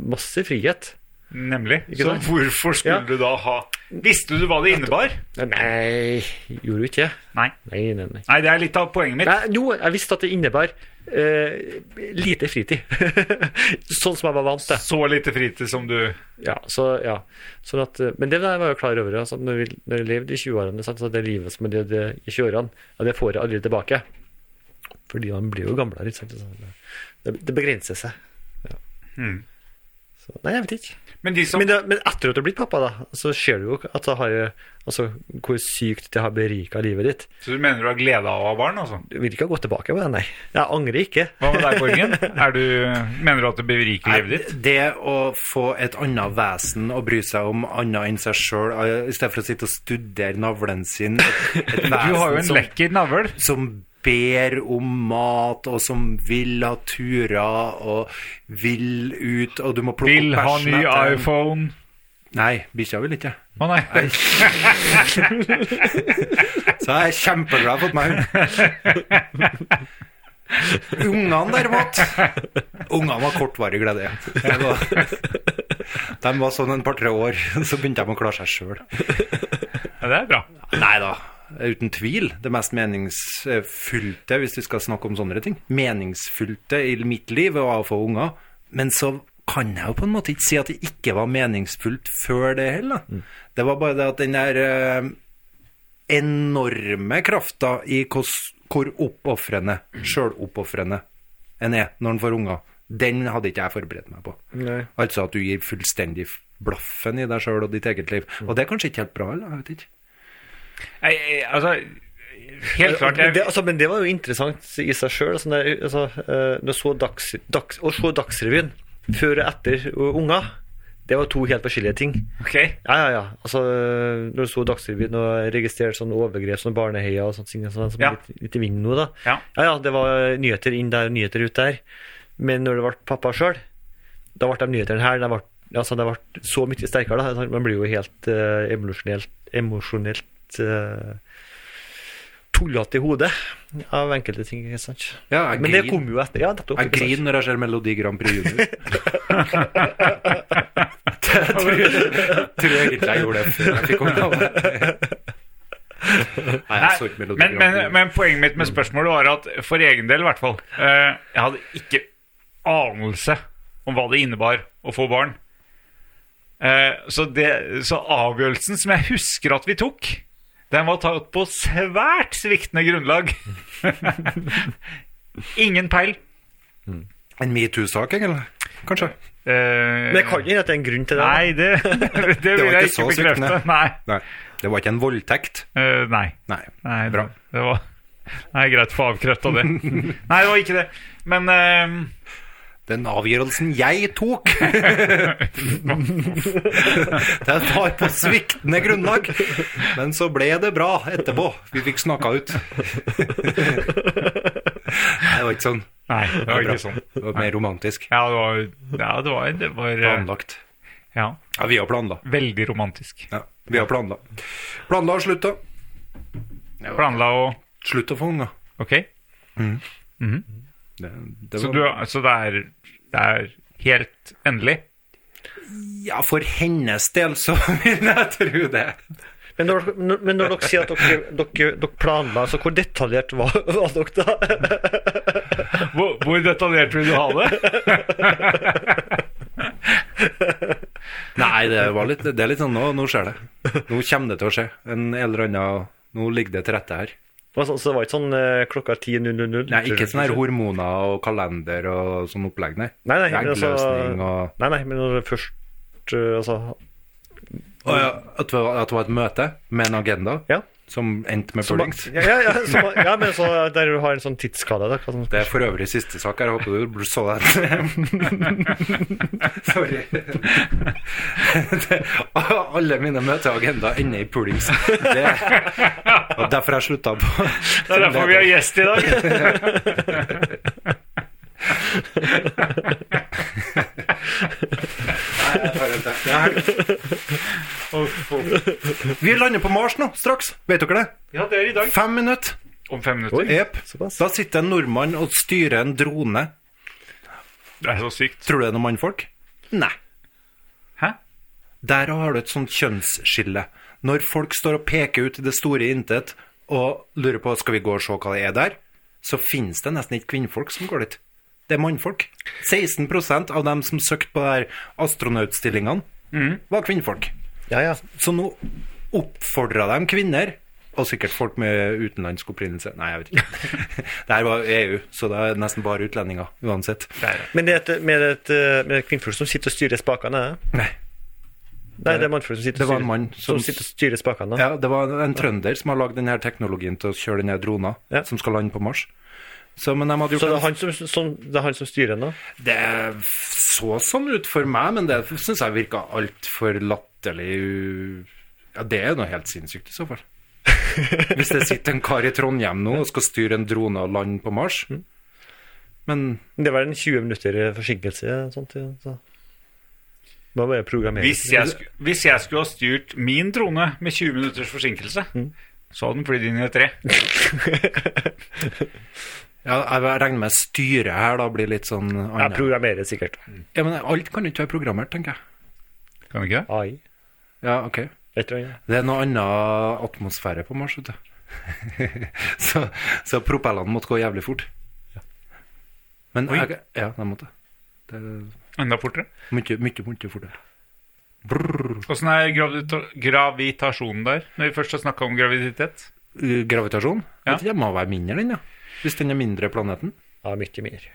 E: Masse frihet.
D: Nemlig.
E: Ikke
D: Så
E: sant?
D: hvorfor skulle
E: Ja.
D: du da ha Visste du hva det innebar?
E: Nei, gjorde jo ikke det.
D: Nei.
E: Nei, nei, nei.
D: Nei, det er litt av poenget mitt.
E: Nei, jo, jeg visste at det innebar eh, lite fritid. sånn som jeg var vant til.
D: Så lite fritid som du
E: Ja, så, ja. Sånn at, eh, men det var jeg var jo klar over. Altså, når, vi, når jeg levde i 20-årene, sant, så det livet som jeg levde i 20-årene, ja, det får jeg aldri tilbake. Fordi man blir jo gamlere. ikke sant, så det- Det, det begrenser seg.
D: Mm.
E: Så, nei, jeg vet ikke.
D: Men de som
E: Men, det, men etter at du har blitt pappa, da, så ser du jo at det har, altså, hvor sykt det har berika livet ditt.
D: Så du mener du har glede av å ha barn, altså?
E: Du vil ikke gå tilbake på det, nei. Jeg angrer ikke.
D: Hva med deg, Borgen? Er du, mener du at det beriker livet ditt?
B: Det å få et annet vesen å bry seg om annet enn seg sjøl, i stedet for å sitte og studere navlen sin et, et vesen
D: Du har jo en
B: som,
D: lekker navl.
B: som ber om mat, og som vil ha turer, og vil ut, og du må plukke
D: Vil
B: opp
D: ha
B: bæsjen
D: ny
B: etter dem.
D: iPhone.
B: Nei, bikkja vil ikke.
D: Å nei.
B: Så jeg er kjempeglad for at meg hund. Ungene derimot Ungene var kortvarig glede. Det var, de var sånn en par-tre år, så begynte de å klare seg sjøl.
D: Ja, det er bra.
B: Nei da. Uten tvil det mest meningsfylte, hvis vi skal snakke om sånne ting. Meningsfylte i mitt liv var å få unger. Men så kan jeg jo på en måte ikke si at det ikke var meningsfullt før det heller. Det var bare det at den der eh, enorme krafta i hvor, hvor oppofrende, sjøloppofrende, en er når en får unger, den hadde ikke jeg forberedt meg på.
E: Nei.
B: Altså at du gir fullstendig blaffen i deg sjøl og ditt eget liv. Og det er kanskje ikke helt bra, eller? Jeg vet ikke.
D: Nei, altså Helt klart.
E: Men det,
D: Jeg,
E: altså, men det var jo interessant i seg sjøl. Altså, når jeg- altså, eh, når jeg så dags, dags, å se Dagsrevyen før og etter uh, unger, det var to helt forskjellige ting.
D: ok.
E: Ja, ja, ja. Altså, eh, når jeg så Dagsrevyen og registrerte sånne overgrep som barneheia og sånt, ting, sånn, som
D: Ja.
E: er litt, litt i vinden nå, da.
D: Ja.
E: ja, ja, det var eh, nyheter inn der og nyheter ut der. Men når det ble pappa sjøl, da ble de nyhetene her det ble, altså, det ble så mye sterkere. Da. Altså, Man blir jo helt eh, emosjonelt, emosjonelt eh, tullete i hodet av enkelte ting. Ikke sant?
B: Ja, jeg
E: Men det
B: griner.
E: kom jo etter. Ja, nettopp.
B: Jeg
E: ikke sant?
B: griner når jeg ser Melodi Grand Prix Junior. Jeg tror, tror jeg egentlig jeg gjorde det før jeg fikk ungdom. Nei, jeg så ikke Melodi Mm.
D: men,
B: Grand
D: men,
B: Prix.
D: men poenget mitt med spørsmålet var at for egen del, i hvert fall eh, Jeg hadde ikke anelse om hva det innebar å få barn. Eh, så, det, så avgjørelsen som jeg husker at vi tok, den var tatt på svært sviktende grunnlag. Ingen peil.
B: En metoo-sak, eller? Kanskje.
D: Eh,
E: Men det kan jo hende at det er en grunn til det.
D: Nei, det, det, vil
B: ikke
D: jeg
B: så
D: ikke bekrefte.
B: sviktende.
D: Nei.
B: Nei. Det var ikke en voldtekt.
D: Eh, nei.
B: Nei.
D: Nei,
B: Bra.
D: Det var Nei, greit å få avkrefta det. Nei, det var ikke det. Men eh,
B: Den avgjørelsen jeg tok Den var på sviktende grunnlag. Men så ble det bra etterpå. Vi fikk snakka ut. Nei, det var ikke sånn.
D: Nei, det var
B: bra.
D: ikke sånn.
B: Det var mer romantisk.
D: Ja, det var Ja, det var, det var eh,
B: Planlagt.
D: ja,
B: Ja, vi har planla.
D: veldig romantisk.
B: Ja, vi har planla. Planla å slutte.
D: Planla å
B: Slutt å få unger.
D: Ok,
B: Det, det
D: så,
B: var-
D: du, så det er Det er helt endelig?
B: Ja, for hennes del så vil jeg tro det.
E: Men når, dere- når- men når dere sier at dere, dere, dere planla, så hvor detaljert var, var dere da?
D: Hvor, hvor detaljert vil du ha det?
B: Nei, det, var litt, det er litt sånn nå, nå skjer det. Nå kommer det til å skje. En eller annen Nå ligger det til rette her.
E: Det var sånn- Så det var ikke sånn eh, klokka 10.00?
B: Nei, ikke sånne her hormoner og kalender og sånn opplegg, nei.
E: Nei, nei, men altså,
B: Eggløsning og
E: nei, nei, men når det først eh, altså,
B: Å ja, at, det var- at det var et møte med en agenda
E: Ja.
B: som endte med
E: ja,
B: pullings.
E: ja, ja, så, ja, men så der du har en sånn tidsskala. Da, hva som-
B: Det er for øvrig siste sak her. Jeg håper du så den. Sorry. Det, alle mine møter og agendaer ender i pullings. Det og derfor har jeg slutta på
D: Det er derfor vi har gjest i dag.
B: Vi lander på Mars nå, straks. Vet dere det?
D: Ja, det er i dag.
B: Fem minutter.
D: Om fem minutter.
B: Jep.
E: såpass.
B: Da sitter en nordmann og styrer en drone.
D: Det er så sykt.
B: Tror du det er noen mannfolk? Nei.
D: Hæ?
B: Der har du et sånt kjønnsskille. Når folk står og peker ut i det store intet og lurer på skal vi gå og se hva det er der, så finnes det nesten ikke kvinnfolk som går dit. Det er mannfolk. 16 av dem som søkte på de her astronautstillingene,
E: Mm.
B: var kvinnfolk.
E: Ja, ja.
B: Så nå oppfordra de kvinner, og sikkert folk med utenlandsk opprinnelse Nei, jeg vet ikke. det her var EU, så det er nesten bare utlendinger uansett.
E: Men det er et, med et, eh, med et kvinnfolk som sitter og styrer spakene? er det?
B: Nei.
E: Nei, det er mannfolk som sitter
B: Det var
E: og
B: en mann
E: styrer,
B: som-
E: som sitter og styrer spakene. da.
B: Ja, det var en trønder som har lagd denne teknologien til å kjøre denne drona
E: Ja.
B: som skal lande på Mars. Så, men de hadde gjort
E: Så det er
B: det,
E: han som, som, det er han som styrer den, da?
B: det så sånn ut for meg, men det syns jeg virka altfor latterlig u- Ja, det er noe helt sinnssykt i så fall. Hvis det sitter en kar i Trondheim nå og skal styre en drone og lande på Mars.
E: Mm.
B: Men
E: Det var en 20 minutter forsinkelse. Sånt, ja, så. Må bare programmere.
D: Hvis jeg, sku, hvis jeg skulle ha styrt min trone med 20 minutters forsinkelse, så hadde den flydd inn i et tre.
B: ja, jeg regner med styret her da blir litt sånn
E: ja,
B: annet.
E: programmere sikkert.
B: Ja, men alt kan jo ikke være programmert, tenker jeg.
D: Kan du ikke det?
E: AI.
B: Ja, ok.
E: Et eller annet.
B: Det er noe annen atmosfære på Mars, vet du. så, så propellene måtte gå jævlig fort. Men
D: Oi.
B: jeg, ja, de måtte. Det er
D: Enda fortere.
B: mye, mye, mye fortere.
D: Åssen er gravita gravitasjonen der, når vi først har snakka om graviditet?
B: Uh, Gravitasjon?
D: Ja.
B: Vet ikke, Den må være mindre, den, ja. Hvis den er mindre planeten.
E: Ja, mye mer.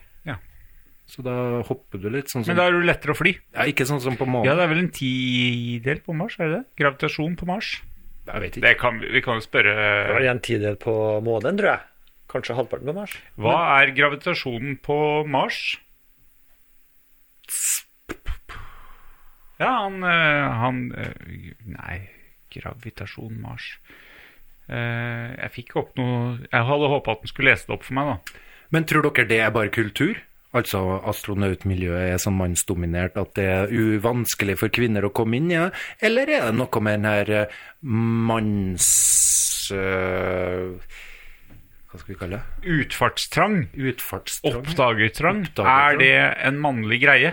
B: Så da hopper du litt, sånn som
D: Men da er det jo lettere å fly.
B: ja, Ikke sånn som på
D: Ja,
B: månen.
D: det er vel en tidel på Mars, er det det? Gravitasjon på Mars?
B: jeg vet ikke.
D: Det kan, vi- vi kan jo
E: Det var
D: spørre
E: en tidel på månen, tror jeg. Kanskje halvparten på Mars.
D: Hva er gravitasjonen på Mars? Ja, han, eh, han eh, Nei, gravitasjon Mars Eh, Jeg fikk opp noe Jeg hadde håpa at han skulle lese det opp for meg, da.
B: Men tror dere det er bare kultur? Altså astronautmiljøet er sånn mannsdominert at det er uvanskelig for kvinner å komme inn i det? Eller er det noe med den her eh, manns... eh, hva skal vi kalle det?
D: Utfartstrang.
B: Utfartstrang?
D: Oppdagertrang.
B: Oppdagertrang.
D: Er det en mannlig greie?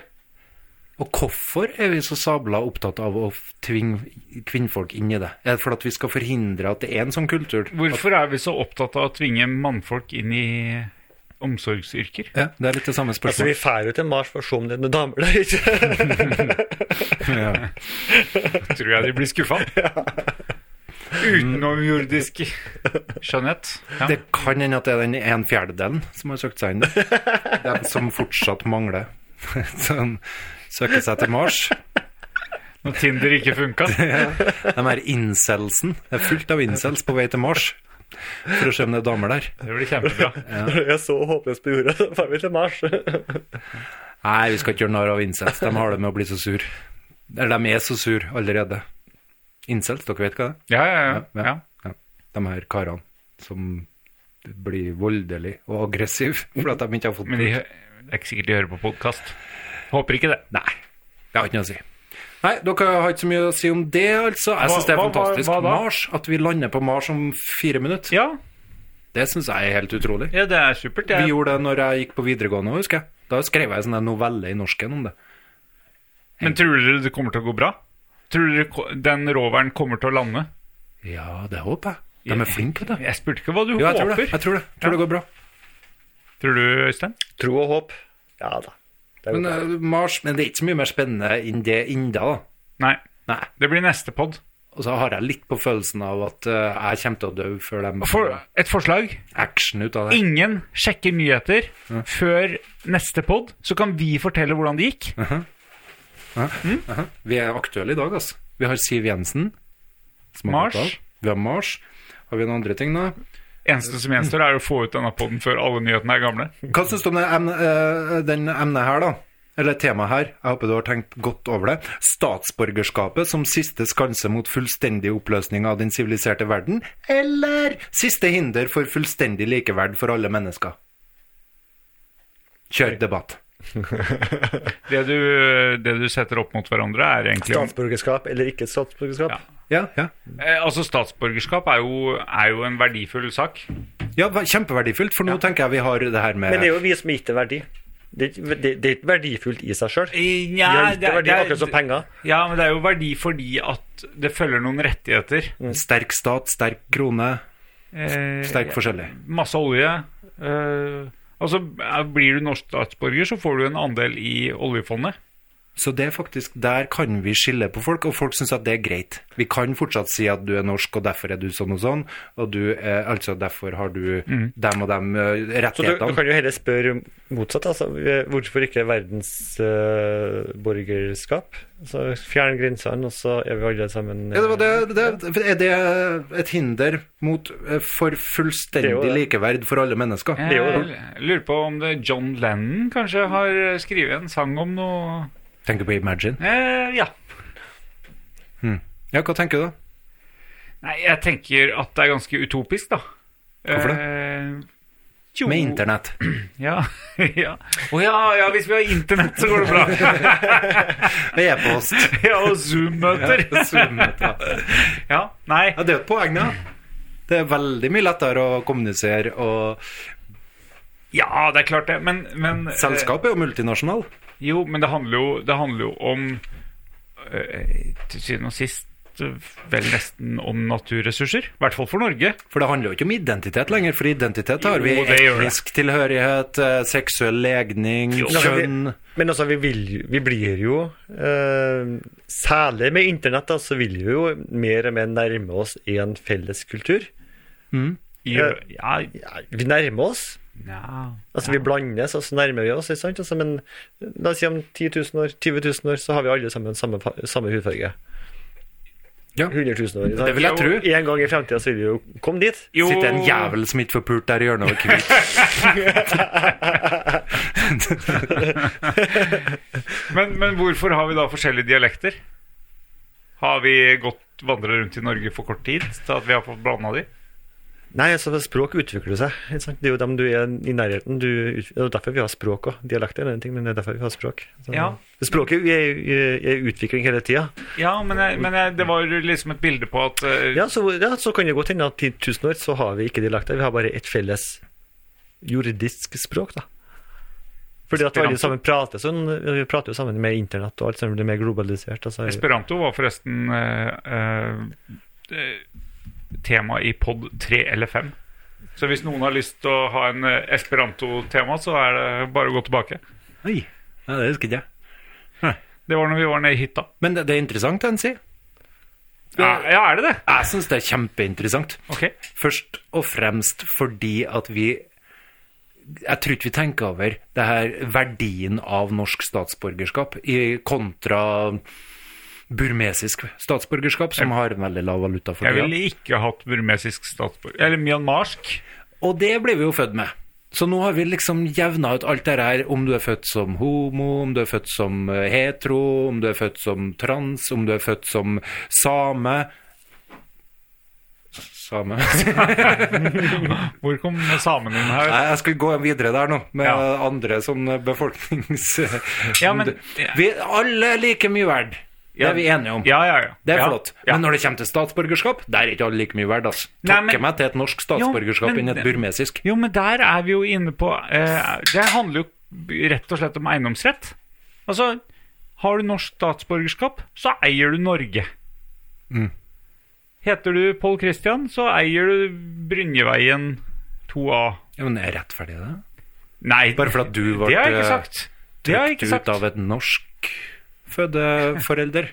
B: Og hvorfor er vi så sabla opptatt av å f- tvinge kvinnfolk inn i det? Er det for at vi skal forhindre at det er en sånn kultur?
D: Hvorfor er vi så opptatt av å tvinge mannfolk inn i omsorgsyrker?
B: Ja, det er litt det samme
E: Altså, vi
B: spørsmålet.
E: drar jo til Mars for å se om det er noen damer der. ikke?
B: ja.
D: Tror jeg de blir skuffa. Utenomjordisk skjønnhet. Ja.
B: Det kan hende at det er den en fjerdedelen som har søkt seg inn. Den som fortsatt mangler. Som søker seg til Mars.
D: Når Tinder ikke funka.
B: De her incelsen. Det er fullt av incels på vei til Mars. For å se om det er damer der.
D: Det blir kjempebra.
E: Når jeg er så håpløs på jorda, så drar vi til Mars.
B: Nei, vi skal ikke gjøre narr av incels. De har det med å bli så sur. Eller de er så sur allerede. Incels, dere vet hva det er?
D: Ja, ja, ja. ja.
B: ja. De her karene som blir voldelige og aggressive fordi at de ikke har fått
D: Men de, hø- det er ikke sikkert de hører på podkast. Håper ikke det.
B: Nei, det har ikke noe å si. Nei, dere har ikke så mye å si om det, altså. Jeg
D: Hva-
B: syns det er
D: hva- hva-
B: fantastisk.
D: hva da?
B: Mars, at vi lander på Mars om fire minutter.
D: Ja,
B: Det syns jeg er helt utrolig.
D: ja det er supert.
B: Vi
D: Jeg,
B: gjorde det når jeg gikk på videregående, husker jeg. Da skrev jeg en sånn novelle i norsken om det.
D: men tror dere det kommer til å gå bra? Tror dere ko- den roveren kommer til å lande?
B: Ja, det håper jeg. De er flinke, vet du.
D: Jeg spurte ikke hva du
B: Jo, jeg tror det.
D: håper.
B: Jeg tror det. Jeg tror det går bra.
D: Tror du, Øystein?
E: Tro og håp. Ja da. Det er jo
B: Men eh, Mars Men det er ikke så mye mer spennende enn det enda, da.
D: Nei.
B: Nei.
D: Det blir neste pod.
B: Og så har jeg litt på følelsen av at eh, jeg kommer til å dø før de
D: For,
B: får
D: et forslag.
B: action ut av det.
D: Ingen sjekker nyheter før neste pod, så kan vi fortelle hvordan det gikk.
B: Vi er aktuelle i dag, altså. Vi har Siv Jensen. som har
D: Mars.
B: gått av. Vi har Mars. Har vi noen andre ting, da?
D: Eneste som gjenstår, er å få ut denne poden før alle nyhetene er gamle.
B: Hva syns du om det emne, eh, den emnet her, da? Eller temaet her. Jeg håper du har tenkt godt over det. Statsborgerskapet som siste skanse mot fullstendig oppløsning av den siviliserte verden, eller siste hinder for fullstendig likeverd for alle mennesker? Kjør debatt.
D: Det du, det du setter opp mot hverandre, er egentlig om
E: Statsborgerskap eller ikke statsborgerskap.
D: Ja.
B: Ja, ja.
D: Eh, Altså, statsborgerskap er jo, er jo en verdifull sak.
B: ja hva- kjempeverdifullt, for nå tenker jeg vi har det her med
E: Men det er jo vi som har gitt det verdi. Det, er ikke- det, det er ikke verdifullt i seg sjøl. Vi har
D: Eh, Ja,
E: gitt det verdi akkurat som penger.
D: ja, men det er jo verdi fordi at det følger noen rettigheter.
B: sterk stat, sterk krone,
D: Eh,
B: sterk forskjellig.
D: masse olje. Eh, altså, eh, blir du norsk statsborger, så får du en andel i oljefondet.
B: Så det er faktisk, der kan vi skille på folk, og folk syns at det er greit. Vi kan fortsatt si at du er norsk, og derfor er du sånn og sånn, og du er, altså derfor har du dem og dem eh,
E: Mm. Så du, du
B: rettighetene.
E: kan jo heller spørre motsatt. Altså, eh, hvorfor ikke verdensborgerskap? så fjern grensene, og så er vi alle sammen
B: Ja, det var
E: eh,
B: det, det, er det et hinder mot, eh, for
E: Det er jo
B: fullstendig
E: det.
B: likeverd for alle mennesker?
D: Jeg
E: Det er jo
D: Eh, lurer på om det John Lennon kanskje har skrevet en sang om noe
B: Tenker på Imagine.
D: eh, Ja.
B: Ja, hva tenker du da?
D: Nei, jeg tenker at det er ganske utopisk, da.
B: Hvorfor det?
D: Eh, jo,
B: Med internett.
D: Ja. ja. Å ja, ja, hvis vi har internett, så går det bra.
B: E-post.
D: ja, og Zoom-møter.
B: Zoom-møter.
D: Ja, nei.
B: Ja, det er jo et poeng, da. Det er veldig mye lettere å kommunisere, og
D: Ja, det er klart det, men, men eh,
B: selskapet er jo multinasjonal.
D: Jo, men det handler jo, det handler jo om eh, Til syvende og sist eh, vel nesten om naturressurser. I hvert fall for Norge.
B: For det handler jo ikke om identitet lenger, for identitet har
D: Jo,
B: vi
D: det gjør det.
B: etnisk tilhørighet, eh, seksuell legning,
E: Ja, men vi-
B: kjønn
E: Men altså, vi, vil, jo- vi blir jo eh, Særlig med internett da, så vil vi jo mer og mer nærme oss en felles kultur.
D: I,
E: Ja.
D: ja,
E: Ja, vi nærmer oss.
D: ja.
E: Altså, Vi blandes, og så nærmer vi oss. ikke sant? Altså, men la oss si om 10 000 år, 20 000 år, så har vi alle sammen samme, fa- samme hudfarge.
B: Ja.
E: 100 000 år. ikke sant?
B: Det vil jeg tro.
E: En gang i fremtida så vil vi jo komme dit.
D: Jo,
B: Sitter en jævel som ikke får pult der i hjørnet og er hvit.
D: men, men hvorfor har vi da forskjellige dialekter? Har vi gått vandra rundt i Norge for kort tid til at vi har fått blanda de?
E: Nei, altså språk utvikler seg. Ikke sant? Det er jo dem du er i nærheten. Du, ut- det er jo derfor vi har språk òg. Dialekter er en ting, men det er derfor vi har språk. Så,
D: Ja.
E: Språket er er i utvikling hele tida.
D: Ja, men, jeg, men jeg, det var liksom et bilde på at eh,
E: Ja, så, ja, så kan det godt hende at 10 000 år så har vi ikke dialekter. Vi har bare et felles jordisk språk, da. Fordi at alle
D: Esperanto.
E: sammen prater sånn. Vi prater jo sammen med internett og alt sammen blir mer globalisert. Altså,
D: Esperanto var forresten eh, eh, tema i pod 3 eller 5. Så hvis noen har lyst til å ha en eh, esperanto-tema, så er det bare å gå tilbake.
B: Oi, nei, det husker ikke jeg.
D: Det var når vi var nede i hytta.
B: Men det, det er interessant, den sier.
D: Ja, ja er det det?
B: Jeg syns det er kjempeinteressant.
D: Ok.
B: Først og fremst fordi at vi Jeg tror ikke vi tenker over det her verdien av norsk statsborgerskap i kontra burmesisk statsborgerskap, som har en veldig lav valuta for
D: Jeg
B: tida.
D: ville ikke hatt burmesisk statsborger Eller myanmarsk.
B: Og det ble vi jo født med. Så nå har vi liksom jevna ut alt det her, om du er født som homo, om du er født som eh, hetero, om du er født som trans, om du er født som same Same Nei,
D: Hvor kom samen inn her?
B: Jeg skulle gå videre der nå, med
D: Ja.
B: andre sånn befolknings...
D: Ja, men-
B: vi, alle er like mye verd. Det er vi enige om.
D: Ja, ja, ja.
B: Det er
D: ja,
B: flott.
D: Ja.
B: Men når det kommer til statsborgerskap, der er ikke alle like mye verd, altså.
D: Nei, men-
B: Takke meg til et norsk statsborgerskap
D: Jo, men-
B: enn et burmesisk.
D: Jo, men der er vi jo inne på eh, Det handler jo rett og slett om eiendomsrett. Altså, har du norsk statsborgerskap, så eier du Norge.
B: Mm.
D: Heter du Pål Christian, så eier du Brynjeveien 2A.
B: Ja, men er rettferdig det?
D: Nei,
B: Bare for at du ble
D: det
B: eh,
D: har jeg ikke sagt. Det har jeg ikke
B: trykt
D: sagt.
B: ut av et norsk fødeforelder,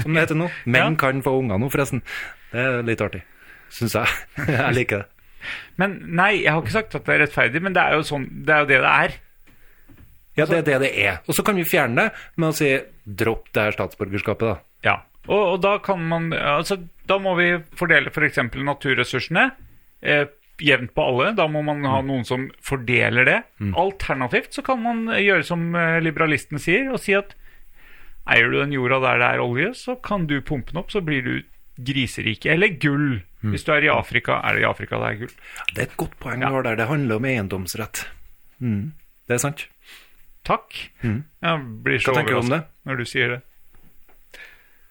B: som det heter nå. Menn kan få unger nå, forresten. Det er litt artig, syns jeg. Jeg liker det.
D: Men nei, jeg har ikke sagt at det er rettferdig, men det er jo, sånn, det, er jo det det er.
B: Ja, det er det det er. Og så kan vi fjerne det med å si dropp det her statsborgerskapet, da.
D: Ja. Og, og da kan man Altså, da må vi fordele f.eks. naturressursene eh, jevnt på alle. Da må man
B: Mm.
D: ha noen som fordeler det. Alternativt så kan man gjøre som eh, liberalistene sier, og si at eier du den jorda der det er olje, så kan du pumpe den opp, så blir du griserik. Eller gull.
B: Mm.
D: Hvis du er i Afrika, er det i Afrika det er gull.
B: Det er et godt poeng du har der. Det handler om eiendomsrett. Mm. Det er sant.
D: Takk. Jeg blir så
B: Mm. Hva tenker du om
D: overrasket
B: det?
D: når du sier det.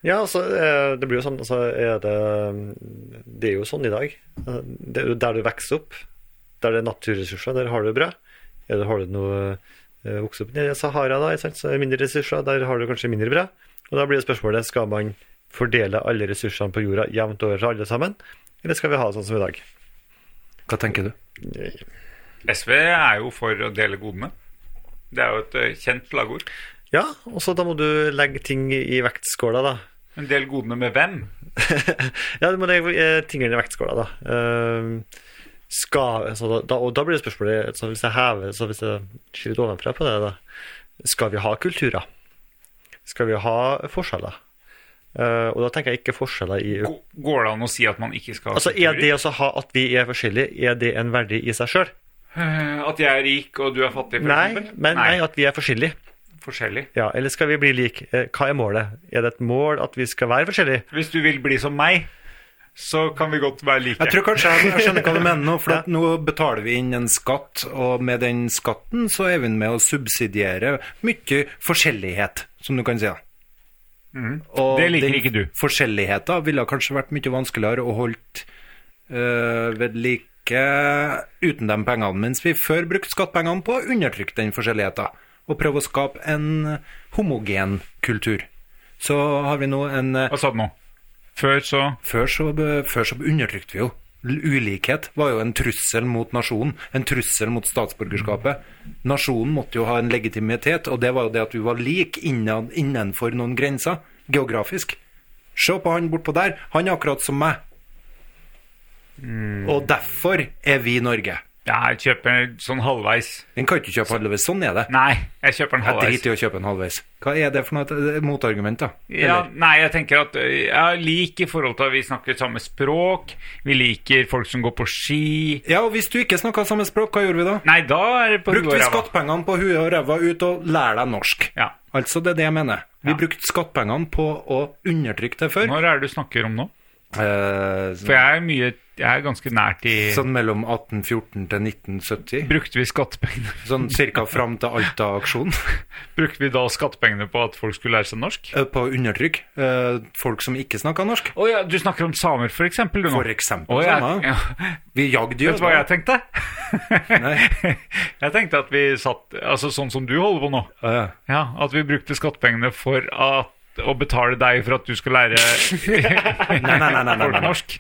E: Ja, altså, eh, det blir jo sånn altså, er det, det er jo sånn i dag. Eh, Det er jo der du vokser opp, der det er naturressurser, der har du bra. Eller har du noe eh, vokst opp i Sahara, da, ikke sant? så er det mindre ressurser, der har du kanskje mindre bra. Og da blir jo spørsmålet skal man fordele alle ressursene på jorda jevnt over til alle sammen, eller skal vi ha det sånn som i dag?
B: Hva tenker du?
D: SV er jo for å dele godene. Det er jo et eh, kjent slagord.
E: Ja, og så da må du legge ting i vektskåla, da.
D: Men del godene med hvem?
E: ja, du må legge eh, tingene i vektskåla, da. Ehm, skal, så da, da. Og da blir det spørsmålet så Hvis jeg hever så hvis jeg skyter ovenfra på det, da Skal vi ha kulturer? Skal vi ha forskjeller? Eh, og da tenker jeg ikke forskjeller i
D: Gå- Går det an å si at man ikke skal ha
E: Altså, Er det også ha at vi er forskjellige, er det en verdi i seg sjøl?
D: Eh, At jeg er rik og du er fattig, for
E: Nei,
D: eksempel?
E: men nei,
D: nei,
E: at vi er forskjellige.
D: forskjellig.
E: Ja, Eller skal vi bli like? Eh, hva er målet? Er det et mål at vi skal være forskjellige?
D: Hvis du vil bli som meg, så kan vi godt være like.
B: Jeg tror kanskje jeg, jeg skjønner hva du mener nå, for at nå betaler vi inn en skatt, og med den skatten så er vi med å subsidiere mye forskjellighet, som du kan si. da. Og
D: Mhm. Det liker
B: den
D: ikke du.
B: Forskjelligheten ville kanskje vært mye vanskeligere å holdt øh, ved like uten de pengene, mens vi før brukte skattepengene på å undertrykke den forskjelligheten, og prøve å skape en homogen kultur. Så har vi nå en øh,
D: Hva sa du nå? Før så
B: før så, før så undertrykte vi jo. L- Ulikhet var jo en trussel mot nasjonen, en trussel mot statsborgerskapet. Nasjonen måtte jo ha en legitimitet, og det var jo det at vi var lik innan, innenfor noen grenser, geografisk. Se på han bortpå der, han er akkurat som meg.
D: Mm.
B: Og derfor er vi Norge.
D: Ja, jeg kjøper en sånn halvveis.
B: Den kan ikke kjøpe halvveis, sånn er det.
D: Nei, jeg kjøper en
B: Jeg
D: halvveis.
B: driter i å kjøpe en halvveis. Hva er det for noe det er motargument, da?
D: Ja,
B: Eller?
D: nei, jeg tenker at eh, jeg er lik i forhold til at vi snakker samme språk, vi liker folk som går på ski
B: ja, og hvis du ikke snakka samme språk, hva gjorde vi da?
D: Nei, da er det på
B: Brukte
D: huet og
B: vi
D: ræva.
B: skattepengene på huet og ræva ut og lære deg norsk?
D: Ja.
B: Altså, det er det jeg mener. Vi
D: Ja.
B: brukte skattepengene på å undertrykke det før.
D: Når er det du snakker om nå?
B: Eh,
D: For jeg er mye jeg er ganske nært i
B: Sånn mellom 1814 til 1970.
D: Brukte vi skattepengene
B: Sånn cirka fram til Alta-aksjonen.
D: Brukte vi da skattepengene på at folk skulle lære seg norsk?
B: eh, På undertrykk. Eh, Folk som ikke snakka norsk.
D: Å ja, du snakker om samer, for eksempel. Du, nå.
B: For eksempel.
D: Å, jeg,
B: samer.
D: ja.
B: Vi jagde
D: Vet du hva jeg
B: jøder.
D: tenkte?
B: Nei.
D: jeg tenkte at vi satt Altså sånn som du holder på nå.
B: Ja,
D: Ja, At vi brukte skattepengene for at, å betale deg for at du skal lære
B: Nei, nei, nei, nei, nei,
D: folk
B: nei.
D: norsk.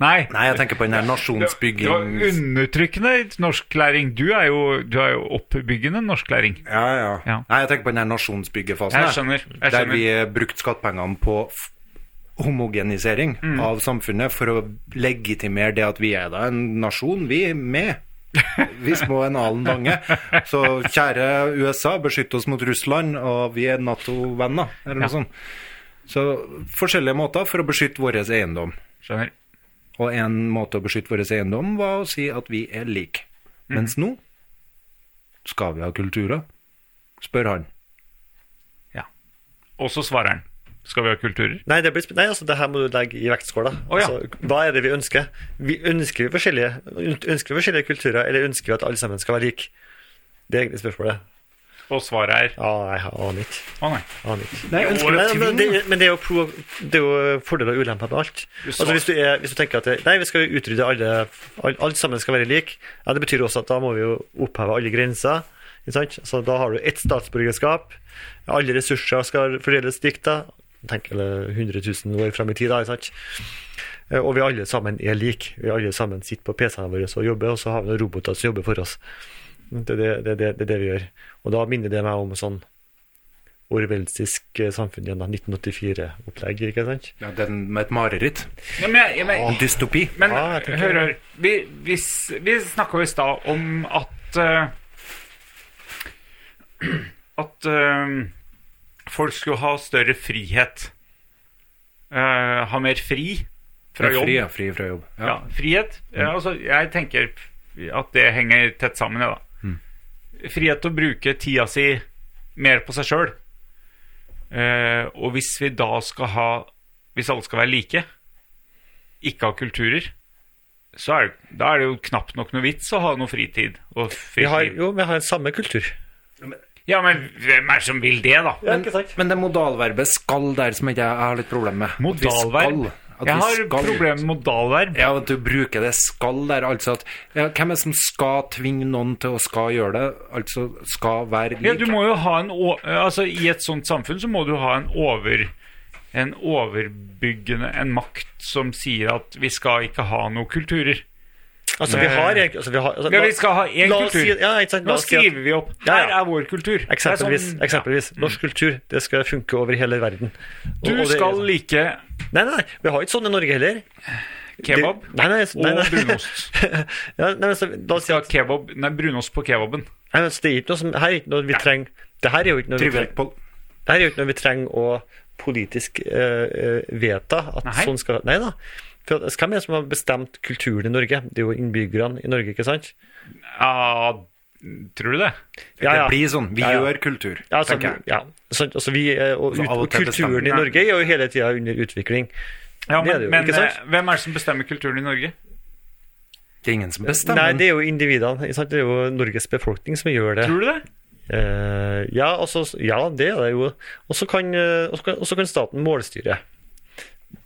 D: Nei.
B: Nei, jeg tenker på den her
D: Det var
B: nasjonsbygging...
D: undertrykkende norsklæring. Du er jo, du er jo oppbyggende norsklæring.
B: Ja, ja.
D: Ja.
B: Nei, jeg tenker på den her nasjonsbyggefasen.
D: Jeg
B: jeg.
D: skjønner. Jeg
B: Der vi
D: skjønner.
B: brukte skattepengene på f- homogenisering
D: Mm.
B: av samfunnet for å legitimere det at vi er da en nasjon, vi er med. Vi små en alen bange. Så kjære USA, beskytt oss mot Russland, og vi er Nato-venner, eller noe sånt. Så forskjellige måter for å beskytte vår eiendom.
D: skjønner.
B: Og en måte å beskytte vår eiendom var å si at vi er like. Mens nå skal vi ha kulturer, spør han.
D: Og så svarer han. Skal vi ha kulturer?
E: Nei, det, blir, sp- nei altså, det her må du legge i vektskåla.
D: Å, ja.
E: altså, hva er det vi ønsker? Vi ønsker vi forskjellige, ønsker vi forskjellige kulturer, eller ønsker vi at alle sammen skal være like? Det er egentlig spørsmålet.
D: Og svaret er
E: Ja, jeg aner ikke.
D: Å nei.
E: Aner ikke.
B: Nei, ønsker du
E: Nei,
B: å
E: men,
B: tvinge?
E: det, men det er jo, pro, det er jo eh, fordeler og ulemper med alt. Altså, hvis, du er, hvis du tenker at det, nei, vi skal utrydde alle, alle, alle sammen skal være like, ja, det betyr også at da må vi jo oppheve alle grenser. Ikke sant? Så da har du ett statsborgerskap, alle ressurser skal fordeles likt. da. Tenk eller 100 000 år fram i tid, da. Ikke sant? Eh, Og vi alle sammen er like. Vi alle sammen sitter på PC-ene våre og jobber, og så har vi noen roboter som jobber for oss. Det er det, det, er det, det, er det vi gjør. Og da minner det meg om sånn orwellstisk eh, samfunn gjennom 1984-opplegg, ikke sant?
B: Ja, den med et mareritt.
D: Ja, men, jeg- ja, men,
B: En dystopi.
D: Men
E: Ja, jeg tenker-
D: hør, hør. Vi, vi, s- vi snakka jo i stad om at eh, At eh, folk skulle ha større frihet. Eh, ha mer fri fra jobb.
B: Fri, ja, fri fra jobb. Ja.
D: Ja, frihet. Ja, altså, jeg tenker at det henger tett sammen, jeg, da. Frihet til å bruke tida si mer på seg sjøl. Eh, og hvis vi da skal ha Hvis alle skal være like, ikke ha kulturer, så er, det- da er det jo knapt nok noe vits å ha noe fritid. Og
E: Vi har,
D: fritid.
E: jo, vi har en samme kultur.
D: Ja, men hvem er det som vil det, da?
E: Men-
B: Men det modalverbet 'skal' der som ikke jeg jeg har litt problem med. At vi
D: Modalverb.
B: skal-
D: Jeg
B: at vi
D: har
B: skal.
D: problemer med modalverb.
B: Ja, at du bruker det 'skal' der, altså at ja, Hvem er det som skal tvinge noen til å skal gjøre det? Altså skal være lik?
D: Ja, du må jo ha en o- Altså, I et sånt samfunn så må du ha en over en overbyggende en makt som sier at vi skal ikke ha noen kulturer.
E: Altså, vi har egentlig altså, vi har, altså,
D: Ja,
E: la-
D: vi skal ha én
E: la oss
D: kultur.
E: Si, ja, ikke sant? La
D: Nå
E: oss si at-
D: skriver vi opp
E: Ja, ja.
D: Her er vår kultur. Det er
E: Eksempelvis,
D: sånn-
E: eksempelvis norsk kultur. Det skal funke over hele verden. Og- og
D: Du
E: det er-
D: skal like
E: Nei, nei, vi har ikke sånn i Norge heller.
D: kebab
E: Det- nei, nei, nei, nei.
D: og brunost.
E: Ja, nei, men så, la oss si
D: Skal
E: at
D: ha kebab, nei, brunost på kebaben.
E: Nei, men så det er ikke noe som, her er ikke noe vi trenger det her er jo ikke noe vi
B: Trivielt,
E: trenger,
B: Pål.
E: det her er jo ikke noe vi trenger å politisk eh, eh, vedta at
D: Nei.
E: sånn skal Nei da. For at- hvem er det som har bestemt kulturen i Norge? Det er jo innbyggerne i Norge, ikke sant?
D: Ja, tror du det?
E: Ja, ja.
B: Det blir sånn. Vi
E: Ja, ja.
B: gjør kultur,
E: Ja, altså,
B: tenker jeg.
E: ja. Så, altså, vi, eh, og,
B: Så
E: ut,
B: av og
E: og
B: til
E: kulturen
B: bestemmer-
E: i Norge er jo hele tida under utvikling.
D: Ja,
E: Det er
D: men,
E: det jo,
D: men
E: ikke sant?
D: eh, hvem er det som bestemmer kulturen i Norge?
B: Det er ingen som eh, bestemmer.
E: Nei, det er jo individene. Ikke sant? Det er jo Norges befolkning som gjør det.
D: Tror du det?
E: Eh, ja, altså, ja, det er det jo. Og så kan, eh, og så kan, og så kan staten målstyre.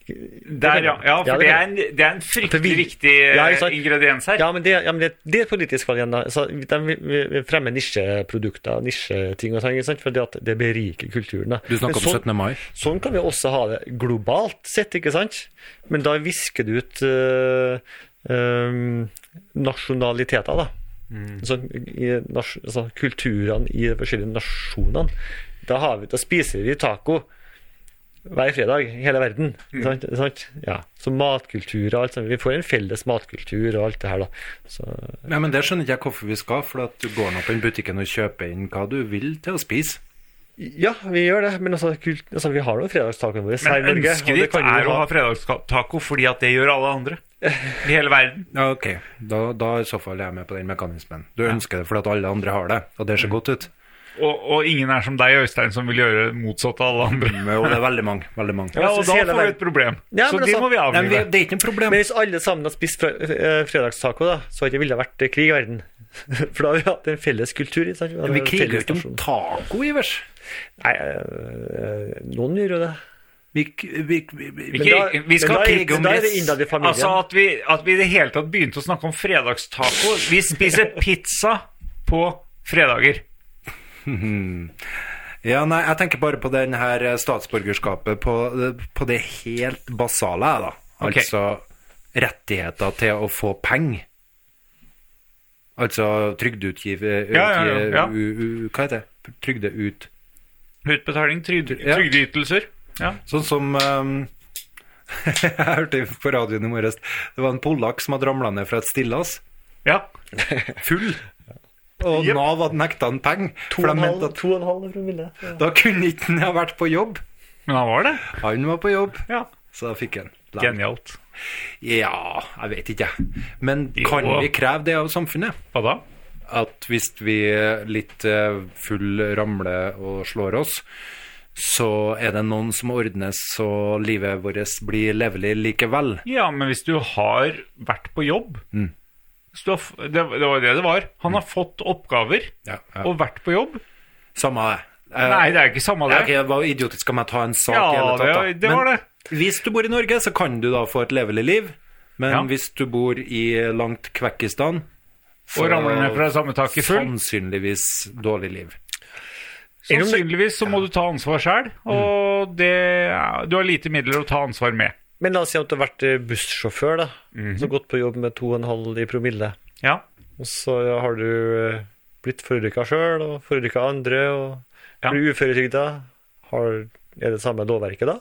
D: Der, ja. ja
E: Ja,
D: for
E: det
D: det
E: kan
D: er en, det er en
E: For
D: fryktelig
E: vi-
D: viktig eh,
E: Ja, ikke sant?
D: ingrediens her.
E: Ja, men det, ja, men det, det er et politisk valg igjen. da. Altså, de vil- vil fremmer nisjeprodukter, nisjeting og sånn, ikke sant? fordi at det beriker kulturen. da.
B: Du snakker om
E: Men sånn,
B: 17. mai.
E: Sånn kan vi også ha det globalt sett, ikke sant? Men da visker du ut eh, eh, nasjonaliteter, da. Sånn, i, nas, altså, kulturene i de forskjellige nasjonene. Da, har vi, da spiser vi taco hver fredag, hele verden. Ikke sant? Ikke sant? Ja. Så matkultur og alt sånt. Vi får en felles matkultur og alt det her, da. Så,
B: Nei, men Det skjønner ikke jeg hvorfor vi skal, for at du går nå på den butikken og kjøper inn hva du vil til å spise.
E: ja, vi gjør det, men altså, kult, altså vi har jo fredagstacoen vår her i
D: Men
E: Norge. og
D: ønsket
E: det
D: ditt
E: kan vi jo
D: er å ha fredagstaco fordi at det gjør alle andre i hele verden.
B: Ja, ok. Mm. Da, da i så fall er jeg med på den mekanismen. Du ønsker det fordi at alle andre har det, og det ser godt ut.
D: Og, og ingen er som deg, Øystein, som vil gjøre motsatt av alle andre.
B: Jo, det er veldig mange. veldig mange.
D: Ja, og
E: synes
D: da
E: Mm. hele
D: får vi
E: verden-
D: et problem.
E: Ja,
D: så
E: men
D: det
E: altså-
D: må vi
B: Nei, men vi,
D: avlive.
B: det er ikke noe problem.
E: Men hvis alle sammen hadde spist fre- eh, fredagstaco, da, så hadde det ville vært eh, krig i verden. For da hadde vi hatt en felles kultur. ikke sant? hadde
B: Vi
E: en
B: kriger jo
E: felles
B: ikke om
E: nasjon.
B: taco, Ivers.
E: Nei, eh, eh, noen gjør jo det.
B: Vi, vi, vi, vi,
D: Ikke-
E: Men da-
D: vi skal
E: men da er-
B: krige om
E: Da er det
B: rest.
E: innad i familien.
D: Altså at vi, at vi i det hele tatt begynte å snakke om fredagstaco. Vi spiser pizza på fredager.
B: Ja, nei, jeg tenker bare på den her eh, statsborgerskapet på, eh, på det helt basale, jeg, da.
D: Ok.
B: Altså rettigheter til å få penger. Altså trygdeutgiver...
D: Ja, ja, ja, ja.
B: u, u, hva heter det? Trygdeut...
D: Utbetaling, trygd,
B: Ja.
D: trygdeytelser. Ja.
B: Sånn som ehm, Jeg hørte på radioen i morges Det var en polakk som hadde ramla ned fra et stillas.
D: ja.
B: Full. Og Nav hadde nekta han penger. For de mente at
E: 2,5 promille. Ja.
B: da kunne ikke han ha vært på jobb.
D: Men han var det.
B: Han var på jobb,
D: Ja.
B: så da fikk han. Lang.
D: Genialt.
B: Ja, jeg vet ikke, jeg. Men kan
D: Jo.
B: vi kreve det av samfunnet?
D: Hva da?
B: At hvis vi litt eh, full ramler og slår oss, så er det noen som ordnes så livet vårt blir levelig likevel.
D: Ja, men hvis du har vært på jobb
B: Mm.
D: hvis du har, f- det, det var det det var. Han har fått oppgaver
B: Ja, ja.
D: og vært på jobb.
B: Samme det. Eh,
D: Nei, det er ikke samme det.
B: ja, ok, det var idiotisk om jeg tar en sak
D: Ja,
B: i hele tatt. da.
D: det- det var det.
B: Men hvis du bor i Norge, så kan du da få et levelig liv. Men
D: Ja.
B: hvis du bor i langt Kvekkistan, så Sånn-
D: Og ramler ned fra samme tak i full.
B: sannsynligvis dårlig liv.
D: Sannsynligvis så må du ta ansvar sjøl,
B: Mm.
D: og det, ja, du har lite midler å ta ansvar med.
E: Men la oss si at du har vært eh, bussjåfør, da.
B: Mhm.
E: Så gått på jobb med 2,5 i promille.
D: Ja.
E: Og så har du eh, blitt forulykka sjøl, og forulykka andre, og
D: Ja.
E: blir uføretrygda. Har- Er det samme lovverket da?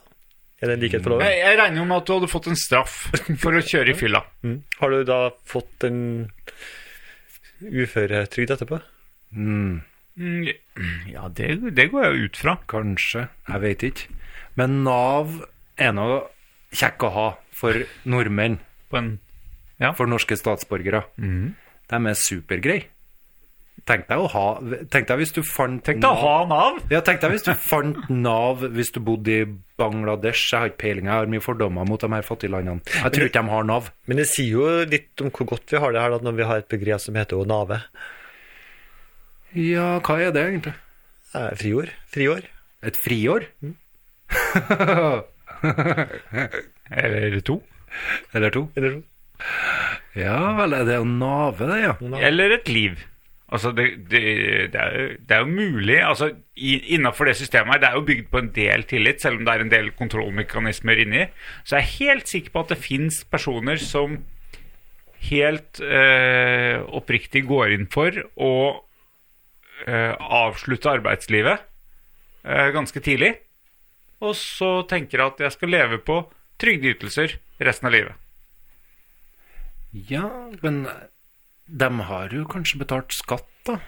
E: Er det en likhet for loven?
D: Jeg, jeg regner jo med at du hadde fått en straff for å kjøre i fylla.
E: Mm. Har du da fått en uføretrygd etterpå?
D: Mm, Ja, det, det går jeg jo ut fra.
B: Kanskje, jeg vet ikke. Men Nav er nå kjekk å ha for nordmenn,
D: På en,
B: for norske statsborgere. De er supergreie. Tenk deg å ha Tenk deg hvis du fant
D: tenk deg å ha Nav!
B: Ja, tenk deg hvis du fant Nav hvis du bodde i Bangladesh. Jeg har ikke peiling, jeg har mye fordommer mot de her fattiglandene. Jeg tror ikke de har Nav.
E: Men det sier jo litt om hvor godt vi har det her da, når vi har et begrep som heter å nave.
B: Ja, hva er det egentlig?
E: Eh, Friår. Friår.
B: Et friår?
D: Eller to.
B: Eller to?
E: Eller noe.
B: Ja vel, er det å nave, det, ja.
D: Eller et liv. Altså, det, det, det, er, jo- det er jo mulig altså, i- Innenfor det systemet her, det er jo bygd på en del tillit, selv om det er en del kontrollmekanismer inni. Så jeg er helt sikker på at det fins personer som helt eh, oppriktig går inn for å eh, avslutte arbeidslivet eh, ganske tidlig. Og så tenker jeg at jeg skal leve på trygdeytelser resten av livet.
B: Ja, men de har jo kanskje betalt skatt, da.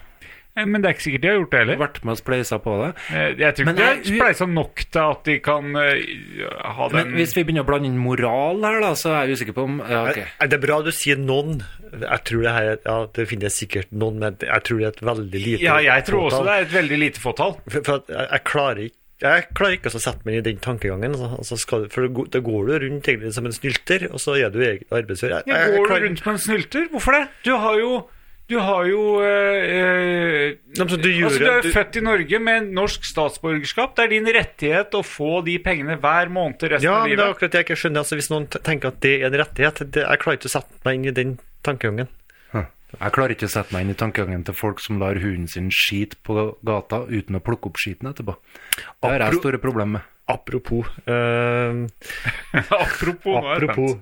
D: Eh, Men det er ikke sikkert de har gjort det heller.
B: Vært med og spleisa på det.
D: Eh, Jeg tror
B: Men
D: ikke det
B: er-
D: er spleisa nok til at de kan eh, ha den
B: Men hvis vi begynner å blande inn moral her, da, så er jeg usikker på om ja, ok.
E: Eh, Det er bra du sier noen. Jeg tror det her ja, det finnes sikkert noen, men jeg tror det er et veldig lite
D: Ja, jeg tror også
E: fåtall.
D: det er et veldig lite fåtall.
E: For, for at eh, jeg, jeg klarer ikke jeg klarer ikke å sette meg inn i den tankegangen. Altså, altså skal, for da går- da går du rundt egentlig som en snylter, og så er du egen- arbeidsfør. Jeg, jeg, jeg
D: Går du
E: klarer-
D: rundt med en snylter? Hvorfor det? Du har jo du har jo eh, eh,
E: Nei, men så du gjør
D: altså, du er
E: at
D: jo
E: du-
D: født i Norge med norsk statsborgerskap. Det er din rettighet å få de pengene hver måned resten
E: Ja,
D: av
E: men det er
D: livet.
E: akkurat det jeg ikke skjønner. Altså, hvis noen t- tenker at det er en rettighet det, Jeg klarer ikke å sette meg inn i den tankegangen.
B: Jeg klarer ikke å sette meg inn i tankegangen til folk som lar hunden sin skite på gata uten å plukke opp skiten etterpå. Det har jeg
E: Apro-
B: store problemer med.
E: Apropos eh,
D: Apropos, nå er jeg
E: Apropos.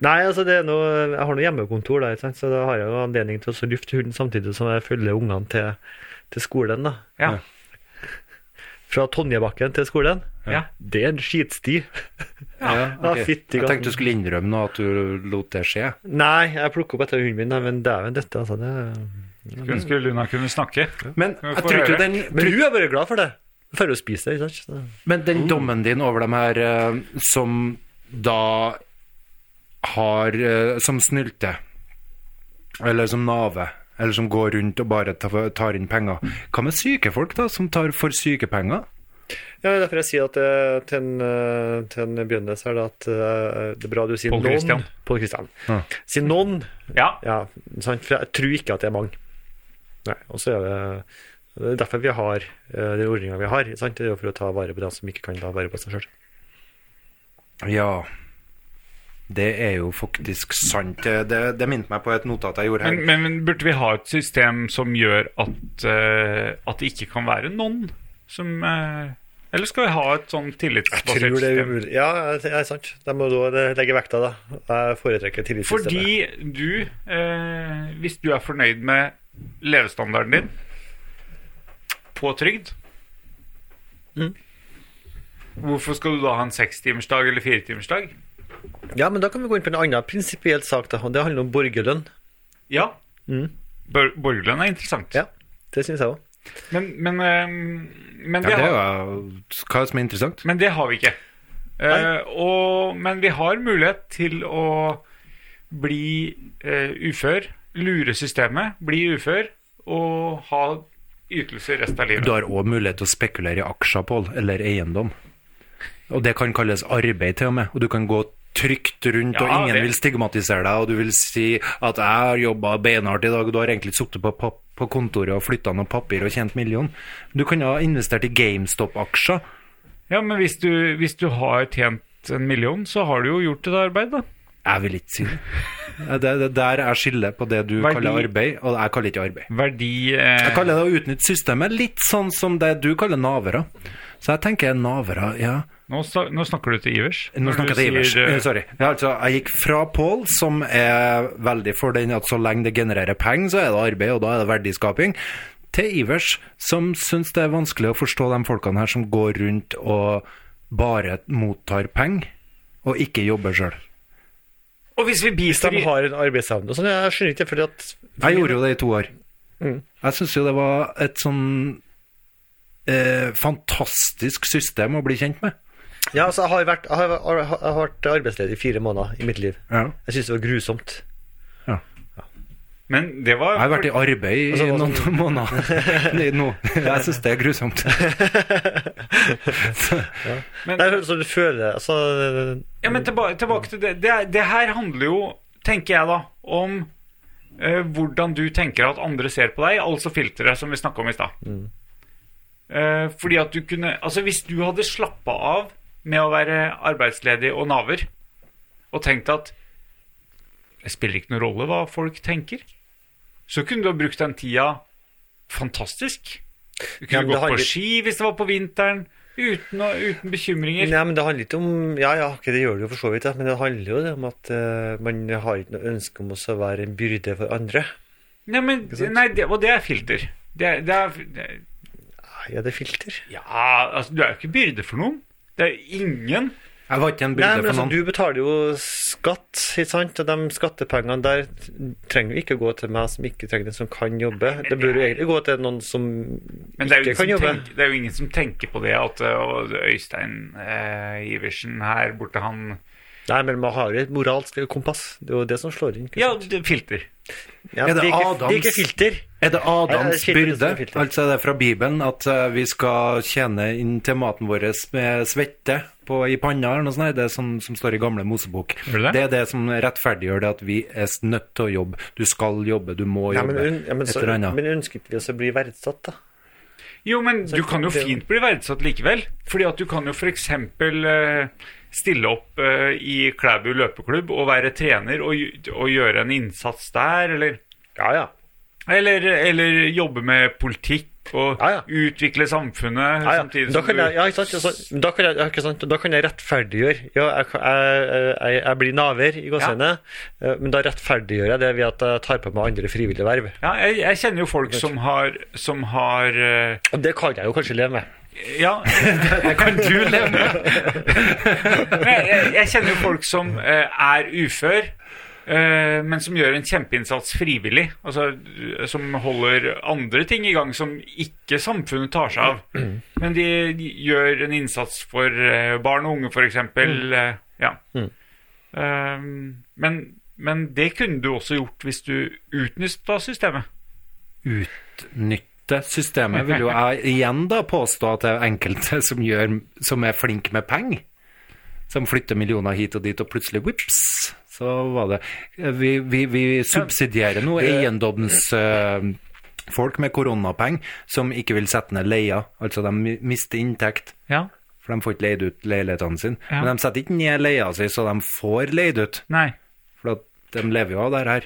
E: Nei, altså det er noe, jeg har noe hjemmekontor, da, ikke sant? så da har jeg jo anledning til å så lufte hunden samtidig som jeg følger ungene til, til skolen. da.
D: spent. Ja.
E: Fra Tonjebakken til skolen.
D: Ja.
E: Det er en skitsti.
B: Ja,
E: Ja,
B: ok. Jeg
E: fytti gaten.
B: tenkte du skulle innrømme nå at du lot det skje.
E: Nei, jeg plukker opp etter hunden min, nei, men dæven dette, altså. Det...
D: Skulle ønske Luna kunne snakke.
B: Men
D: Ja,
B: jeg
D: få
B: tror ikke
D: høre.
B: den,
E: Men hun er bare glad for det. For å spise det, ikke sant.
B: men den dommen din over dem her eh, som da har eh, Som snylte, eller som nave, eller som går rundt og bare ta- tar inn penger. Hva med syke folk, da, som tar for syke penger?
E: Ja, det er derfor jeg sier at eh, til en, eh, til en begynner så er det at eh, det er bra du sier
D: Pål Christian.
E: noen. Pål Christian.
B: Ja.
E: Si noen,
D: Ja.
E: ja, sant? for jeg tror ikke at det er mange. Nei, og så er det det er derfor vi har eh, den ordninga vi har. Sant? Det er jo for å ta vare på dem som ikke kan ta vare på seg sjøl.
B: Ja. Det er jo faktisk sant. Det, det, det minte meg på et notat jeg gjorde her.
D: Men, men, men burde vi ha et system som gjør at, eh, at det ikke kan være noen som eh, Eller skal vi ha et sånn
E: Tror
D: tillitsbasert
E: det er
D: system?
E: umulig. Ja, det er sant. Da må du også legge vekta, da. Jeg foretrekker tillitssystemet.
D: Fordi du, eh, hvis du er fornøyd med levestandarden din på trygd Hvorfor skal du da ha en sekstimersdag eller firetimersdag?
E: Ja, men da kan vi gå inn på en annen prinsipiell sak. da, og Det handler om borgerlønn.
D: Ja.
E: Mm.
D: Bor- Borgerlønn er interessant.
E: Ja. Det syns jeg òg.
D: Men, men, eh, men
B: Ja,
D: det
B: det er
D: har-
B: jo hva som er interessant.
D: Men det har vi ikke. Eh, og, men vi har mulighet til å bli eh, ufør, lure systemet, bli ufør og ha ytelse resten av livet.
B: Du har òg mulighet til å spekulere i aksjer, Pål, eller eiendom. Og det kan kalles arbeid, til og med. Og du kan gå trygt rundt, og
D: Ja,
B: ingen
D: det-
B: vil stigmatisere deg, og du vil si at 'jeg har jobba beinhardt i dag', og du har egentlig sittet på, pap- på kontoret og flytta noe papir og tjent million. Du kan ha investert i GameStop-aksjer.
D: Ja, men hvis du, hvis du har tjent en million, så har du jo gjort et arbeid, da.
B: Jeg vil ikke si det. Det, det der er skillet på det du
D: Verdi-
B: kaller arbeid, og jeg kaller ikke arbeid.
D: Verdi eh,
B: Jeg kaller det å utnytte systemet, litt sånn som det du kaller navere. Så jeg tenker navere, ja.
D: nå, sa- nå snakker du til Ivers.
B: Nå
D: Når du
B: snakker jeg til Ivers.
D: sier, eh,
B: Eh, Sorry. Ja, altså, jeg gikk fra Pål, som er veldig for den at så lenge det genererer penger, så er det arbeid, og da er det verdiskaping, til Ivers, som syns det er vanskelig å forstå de folkene her som går rundt og bare mottar penger, og ikke jobber sjøl.
D: Og hvis vi
E: Hvis de
D: bistår
E: har en arbeidsevne og sånn. Jeg skjønner ikke, fordi at
B: Jeg gjorde jo det i to år. Jeg syns jo det var et sånn eh, fantastisk system å bli kjent med.
E: Ja, altså, jeg har vært, jeg har, jeg har- jeg har vært arbeidsledig i fire måneder i mitt liv.
B: Ja.
E: Jeg syns det var grusomt.
D: Men det var
B: Jeg har vært i arbeid i
E: Altså, hva
B: noen måneder Nei, nå. Jeg syns det er grusomt.
E: Det er sånn du føler altså,
D: Ja, men tilbake, tilbake til det. det. er- Det her handler jo, tenker jeg da, om eh, hvordan du tenker at andre ser på deg, altså filteret som vi snakka om i stad.
E: Mm.
D: Eh, fordi at du kunne Altså, hvis du hadde slappa av med å være arbeidsledig og naver, og tenkt at det spiller ikke noen rolle hva folk tenker, så kunne du ha brukt den tida fantastisk. Du
E: Ja,
D: kunne
E: men det
D: gått
E: handler-
D: på ski hvis det var på vinteren, uten, å- uten bekymringer.
E: Nei, men det handler ikke om Ja, ja, ok, det gjør det jo for så vidt, ja, men det handler jo det om at eh, man har ikke noe ønske om å så være en byrde for andre.
D: Nei, men,
E: sant?
D: nei det, og det er filter. Det er, det er, det er,
E: Ja, det er filter.
D: ja, altså, du er jo ikke byrde for noen. Det er jo ingen
B: Jeg var ikke en
E: Nei,
B: byrde
E: men
B: for
E: altså,
B: noen.
E: Du betaler jo skatt, ikke sant? og de skattepengene der trenger jo ikke gå til meg som ikke trenger det, som kan jobbe. Det bør jo egentlig gå til noen som
D: Men det er, jo ingen
E: ikke kan
D: som
E: jobbe.
D: tenker, det er jo ingen som tenker på det at øh, og Øystein eh, Iversen her borte, han
E: Nei, men man har jo et moralsk kompass. Det er jo det som slår inn. ikke
D: Ja,
E: sant?
D: det- filter.
E: Ja,
B: Er det
E: det, er ikke, det
B: Adams-
E: er ikke filter.
B: Er det
E: Nei, det
B: Adams
E: er filter,
B: byrde?
E: det er filter.
B: Altså er det fra Bibelen at eh, vi skal tjene inn til maten vår med svette på, i panna, eller noe sånt? Nei, det er som, som står i gamle Mosebok.
D: Er det det?
B: er det som rettferdiggjør det at vi er s- nødt til å jobbe. Du skal jobbe, du må
E: Ja,
B: jobbe.
E: men, un- ja, men,
B: et
E: så,
B: eller annet.
E: men ønsker ikke vi oss å bli verdsatt, da?
D: Jo, men
E: Så
D: du kan jo
E: det er jo-
D: fint bli verdsatt likevel. Fordi at du kan jo f.eks. stille opp eh, i Klæbu løpeklubb og være trener og, gj- og gjøre en innsats der, eller
E: Ja, ja.
D: Eller, eller jobbe med politikk og
E: Ja, ja.
D: utvikle samfunnet
E: ja, ja.
D: samtidig
E: Da
D: som
E: kan
D: du
E: jeg, ja, ikke sant, ja, sant. Men da kan jeg, ja, ikke sant, da kan jeg rettferdiggjøre. Ja, jeg, kan- jeg, jeg, jeg blir naver i gåsehudet, Eh, men da rettferdiggjør jeg det ved at jeg tar på meg andre frivillige verv.
D: ja, jeg, jeg kjenner jo folk som har, som har eh,
E: Og det kan jeg jo kanskje leve med.
D: Ja. Det kan du leve med. jeg, jeg- jeg kjenner jo folk som eh, er ufør, eh, men som gjør en kjempeinnsats frivillig. Altså som holder andre ting i gang som ikke samfunnet tar seg av. Men de, de gjør en innsats for eh, barn og unge, f.eks. Mm. Ja. Eh, men, men det kunne du også gjort hvis du utnytta systemet.
B: utnytte systemet, vil jo jeg igjen da påstå at det er enkelte som, gjør, som er flink med penger. Som flytter millioner hit og dit, og plutselig vips, så var det Vi, vi, vi subsidierer nå eiendomsfolk med koronapenger som ikke vil sette ned leia. Altså, de mi- mister inntekt.
D: Ja.
B: For de får ikke leid ut leilighetene sine.
D: Ja.
B: Men de setter ikke ned leia si, så de får leid ut.
D: Nei.
B: For at de lever jo av det her.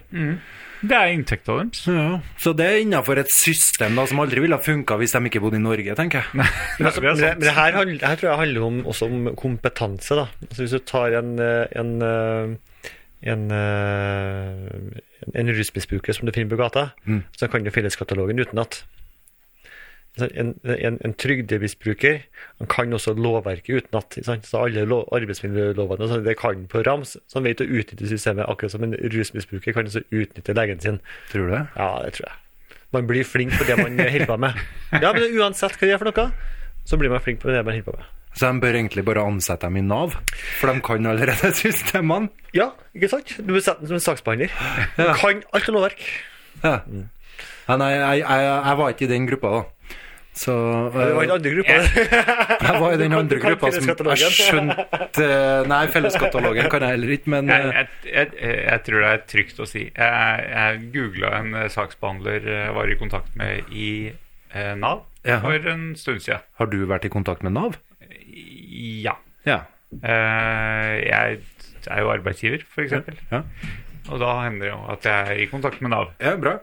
D: Det er inntekta deres.
B: Ja. Så det er innafor et system da, som aldri ville ha funka hvis de ikke bodde i Norge, tenker jeg.
D: Det er
E: Men det,
D: sant.
E: men det her, handl- det her tror jeg handler om, også om kompetanse. da. Altså hvis du tar en, eh, en, eh, en, eh, en rusmisbruker som du finner på gata,
D: Mm.
E: så kan du felleskatalogen utenat. Så En, en, en trygdemisbruker han kan også lovverket utenat. ikke sant? Så alle lov, arbeidsmiljølovene og sånn, det kan han på rams. Så han vet å utnytte systemet, akkurat som en rusmisbruker kan også utnytte legen sin.
B: Tror du det?
E: Ja, det tror jeg. Man blir flink på det man holder på med. Ja, men uansett hva det er for noe, så blir man flink på det man holder på med.
B: Så de bør egentlig bare ansette dem i Nav, for de kan allerede systemene.
E: Ja, ikke sant? Du blir sett som en saksbehandler. Du kan alt om lovverk.
B: Ja. Ja, nei, jeg, jeg, jeg var ikke i den gruppa, da. Så
E: Det var
B: eh,
E: en andre gruppe.
B: jeg var i den
E: kan-
B: andre
E: du kan
B: gruppa som jeg
E: felleskatalogen.
B: skjønte Nei, felleskatalogen kan jeg heller ikke, men
D: Jeg,
B: eh,
D: jeg, jeg, jeg tror det er trygt å si. Jeg, jeg googla en eh, saksbehandler jeg var i kontakt med i eh, Nav
B: Jaha.
D: for en stund siden.
B: har du vært i kontakt med Nav?
D: Ja.
B: Ja.
D: Eh, Jeg er jo arbeidsgiver, f.eks.
B: Ja.
D: Og da hender det jo at jeg er i kontakt med Nav.
B: ja bra.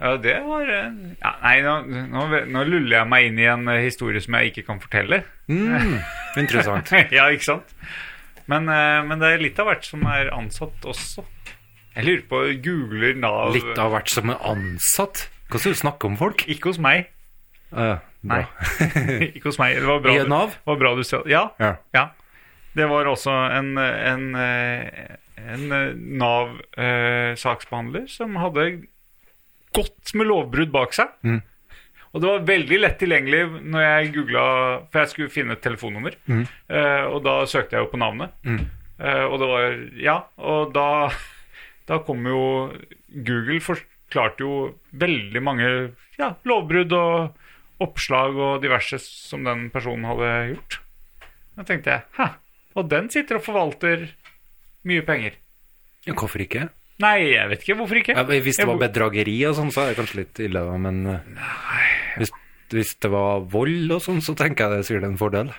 D: Ja, det var eh, ja, Nei, nå, nå, nå luller jeg meg inn i en eh, historie som jeg ikke kan fortelle.
B: Mm, interessant.
D: ja, ikke sant? Men, eh, men det er litt av hvert som er ansatt også. Jeg lurer på Googler Nav
B: Litt av hvert som er ansatt. Hva skal du snakke om folk?
D: Ikke hos meg.
B: Eh, bra.
D: Nei. ikke hos meg. Det var bra,
B: I
D: du-
B: Nav?
D: var bra du sa ja,
B: Ja.
D: ja. Det var også en, en, eh, en Nav-saksbehandler som hadde godt med lovbrudd bak seg.
B: Mm.
D: Og det var veldig lett tilgjengelig når jeg googla For jeg skulle finne et telefonnummer, eh, og da søkte jeg jo på navnet. Eh, og det var Ja, og da, da kom jo Google forklarte jo veldig mange ja, lovbrudd og oppslag og diverse som den personen hadde gjort. Da tenkte jeg Hæ, og den sitter og forvalter mye penger.
B: Ja, Hvorfor ikke?
D: Nei, jeg vet ikke. Hvorfor ikke?
B: Ja, men hvis det
D: Jeg
B: var
D: bo-
B: bedrageri og sånn, så er det kanskje litt ille, da, men eh, hvis, hvis det var vold og sånn, så tenker jeg det er sikkert en fordel.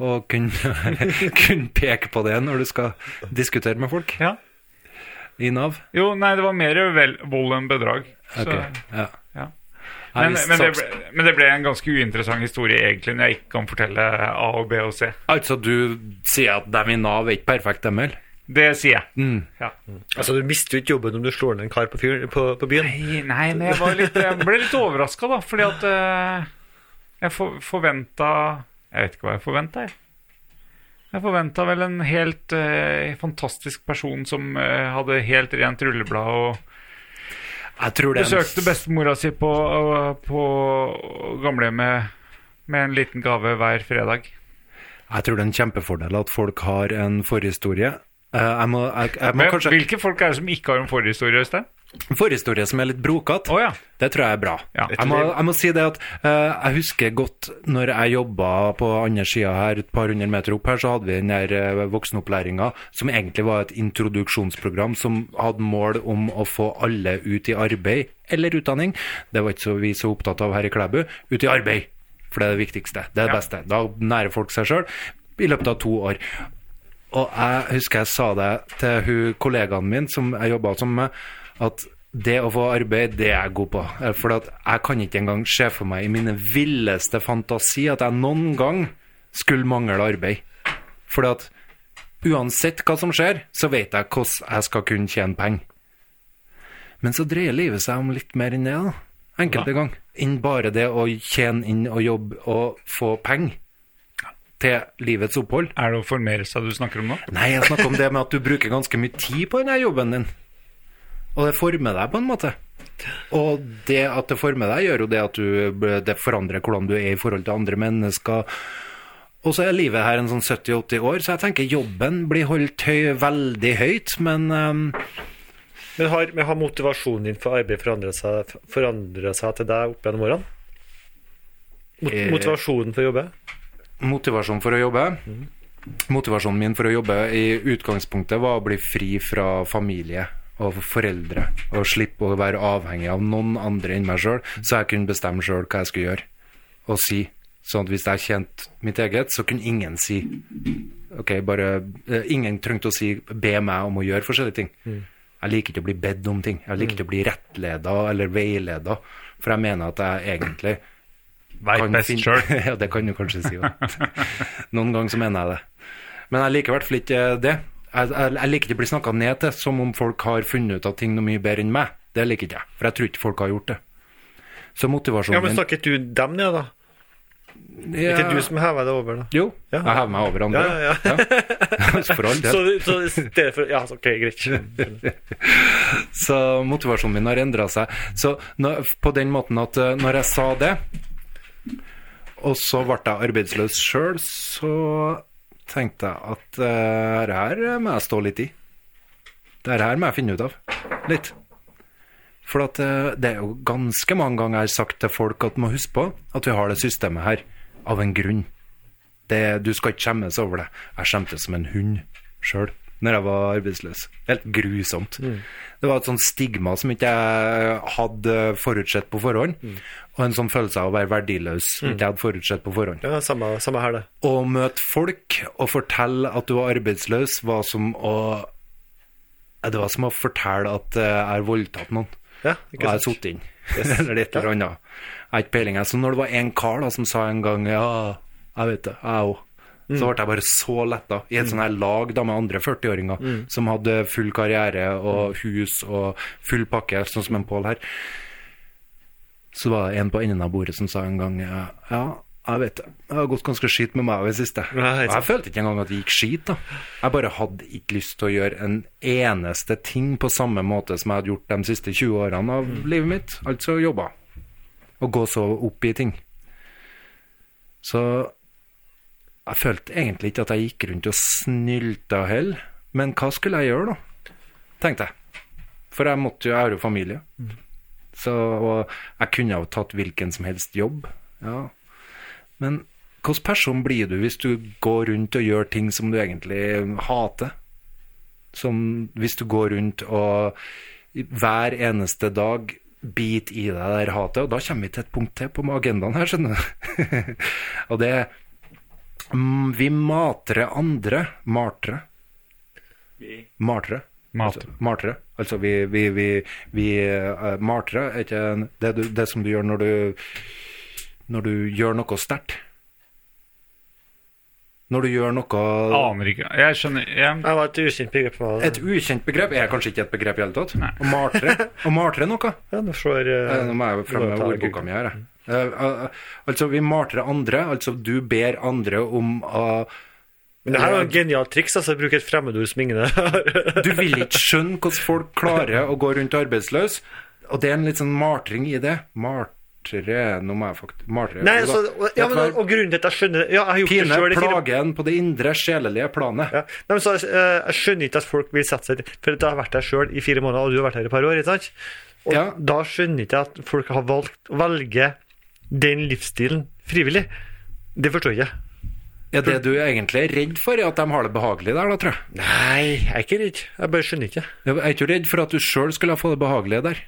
B: Å kunne, kunne peke på det når du skal diskutere med folk
D: Ja.
B: i Nav.
D: Jo, nei, det var mer vel, vold enn bedrag. Så,
B: Ok, ja.
D: ja.
B: Nei,
D: men,
B: hvis
D: men, det
B: saks-
D: ble, men det ble en ganske uinteressant historie egentlig, når jeg ikke kan fortelle A og B og C.
B: Altså, du sier at dem i Nav er ikke perfekte, dem heller?
D: Det sier jeg.
B: Mm.
D: Ja.
E: Altså, du mister jo ikke jobben om du slår ned en kar på, fyr, på, på byen.
D: Nei, nei, men jeg, var litt, jeg ble litt overraska, da, fordi at eh, jeg for, forventa Jeg vet ikke hva jeg forventa, jeg. Jeg forventa vel en helt eh, fantastisk person som eh, hadde helt rent rulleblad og
B: Jeg tror det er en-
D: besøkte bestemora si på, på gamlehjemmet med en liten gave hver fredag.
B: Jeg tror det er en kjempefordel at folk har en forhistorie. Eh, Jeg må, jeg, jeg må
D: Men,
B: kanskje
D: Hvilke folk er det som ikke har en forhistorie, Øystein?
B: Forhistorie som er litt brokete.
D: Å ja.
B: Det tror jeg er bra.
D: Ja.
B: Jeg, må, jeg må si det at eh, jeg husker godt når jeg jobba på andre sida her, et par hundre meter opp her, så hadde vi den der eh, voksenopplæringa som egentlig var et introduksjonsprogram som hadde mål om å få alle ut i arbeid eller utdanning. Det var ikke så vi så opptatt av her i Klæbu. Ut i arbeid, for det er det viktigste. Det er det
D: Ja.
B: beste. Da nærer folk seg sjøl i løpet av to år. Og jeg husker jeg sa det til hun kollegaen min som jeg jobba som med, at det å få arbeid, det er jeg god på. Eh, For at jeg kan ikke engang se for meg i mine villeste fantasi at jeg noen gang skulle mangle arbeid. For at uansett hva som skjer, så vet jeg hvordan jeg skal kunne tjene penger. Men så dreier livet seg om litt mer enn det, da. Enkelte ganger. Enn bare det å tjene inn og jobbe og få penger til livets opphold.
D: Er det å formere seg du snakker om nå?
B: Nei, jeg snakker om det med at du bruker ganske mye tid på denne jobben din. Og det former deg på en måte. Og det at det former deg, gjør jo det at du, det forandrer hvordan du er i forhold til andre mennesker. Og så er livet her en sånn 70-80 år, så jeg tenker jobben blir holdt høy, veldig høyt, men ehm,
E: Men har, men har motivasjonen din for arbeid forandret seg, forandret seg til deg opp gjennom årene? Mot,
B: Eh.
E: motivasjonen for å jobbe?
B: Motivasjon for å jobbe. Motivasjonen min for å jobbe i utgangspunktet var å bli fri fra familie og foreldre. Og slippe å være avhengig av noen andre enn meg sjøl, så jeg kunne bestemme sjøl hva jeg skulle gjøre og si. Sånn at hvis jeg kjente mitt eget, så kunne ingen si Ok, bare eh, Ingen trengte å si be meg om å gjøre forskjellige ting. Jeg liker ikke å bli bedt om ting. Jeg liker ikke å bli rettleda eller veileda, for jeg mener at jeg egentlig
D: Veit
B: kan
D: best
B: finne-
D: sjøl.
B: ja, det kan du kanskje si. ja. Noen ganger så mener jeg det. Men jeg liker i hvert fall ikke det. Jeg, jeg, jeg liker ikke å bli snakka ned til som om folk har funnet ut av ting noe mye bedre enn meg. Det liker ikke jeg, for jeg tror ikke folk har gjort det. Så motivasjonen
E: Ja, men snakket du dem ned, da?
B: min
E: Ja.
B: Ja.
E: Ikke du som hever deg over, da?
B: Jo,
E: Ja.
B: jeg hever meg over andre.
E: Ja,
B: Ja. For all del.
E: Så, så i stedet for Ja, så, ok, greit.
B: Så motivasjonen min har endra seg. Så nå- på den måten at eh, når jeg sa det, og så ble jeg arbeidsløs sjøl, så tenkte jeg at eh, det her må jeg stå litt i. Det her må jeg finne ut av litt. For at eh, det er jo ganske mange ganger jeg har sagt til folk at du må huske på at vi har det systemet her av en grunn. Det, du skal ikke skjemmes over det. Jeg skjemtes som en hund sjøl når jeg var arbeidsløs. Helt grusomt. Det var et sånt stigma som ikke jeg hadde forutsett på forhånd, og en sånn følelse av å være verdiløs som ikke jeg hadde forutsett på forhånd.
E: Ja, samme, samme her, det.
B: Å møte folk og fortelle at du var arbeidsløs, var som å Ja, Det var som å fortelle at eh, jeg har voldtatt noen.
E: Ja,
B: Og jeg har sittet inn. eller et eller annet. Jeg har ikke peiling. jeg. Så når det var en kar da, som sa en gang Ja, jeg vet det, jeg òg. Så ble jeg bare så letta, i et sånt her lag da med andre 40-åringer som hadde full karriere og hus og full pakke, sånn som en Pål her. Så var det en på enden av bordet som sa en gang eh, Ja, jeg vet det. Det har gått ganske skit med meg i det siste.
E: Ja, helt
B: Og jeg følte ikke engang at det gikk skit, da. Jeg bare hadde ikke lyst til å gjøre en eneste ting på samme måte som jeg hadde gjort de siste 20 årene av livet mitt, altså jobba. Og gå så opp i ting. Så jeg følte egentlig ikke at jeg gikk rundt og snylta heller. Men hva skulle jeg gjøre, da? tenkte jeg. For jeg måtte jo, jeg har jo familie. Så, og jeg kunne jo tatt hvilken som helst jobb. Ja. Men hvilken person blir du hvis du går rundt og gjør ting som du egentlig hater? Som hvis du går rundt og hver eneste dag bit i deg det der hatet, og da kommer vi til et punkt til på agendaen her, skjønner du. og det er mm, Vi matrer andre. Martre. Martre.
D: Matre.
B: Altså, martre. Altså vi, vi, vi, vi eh, Martre er ikke en- det, du, det som du gjør når du, når du gjør noe sterkt. Når du gjør noe
D: Aner ikke Jeg skjønner jeg,
E: Jeg var et ukjent begrep for meg.
B: Et ukjent begrep er kanskje ikke et begrep i hele tatt.
D: Nei.
B: Å martre. Å martre noe.
E: Ja, du får eh,
B: Eh, Nå må jeg jo fremme
E: du må ta
B: ordboka mi her. jeg. Eh, eh, altså, vi martrer andre. Altså, du ber andre om eh, å
E: Men det her er jo et genialt triks, altså. Bruke et fremmedord som ingen har
B: Du vil ikke skjønne hvordan folk klarer å gå rundt arbeidsløs, og det er en litt sånn martring i det. Martre Nå må jeg faktisk martre.
E: Nei,
B: Jo da.
E: altså, ja, men,
B: Dette var
E: og grunnen til at jeg skjønner Ja, jeg har gjort det
B: Pine,
E: sjøl.
B: plagen på det indre, sjelelige planet.
E: Ja. Nei, men så, eh, jeg skjønner ikke at folk vil sette seg For jeg har vært der sjøl i fire måneder, og du har vært her i et par år. ikke sant? Og
B: Ja.
E: da skjønner jeg ikke at folk har valgt å velge den livsstilen frivillig. Det forstår jeg ikke.
B: Ja, det du egentlig er redd for, er at de har det behagelig der, da, tror jeg.
E: Nei, jeg er ikke redd. Jeg bare skjønner ikke.
B: Jeg er ikke redd for at du sjøl skulle ha fått det behagelig der.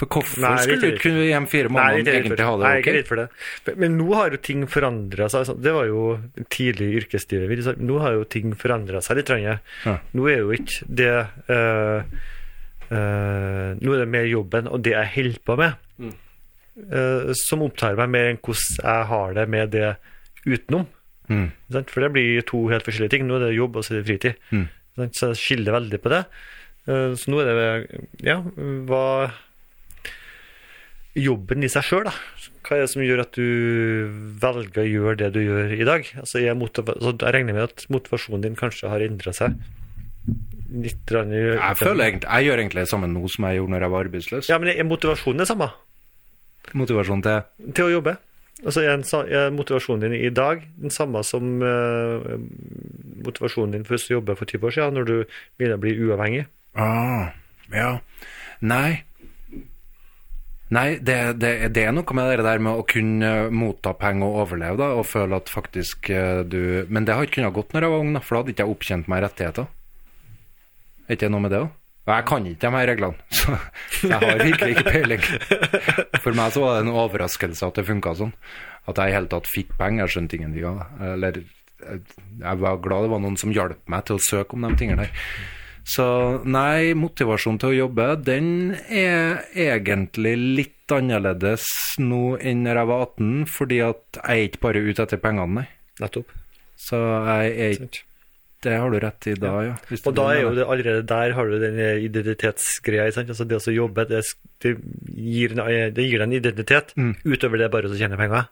B: For hvorfor
E: Nei, jeg er ikke
B: skulle du
E: redd.
B: ikke kunne hjem fire
E: Nei, jeg
B: måneder og
E: er ikke redd for
B: egentlig ha
E: Nei, jeg er
B: det
E: ikke
B: ok?
E: redd for det. Men- Men nå har jo ting forandra seg. altså. Det var jo tidlig i yrkeslivet. vil jeg si. Nå har jo ting forandra seg litt. grann, ja.
B: Ja.
E: Nå er jo ikke det eh, eh, Nå er det mer jobben og det jeg holder på med,
B: Mm.
E: eh, som opptar meg mer enn hvordan jeg har det med det utenom.
B: Mm.
E: Ikke sant? For det blir to helt forskjellige ting. Nå er det jobb, og så er det fritid.
B: Mm.
E: Ikke sant? Så jeg skiller veldig på det. Eh, Så nå er det Ja, hva jobben i seg sjøl, da. Hva er det som gjør at du velger å gjøre det du gjør i dag? Altså, jeg, motiva så jeg regner med at motivasjonen din kanskje har endra seg litt. grann i-
B: Jeg føler egentlig, jeg gjør egentlig det samme nå som jeg gjorde når jeg var arbeidsløs.
E: Ja, men er motivasjonen det samme
B: Motivasjon til
E: til å jobbe? Altså, er, en, sa- er motivasjonen din i dag den samme som eh, motivasjonen din for å jobbe for 20 år siden, når du begynner å bli uavhengig?
B: ah, Ja. Nei. Nei, det, det, det er noe med det der med å kunne motta penger og overleve, da, og føle at faktisk eh, du Men det har ikke kunnet gått når jeg var ung, da, for da hadde ikke jeg opptjent meg rettigheter. Er ikke det noe med det òg? Jeg kan ikke de her reglene, så jeg har virkelig ikke peiling. For meg så var det en overraskelse at det funka sånn. At jeg i hele tatt fikk penger, jeg skjønte ingenting av det. Eller jeg jeg var glad det var noen som hjalp meg til å søke om de tingene der. Så nei, motivasjonen til å jobbe, den er egentlig litt annerledes nå enn når jeg var 18, fordi at jeg er ikke bare ute etter pengene, nei.
E: Nettopp.
B: Så jeg er ikke
E: Sant.
B: Det har du rett i da, ja. Hvis
E: Og
B: du
E: da er
B: mener
E: jo det allerede der har du den eh, identitetsgreia. ikke sant? Altså det å jobbe, det, det, gir, en- eh, det gir deg en identitet.
B: Mm.
E: Utover det bare å tjene penger.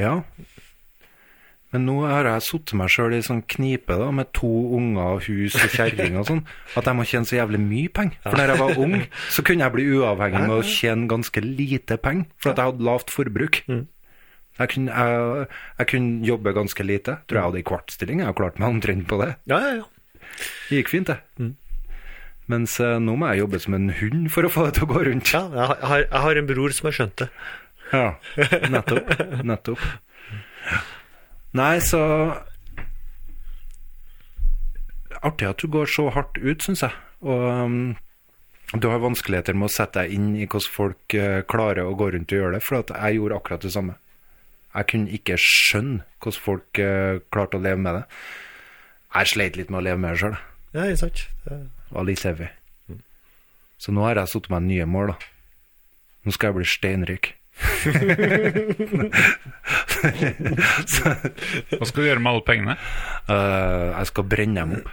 B: Ja. Men nå har jeg satt meg sjøl i sånn knipe da, med to unger og hus og kjerring og sånn, at jeg må tjene så jævlig mye penger. For når jeg var ung, så kunne jeg bli uavhengig med å tjene ganske lite penger, for at jeg hadde lavt forbruk. Jeg kunne, jeg, jeg kunne jobbe ganske lite. Tror jeg hadde ei kvartstilling. Jeg har klart meg omtrent på det.
E: Ja, ja, ja.
B: Det gikk fint, det. Mens eh, nå må jeg jobbe som en hund for å få det til å gå rundt.
E: ja jeg, har- jeg har, jeg har en bror som har skjønt det.
B: Ja, nettopp. Nettopp. Nei, så Artig at du går så hardt ut, syns jeg. Og um, du har vanskeligheter med å sette deg inn i hvordan folk eh, klarer å gå rundt og gjøre det, for at jeg gjorde akkurat det samme. Jeg kunne ikke skjønne hvordan folk eh, klarte å leve med det. Jeg sleit litt med å leve med det sjøl.
E: Ja, ikke sant. Det-
B: Var litt heavy. Så nå har jeg satt meg nye mål, da. Nå skal jeg bli steinrik. så,
D: Hva skal du gjøre med alle pengene?
B: øh, jeg skal brenne dem opp.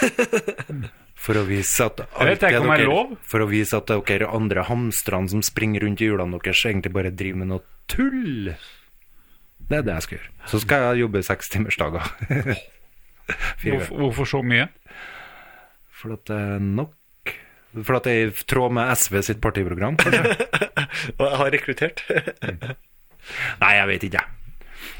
B: For å vise at
D: vet ikke om det er lov.
B: For å vise at dere andre hamstrene som springer rundt i hjulene deres, egentlig bare driver med noe tull. Det er det jeg skal gjøre. Så skal jeg jobbe sekstimersdager. Fire
D: Hvorfor, hvorfor så mye?
B: For at det er nok For at det er i tråd med SV sitt partiprogram, kanskje?
E: Og jeg har rekruttert.
B: Nei, jeg vet ikke.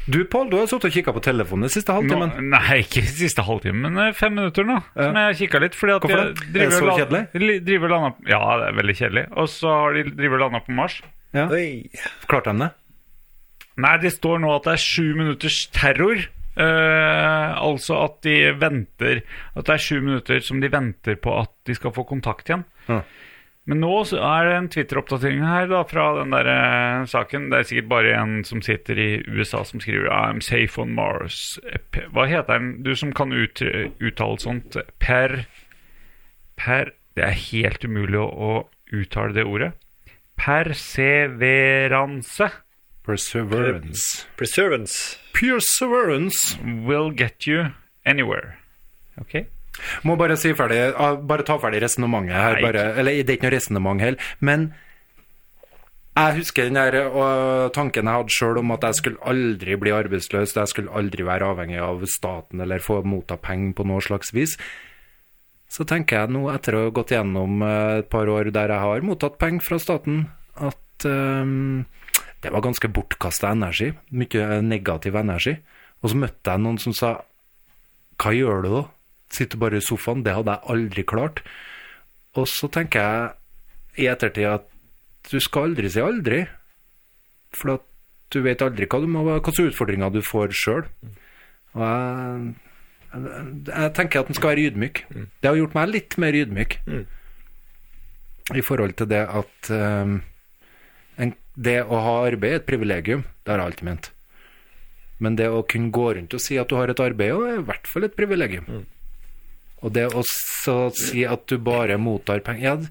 B: Du, Pål, du har sittet og kikka på telefonen den siste
D: Nå,
B: halvtimen.
D: nei, ikke siste halvtimen, men eh, fem minutter nå. Som jeg kikka litt. Fordi at
B: Hvorfor
D: jeg
B: det? Er det
D: driver
B: så
D: og la-
B: kjedelig?
D: li- Driver og landa, ja, det er veldig kjedelig. Og så har de driver og landa på Mars.
B: Ja.
E: Oi.
B: Klarte de det?
D: Nei, det står nå at det er sju minutters terror. Eh, altså at de venter At det er sju minutter som de venter på at de skal få kontakt igjen.
B: Ja.
D: Men nå så er det en Twitter-oppdatering her da fra den der eh, saken. Det er sikkert bare en som sitter i USA som skriver 'I'm safe on Mars'. Eh, P- Hva heter den? Du som kan ut, uttale sånt. Per Per Det er helt umulig å, å uttale det ordet. Perseveranse.
B: Perseverance.
E: Preservance.
B: Perseverance.
D: will get you anywhere. Ok?
B: Må bare si ferdig ah, Bare ta ferdig resonnementet her.
D: Nei.
B: Bare, eller det er ikke noe resonnement heller, men jeg husker den der øh, tanken jeg hadde sjøl om at jeg skulle aldri bli arbeidsløs, jeg skulle aldri være avhengig av staten eller få motta penger på noe slags vis. Så tenker jeg nå, etter å ha gått gjennom eh, et par år der jeg har mottatt penger fra staten, at ehm, det var ganske bortkasta energi. Mye negativ energi. Og så møtte jeg noen som sa Hva gjør du da? Sitter bare i sofaen? Det hadde jeg aldri klart. Og så tenker jeg i ettertid at du skal aldri si aldri. For at du vet aldri hva du må, hva slags utfordringer du får sjøl. Og jeg, jeg, jeg tenker at en skal være ydmyk. Det har gjort meg litt mer ydmyk i forhold til det at ehm, en, det å ha arbeid er et privilegium. Det har jeg alltid ment. Men det å kunne gå rundt og si at du har et arbeid, er i hvert fall et privilegium. Og det å så si at du bare mottar penger ja, d-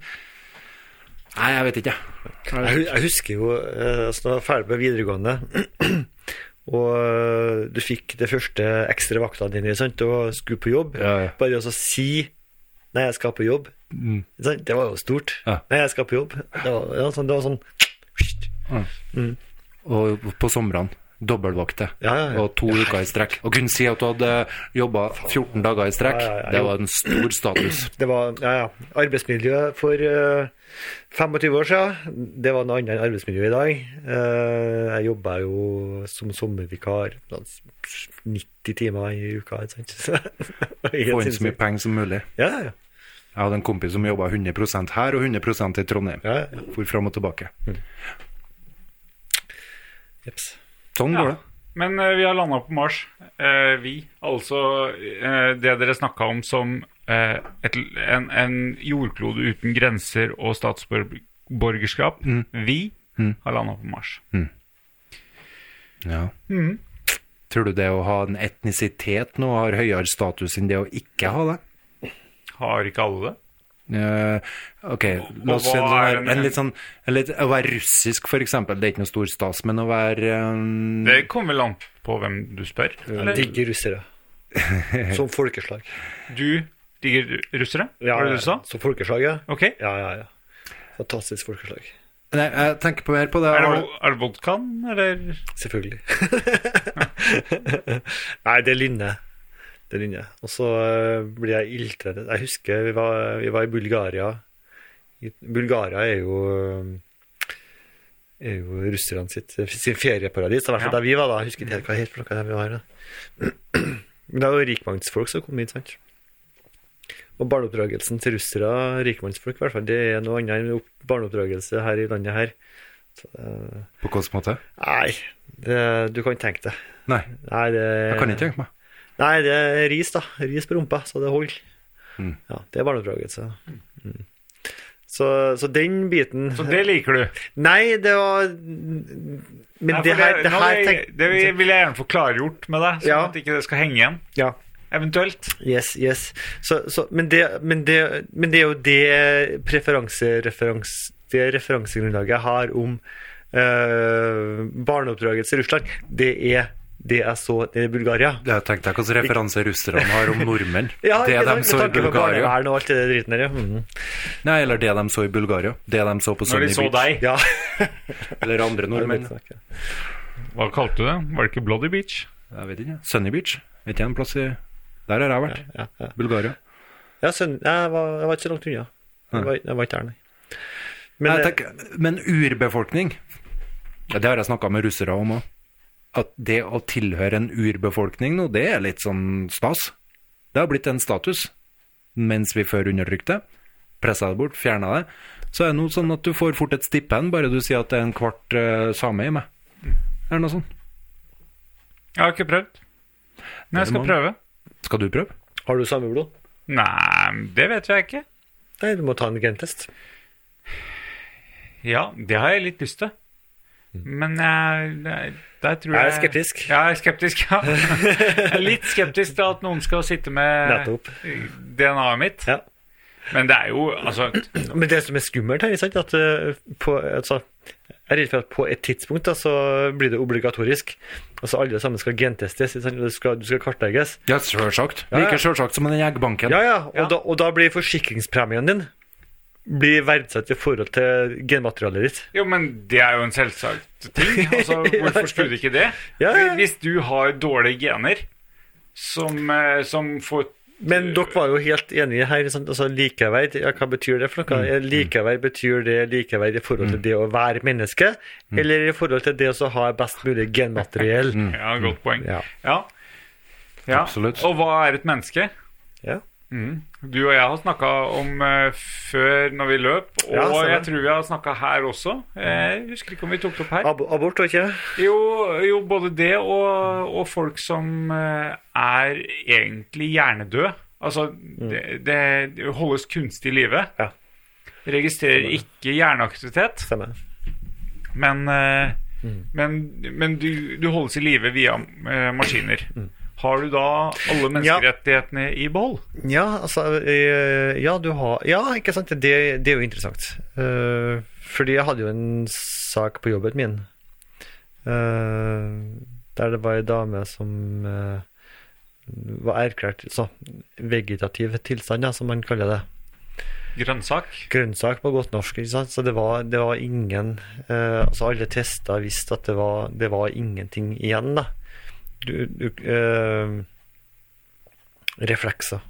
B: Nei, jeg vet ikke.
E: Jeg, hu- jeg husker jo eh, altså, da jeg var ferdig på videregående, og eh, du fikk det første ekstra vakta dine sant? og skulle på jobb.
B: Ja, ja.
E: Bare å så si 'nei, jeg skal på jobb', Ikke sant? det var jo stort.
B: Ja.
E: 'Nei, jeg skal på jobb'. Det var, det var sånn, det var sånn
B: Og på somrene. Dobbeltvakter.
E: Ja, ja, ja.
B: Og to uker i strekk. Å kunne si at du hadde jobba 14 dager i strekk,
E: Ja, ja, ja,
B: det
E: jo.
B: var en stor status.
E: Det var ja, ja. Arbeidsmiljø for eh, 25 år siden, det var noe annet enn arbeidsmiljø i dag. Eh, jeg jobba jo som sommervikar sånn 90 timer i uka. Ikke sant? Det var helt
B: Få inn så
E: sinnssykt.
B: mye penger som mulig.
E: Ja, ja.
B: Jeg hadde en kompis som jobba 100 her og 100 i Trondheim.
E: Ja, ja.
B: For fram og tilbake.
E: Jeps.
B: Sånn går
D: Ja.
B: det.
D: Men eh, vi har landa på Mars, eh, vi. Altså eh, det dere snakka om som eh, et, en, en jordklode uten grenser og statsborgerskap. Vi har landa på Mars.
B: Ja. Tror du det å ha en etnisitet nå har høyere status enn det å ikke ha det?
D: Har ikke alle det?
B: Eh, ok, la oss
D: hva
B: si en,
D: er
B: sånn,
D: den-
B: her- en litt sånn en litt, Å være russisk, for eksempel, det er ikke noe stor stas, men å være eh,
D: Det kommer vel an på hvem du spør. Eller?
E: Digge russere. Som folkeslag.
D: Du digger russere, var det det du sa?
E: Som folkeslag, ja.
D: Ok. Er
E: Ja, ja, ja. Fantastisk folkeslag.
B: Nei, jeg tenker på mer på det.
D: det,
B: Har du-
D: vo- er det vodkaen, eller?
E: Selvfølgelig. Nei, det er lynne. Det er lynne. Og så eh, blir jeg ildredd. Jeg husker vi var, vi var i Bulgaria. I- Bulgaria er jo eh, er jo russerne sitt sin ferieparadis. I hvert fall
D: Ja.
E: der vi var da. Jeg husker ikke helt hva helt plukka vi var. Da. Men det var jo rikmannsfolk som kom hit, sant. Og barneoppdragelsen til russere, rikmannsfolk i hvert fall, det er noe annet enn opp- barneoppdragelse her i landet her. Så, eh,
B: På hvilken måte?
E: Nei, det, du kan ikke tenke det.
B: Nei,
E: Nei, det,
B: jeg kan ikke tenke meg.
E: Nei, det er ris, da. Ris på rumpa, så det holder.
D: Mm.
E: Ja, det er barneoppdragelse. Mm. Så, så den biten
D: Så det liker du?
E: Nei, det var Men
D: Nei, for
E: det her, det
D: nå
E: her
D: vil jeg-
E: tenk-
D: det vil- vil jeg gjerne få klargjort med deg, sånn
E: Ja.
D: at ikke det skal henge igjen.
E: Ja.
D: Eventuelt.
E: Yes, yes. Så, så, men, det, men, det, men det er jo det preferansereferans- det referansegrunnlaget jeg har om eh, barneoppdragelse i Russland. Det er det jeg så i Bulgaria.
B: Jeg tenkte hvilken referanse russerne har om nordmenn.
E: Ja,
B: det
E: ikke
B: de
E: sant?
B: så i
E: Med tanke på
B: Bulgaria.
E: barnevern og alt det der driten der, ja. Mhm.
B: Nei, eller det de så i Bulgaria. Det de så på
D: Når
B: Sunny
D: de så
B: Beach.
D: deg,
E: Ja.
B: Eller andre nordmenn.
D: hva kalte du det? Var det ikke Bloody Beach?
B: Jeg vet ikke. Sunny Beach. Vet ikke en plass i Der har jeg vært.
E: Ja, ja.
B: Bulgaria.
E: Ja, sønn, jeg, var, jeg var ikke så langt unna. Jeg var, jeg var ikke der, nei. Men,
B: Men,
E: eh,
B: tenker, men urbefolkning ja, Det har jeg snakka med russere om òg. At det å tilhøre en urbefolkning nå, det er litt sånn stas. Det har blitt en status. Mens vi før undertrykte, pressa det bort, fjerna det, så er det noe sånn at du får fort et stipend bare du sier at det er en kvart eh, same i meg. Er det noe sånn? sånt?
D: Jeg har ikke prøvd. Men jeg skal
B: må-
D: prøve.
B: Skal du prøve?
E: har du samme blod?
D: Nei, det vet jeg ikke.
E: Nei, du må ta en gentest.
D: Ja, det har jeg litt lyst til. Men jeg, jeg- der tror jeg
E: Jeg er skeptisk.
D: Ja, jeg er skeptisk, ja. Jeg er litt skeptisk til at noen skal sitte med
E: Nettopp.
D: DNA-et mitt.
E: Ja.
D: Men det er jo altså
E: Men det som er skummelt her, ikke sant, at eh, på, altså, jeg er redd for at på et tidspunkt da, så blir det obligatorisk. Altså alle sammen skal gentestes, ikke sant, og du skal, du skal kartlegges.
B: Ja, sjølsagt.
E: ja.
B: Like sjølsagt som den eggbanken.
E: Ja, ja, og,
D: Ja.
E: Da, og da blir forsikringspremien din blir verdsatt i forhold til genmaterialet ditt.
D: Jo, men det er jo en selvsagt ting. Altså, Hvorfor skulle det ikke det?
E: Ja, ja, ja.
D: Hvis du har dårlige gener som, eh, som får
E: Men dere var jo helt enige her. Sant? Altså, likeverd, ja, hva betyr det for noe? Likeverd betyr det likeverd i forhold til det å være menneske, eller i forhold til det å så ha best mulig genmateriell?
D: Ja, godt poeng.
E: Mm. Ja.
D: Ja. Ja.
B: Absolutt.
D: Og hva er et menneske?
E: Ja. Mm.
D: Du og jeg har snakka om eh, før når vi løp, og
E: Ja, stemmer.
D: jeg tror vi har snakka her også. Eh, Jeg husker ikke om vi tok det opp her.
E: Ab abort, var ikke det?
D: Jo, jo både det og, og folk som eh, er egentlig hjernedøde. Altså, det, det, det holdes kunstig i live.
E: Mm. Ja. Sånn
D: Registrerer ikke hjerneaktivitet,
E: Stemmer.
D: men, eh,
E: Mm.
D: men, men du, du holdes i live via eh, maskiner.
E: Mm.
D: Har du da alle menneskerettighetene i behold?
E: Ja, altså eh, Ja, du har Ja, ikke sant? Det, det er jo interessant. Eh, fordi jeg hadde jo en sak på jobben min eh, der det var ei dame som eh, var erklært så, vegetativ tilstand, da, som man kaller det.
D: Grønnsak?
E: grønnsak på godt norsk. Ikke sant? Så det var, det var ingen eh, Altså alle tester visste at det var, det var ingenting igjen, da. Du, du, eh, reflekser.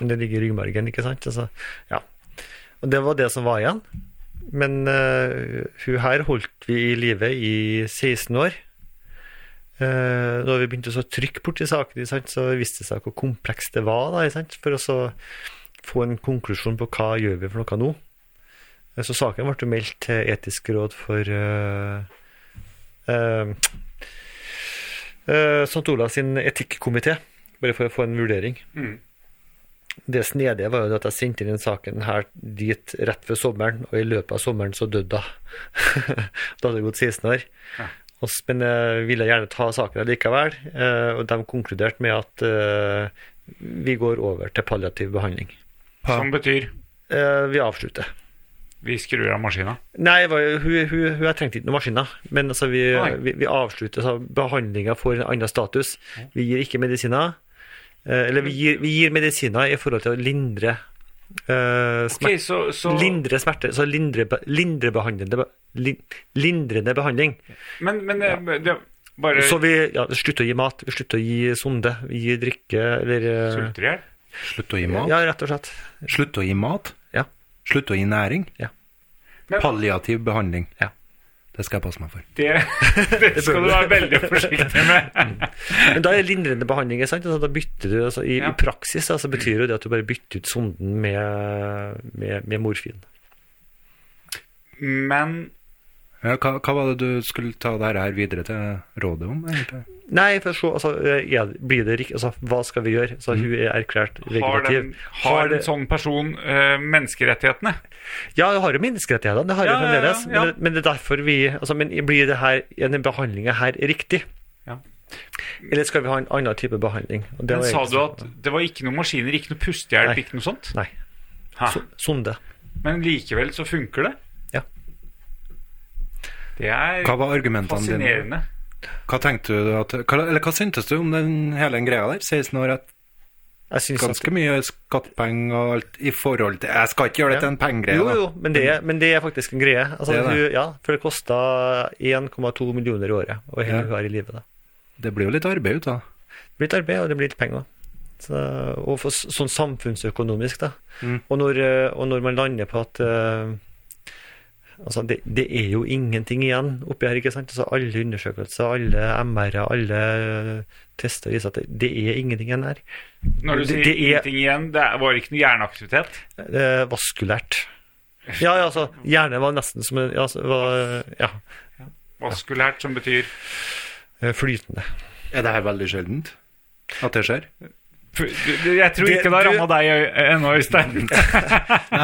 E: Men det ligger i ryggmargen, ikke sant? Altså, ja. Og det var det som var igjen. Men eh, hun her holdt vi i live i 16 år. Uh, da vi begynte å så trykke borti saken, ikke sant, så viste det seg hvor komplekst det var. Da, ikke sant? For å så få en konklusjon på hva gjør vi for noe nå. Eh, Så saken ble jo meldt til etisk råd for eh, eh, eh, St. Olavs sin etikkomité, bare for å få en vurdering. Det snedige var jo at jeg sendte inn den saken her dit rett før sommeren, og i løpet av sommeren så døde hun. da hadde det gått 16 år. Og s- Men jeg ville gjerne ta saken likevel, og de konkluderte med at eh, vi går over til palliativ behandling.
D: Som betyr
E: Eh, Vi avslutter.
D: vi skrur av maskina.
E: Nei, det var jo- hun, hun, hun, jeg trengte ikke noen maskiner. Men altså, vi,
D: Nei.
E: vi, vi avslutter så behandlinga for en annen status. Vi gir ikke medisiner. eh, Eller vi gir, vi gir medisiner i forhold til å lindre eh, smerte.
D: Ok, så, så,
E: Lindre smerte, så lindre, lindrebehandlende be- lin- lindrende behandling.
D: men men eh, det, bare
E: Så vi ja, slutter å gi mat, vi slutter å gi sonde, vi gir drikke eller eh,
D: sulter i hjel.
B: Slutt å gi mat.
E: Ja, rett og slett.
B: Slutt å gi mat.
E: Ja.
B: Slutt å gi næring.
E: Ja.
D: Men-
B: Palliativ behandling.
E: Ja.
B: Det skal jeg passe meg for.
D: Det, det skal du være veldig forsiktig med.
E: Men da er det lindrende behandling. ikke Sant? Altså, da bytter du, altså, i,
D: Ja.
E: I praksis altså, betyr jo det at du bare bytter ut sonden med, med, med morfin.
D: Men
B: Ja, hva, hva var det du skulle ta det her videre til rådet om? egentlig?
E: Nei, for å se, altså, er, det- blir det riktig? Altså, hva skal vi gjøre? Så hun er erklært
D: har,
E: vegetativ.
D: den, har en sånn person eh, menneskerettighetene?
E: Ja, hun har jo menneskerettighetene, det har hun
D: Ja, ja, ja,
E: fremdeles.
D: ja.
E: Men, men det er derfor vi altså, Men blir det her, er denne behandlinga her riktig?
D: Ja.
E: Eller skal vi ha en annen type behandling? Og det
D: Men
E: var
D: sa du
E: egentlig- sånn.
D: at det var ikke noen maskiner, ikke noe pustehjelp,
E: Nei.
D: ikke noe sånt?
E: Nei.
D: Hæ?
E: so- Sonde.
D: Men likevel så funker det?
E: Ja.
D: Det er
B: Hva var argumentene dine?
D: fascinerende.
B: Hva tenkte du at, hva, eller hva syntes du om den hele den greia der? 16 år etter
E: Jeg synes at-
B: ganske mye skattepenger og alt i forhold til Jeg skal ikke gjøre det til en pengegreie,
E: Jo,
B: da.
E: jo, men det, er- men det er faktisk en greie. Altså,
B: Det er det.
E: Hun, ja, for det kosta 1,2 millioner i året å holde
B: Ja.
E: hun her i live. da.
B: Det blir jo litt arbeid ut av det.
E: Det blir litt arbeid, og det blir litt penger. Så, og for, s- sånn samfunnsøkonomisk, da.
B: Mm.
E: Og, når, eh, og når man lander på at eh, Altså, det, det er jo ingenting igjen oppi her, ikke sant? Altså, alle undersøkelser, alle MR-er, alle eh, tester viser at det, det er ingenting igjen her.
D: Når du
E: det-
D: sier
E: det er-
D: ingenting igjen, det er- var ikke noe hjerneaktivitet?
E: Eh, vaskulært. Ja, ja, altså, hjernen var nesten som en ja, altså, var, ja,
D: Vaskulært, som betyr
E: eh, flytende.
B: Er det her veldig sjeldent at det skjer?
D: Fu- du- du- Jeg tror
E: Det-
D: ikke det har
E: du-
D: ramma deg ø- ennå, Øystein.
B: Nei,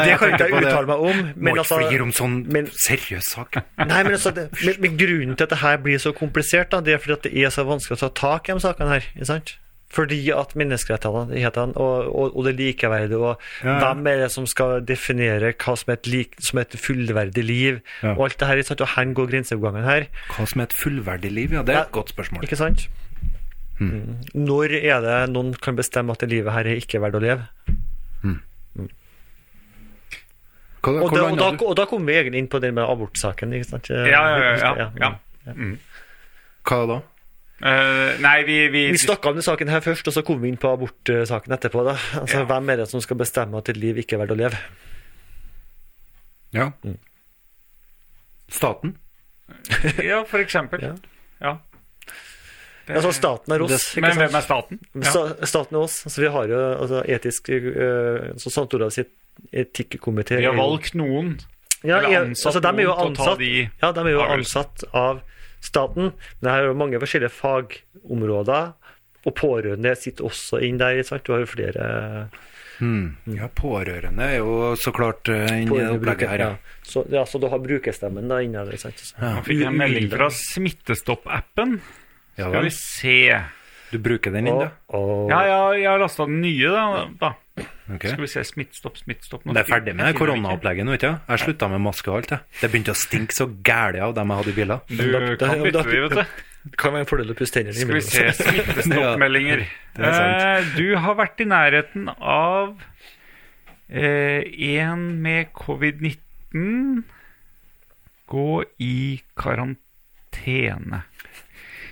E: Det kan ikke jeg uttale meg om,
B: Må
E: men
B: ikke
E: altså
B: flire om sånn
E: men-
B: seriøs sak.
E: Nei, men, altså, det, men, men grunnen til at det her blir så komplisert, da, det er fordi at det er så vanskelig å ta tak i de sakene her. Ikke sant? Fordi at menneskerettighetene og, og, og det likeverdet og
B: Ja, ja.
E: hvem er det som skal definere hva som er et, lik, som er et fullverdig liv,
B: Ja.
E: og alt det her, ikke sant? og hvor går grenseoppgangen her?
B: Hva som er et fullverdig liv? Ja, det er
E: Ja.
B: et godt spørsmål.
E: Ikke sant?
B: Hmm.
E: Mm. Når er det noen kan bestemme at det livet her er ikke verdt å leve?
B: Hva,
E: Og da,
B: hvordan
E: og, da,
B: hadde du-
E: og da kommer vi egentlig inn på den med abortsaken. ikke sant?
D: Ja, ja, ja. ja, ja.
B: hva da?
D: Eh, nei, vi, vi,
E: Vi snakka om den saken her først, og så kom vi inn på abortsaken etterpå. da. Altså,
D: Ja.
E: Hvem er det som skal bestemme at et liv ikke er verdt å leve?
B: Ja.
E: Mm.
B: Staten?
D: Ja, for eksempel.
E: Ja.
D: Ja.
E: Altså, Staten er oss. ikke
D: Men
E: sant?
D: hvem er staten? Ja.
E: Sta- Staten er oss. Altså, vi har jo altså, etisk eh, så Sant Olavs sitt etikkomité
D: Vi har valgt noen.
E: ja,
D: eller
E: er-
D: ansatt
E: altså, de er jo
D: noen til å ta
E: ansatt,
D: de
E: ja, de er jo
D: avgjørelsene.
E: ansatt av staten. Men det er jo mange forskjellige fagområder. Og pårørende sitter også inn der. ikke sant? Du har jo flere
B: Ja, pårørende er jo så klart eh, inn i
E: pårørende
B: opplegget her. Ja.
E: Så, ja, så du har brukerstemmen da inne der. ikke sant?
D: Nå fikk jeg en melding fra Smittestopp-appen.
B: Ja,
D: Skal
B: vel.
D: vi se.
B: du bruker den inn, da?
E: Og-
D: Ja, ja, jeg har lasta den nye, da. da.
B: Ok.
D: Skal vi se. Smittestopp, smittestopp. Nå
B: Det er
D: fikk-
B: ferdig med
D: jeg
B: det
D: finner det ikke.
B: koronaopplegget nå, ikke sant? Jeg slutta med maske og alt, jeg. Det begynte å stinke så gæli av dem jeg hadde i biler.
D: Du
E: Da-
D: kan
E: da-
D: bytte de, vet du.
E: Det kan være en fordel å pusse tennene
D: Skal vi
E: imellom.
D: se smittestoppmeldinger.
B: det er sant.
D: Eh, du har vært i nærheten av eh, en med covid-19 gå i karantene.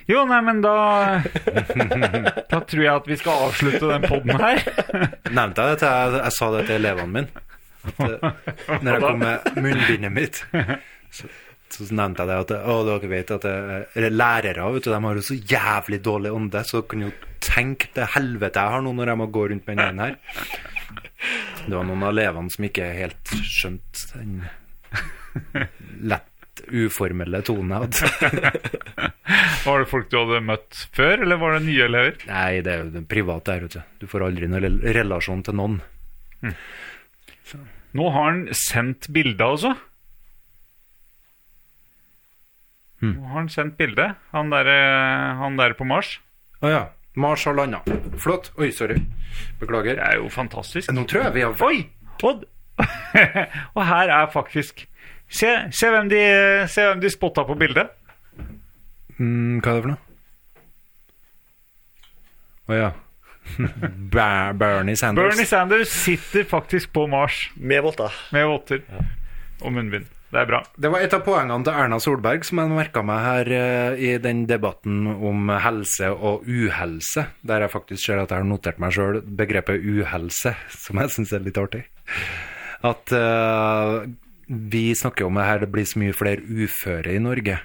D: Jo, nei, men da Da tror jeg at vi skal avslutte den poden her.
B: Nevnte jeg det til jeg, jeg sa det til elevene mine? At, eh, når jeg kom med munnbindet mitt, så, så nevnte jeg det at Å, dere vet at det, eller lærere vet du, de har jo så jævlig dårlig ånde, så dere kan jo tenke det helvete jeg har nå når jeg må gå rundt med den ene her. Det var noen av elevene som ikke helt skjønte den lett uformelle tonen jeg hadde.
D: Var det folk du hadde møtt før, eller var det nye elever?
B: Nei, det er jo det private her ute. Du får aldri noen rel- relasjon til noen.
D: Nå har han sendt bilde, altså. Nå har han sendt bilde, han der, eh, han der på Mars.
B: Å ja. Mars har landa. Flott. Oi, sorry. Beklager. Eh,
D: Det er jo fantastisk.
B: Nå tror jeg vi har
D: Oi! Og, og her er faktisk Se, se, hvem, de, se hvem de spotta på bildet.
B: mm, Hva er det for noe? Å ja. Ber- Bernie Sanders.
D: Bernie Sanders sitter faktisk på Mars
E: Med votter.
D: med votter og munnbind. Det er bra.
B: Det var et av poengene til Erna Solberg som jeg merka meg her eh, i den debatten om helse og uhelse, der jeg faktisk ser at jeg har notert meg sjøl begrepet uhelse, som jeg syns er litt artig. At eh, vi snakker om det her, det blir så mye flere uføre i Norge.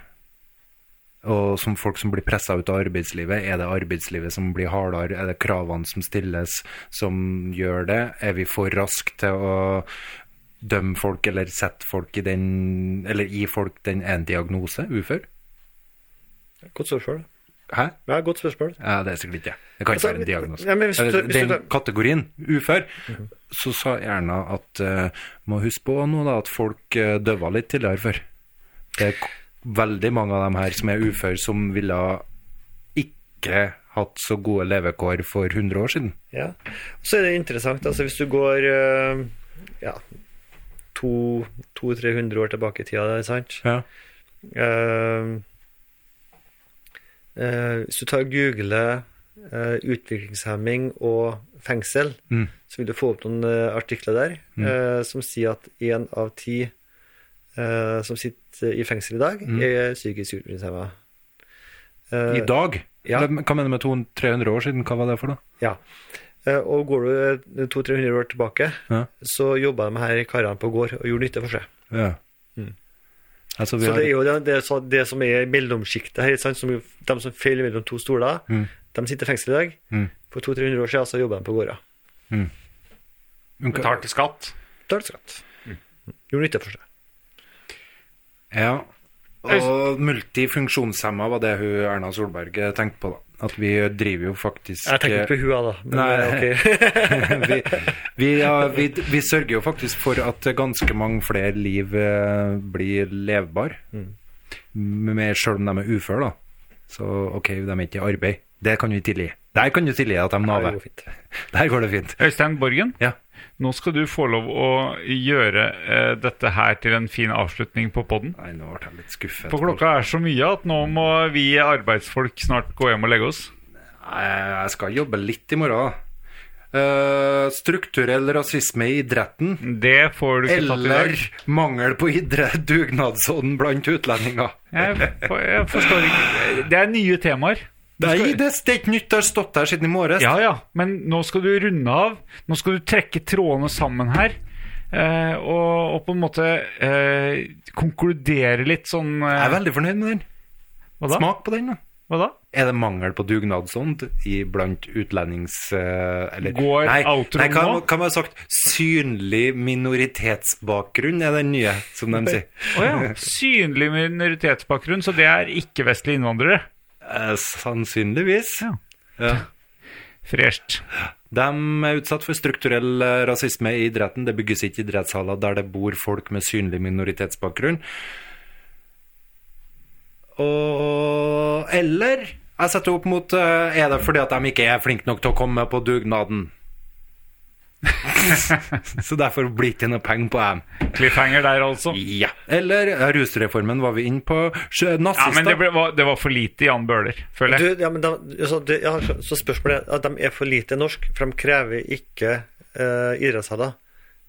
B: Og som folk som blir pressa ut av arbeidslivet, er det arbeidslivet som blir hardere? Er det kravene som stilles som gjør det? Er vi for raske til å dømme folk eller sette folk i den Eller gi folk den ene diagnose, ufør?
E: Godt spørsmål.
B: Hæ?
E: Ja, godt spørsmål.
B: Ja, det er sikkert ikke det. Det kan ikke
E: Altså,
B: være en diagnose.
E: ja, men hvis du-
B: Eller,
E: hvis du- Mhm.
B: den kategorien, ufør, så sa Erna at eh, må huske på nå da at folk eh, døva litt tidligere før. Det er k- veldig mange av dem her som er ufør, som ville ikke hatt så gode levekår for 100 år siden.
E: Ja. Og så er det interessant, altså hvis du går eh, ja, 200-300 år tilbake i tida, det er sant?
B: Ja.
E: Eh, eh, hvis du tar og googler eh, utviklingshemming og fengsel,
B: Mm.
E: så vil du få opp noen eh, artikler der eh, som sier at én av ti eh, som sitter i fengsel i dag, er psykisk utviklingshemma.
B: Mm. I
E: Eh,
B: dag?
E: ja.
B: Eller, Hva mener du med 200-300 år siden? Hva var det for noe?
E: Ja. Eh, Og går du 200-300 år tilbake,
B: Ja.
E: så jobba de her karene på gård og gjorde nytte for seg.
B: Ja. Altså, vi
E: Mm. Så
B: har,
E: det er jo det, det, er så det som er i mellomsjiktet her, ikke sant? som, jo- de som faller mellom to stoler, de sitter i fengsel i dag.
B: Mm.
E: For 200-300 år siden så jobba de på gårder.
B: Men hva-
D: Betalte skatt.
E: Betalt skatt. Gjorde nytte for seg.
B: Ja, og multifunksjonshemma var det hun Erna Solberg eh, tenkte på, da. At vi driver jo faktisk
E: Jeg tenker ikke på hua, da. Men,
B: Nei.
E: eh, ok.
B: vi, vi, ja, vi, vi sørger jo faktisk for at ganske mange flere liv eh, blir levbar.
E: Mm.
B: Med, selv om de er uføre, da. Så OK, de er ikke i arbeid. Det kan vi tilgi. Der kan du tilgi at de
E: Ja, det
B: naver.
E: går fint.
B: Der går det fint.
D: Øystein Borgen,
B: Ja.
D: nå skal du få lov å gjøre eh, dette her til en fin avslutning på podden.
B: Nei, nå ble jeg litt skuffet.
D: For klokka er så mye at nå må vi arbeidsfolk snart gå hjem og legge oss.
B: Nei, Jeg skal jobbe litt i morgen, da. Eh, strukturell rasisme i idretten.
D: Det får du ikke tatt i dag.
B: Eller mangel på idrett, dugnadsånd blant utlendinger.
D: Jeg, for- jeg forstår ikke Det er nye temaer.
B: Nei, det er ikke nytt. Det har stått der siden i morges.
D: Ja ja, men nå skal du runde av. Nå skal du trekke trådene sammen her. eh, og, og på en måte eh, konkludere litt sånn
B: Jeg er
D: eh,
B: veldig fornøyd med den.
D: Hva da?
B: Smak på den, da.
D: Hva da?
B: Er det mangel på dugnadsånd i blant utlendings... eh, Eller,
D: Går outroen
B: nei, hva,
D: nå?
B: hva man har sagt? Synlig minoritetsbakgrunn er den nye, som de sier.
D: Å ja. Synlig minoritetsbakgrunn, så det er ikke-vestlige innvandrere.
B: Eh, sannsynligvis.
D: Ja.
B: Ja.
D: Fresht.
B: De er utsatt for strukturell eh, rasisme i idretten. Det bygges ikke idrettshaller der det bor folk med synlig minoritetsbakgrunn. Og Eller jeg setter opp mot eh, Er det fordi at de ikke er flinke nok til å komme på dugnaden? Så derfor blir det ikke noe penger på dem.
D: Cliffhanger der, altså.
B: Ja. Eller eh, rusreformen var vi inne på. Sjø-
D: Ja, men det,
B: Nazister.
D: ble, var, det var for lite Jan Bøhler, føler jeg.
E: Du, ja, men de, altså, det- ja, så spørsmålet er at de er for lite norsk, for de krever ikke uh, idrettshaller.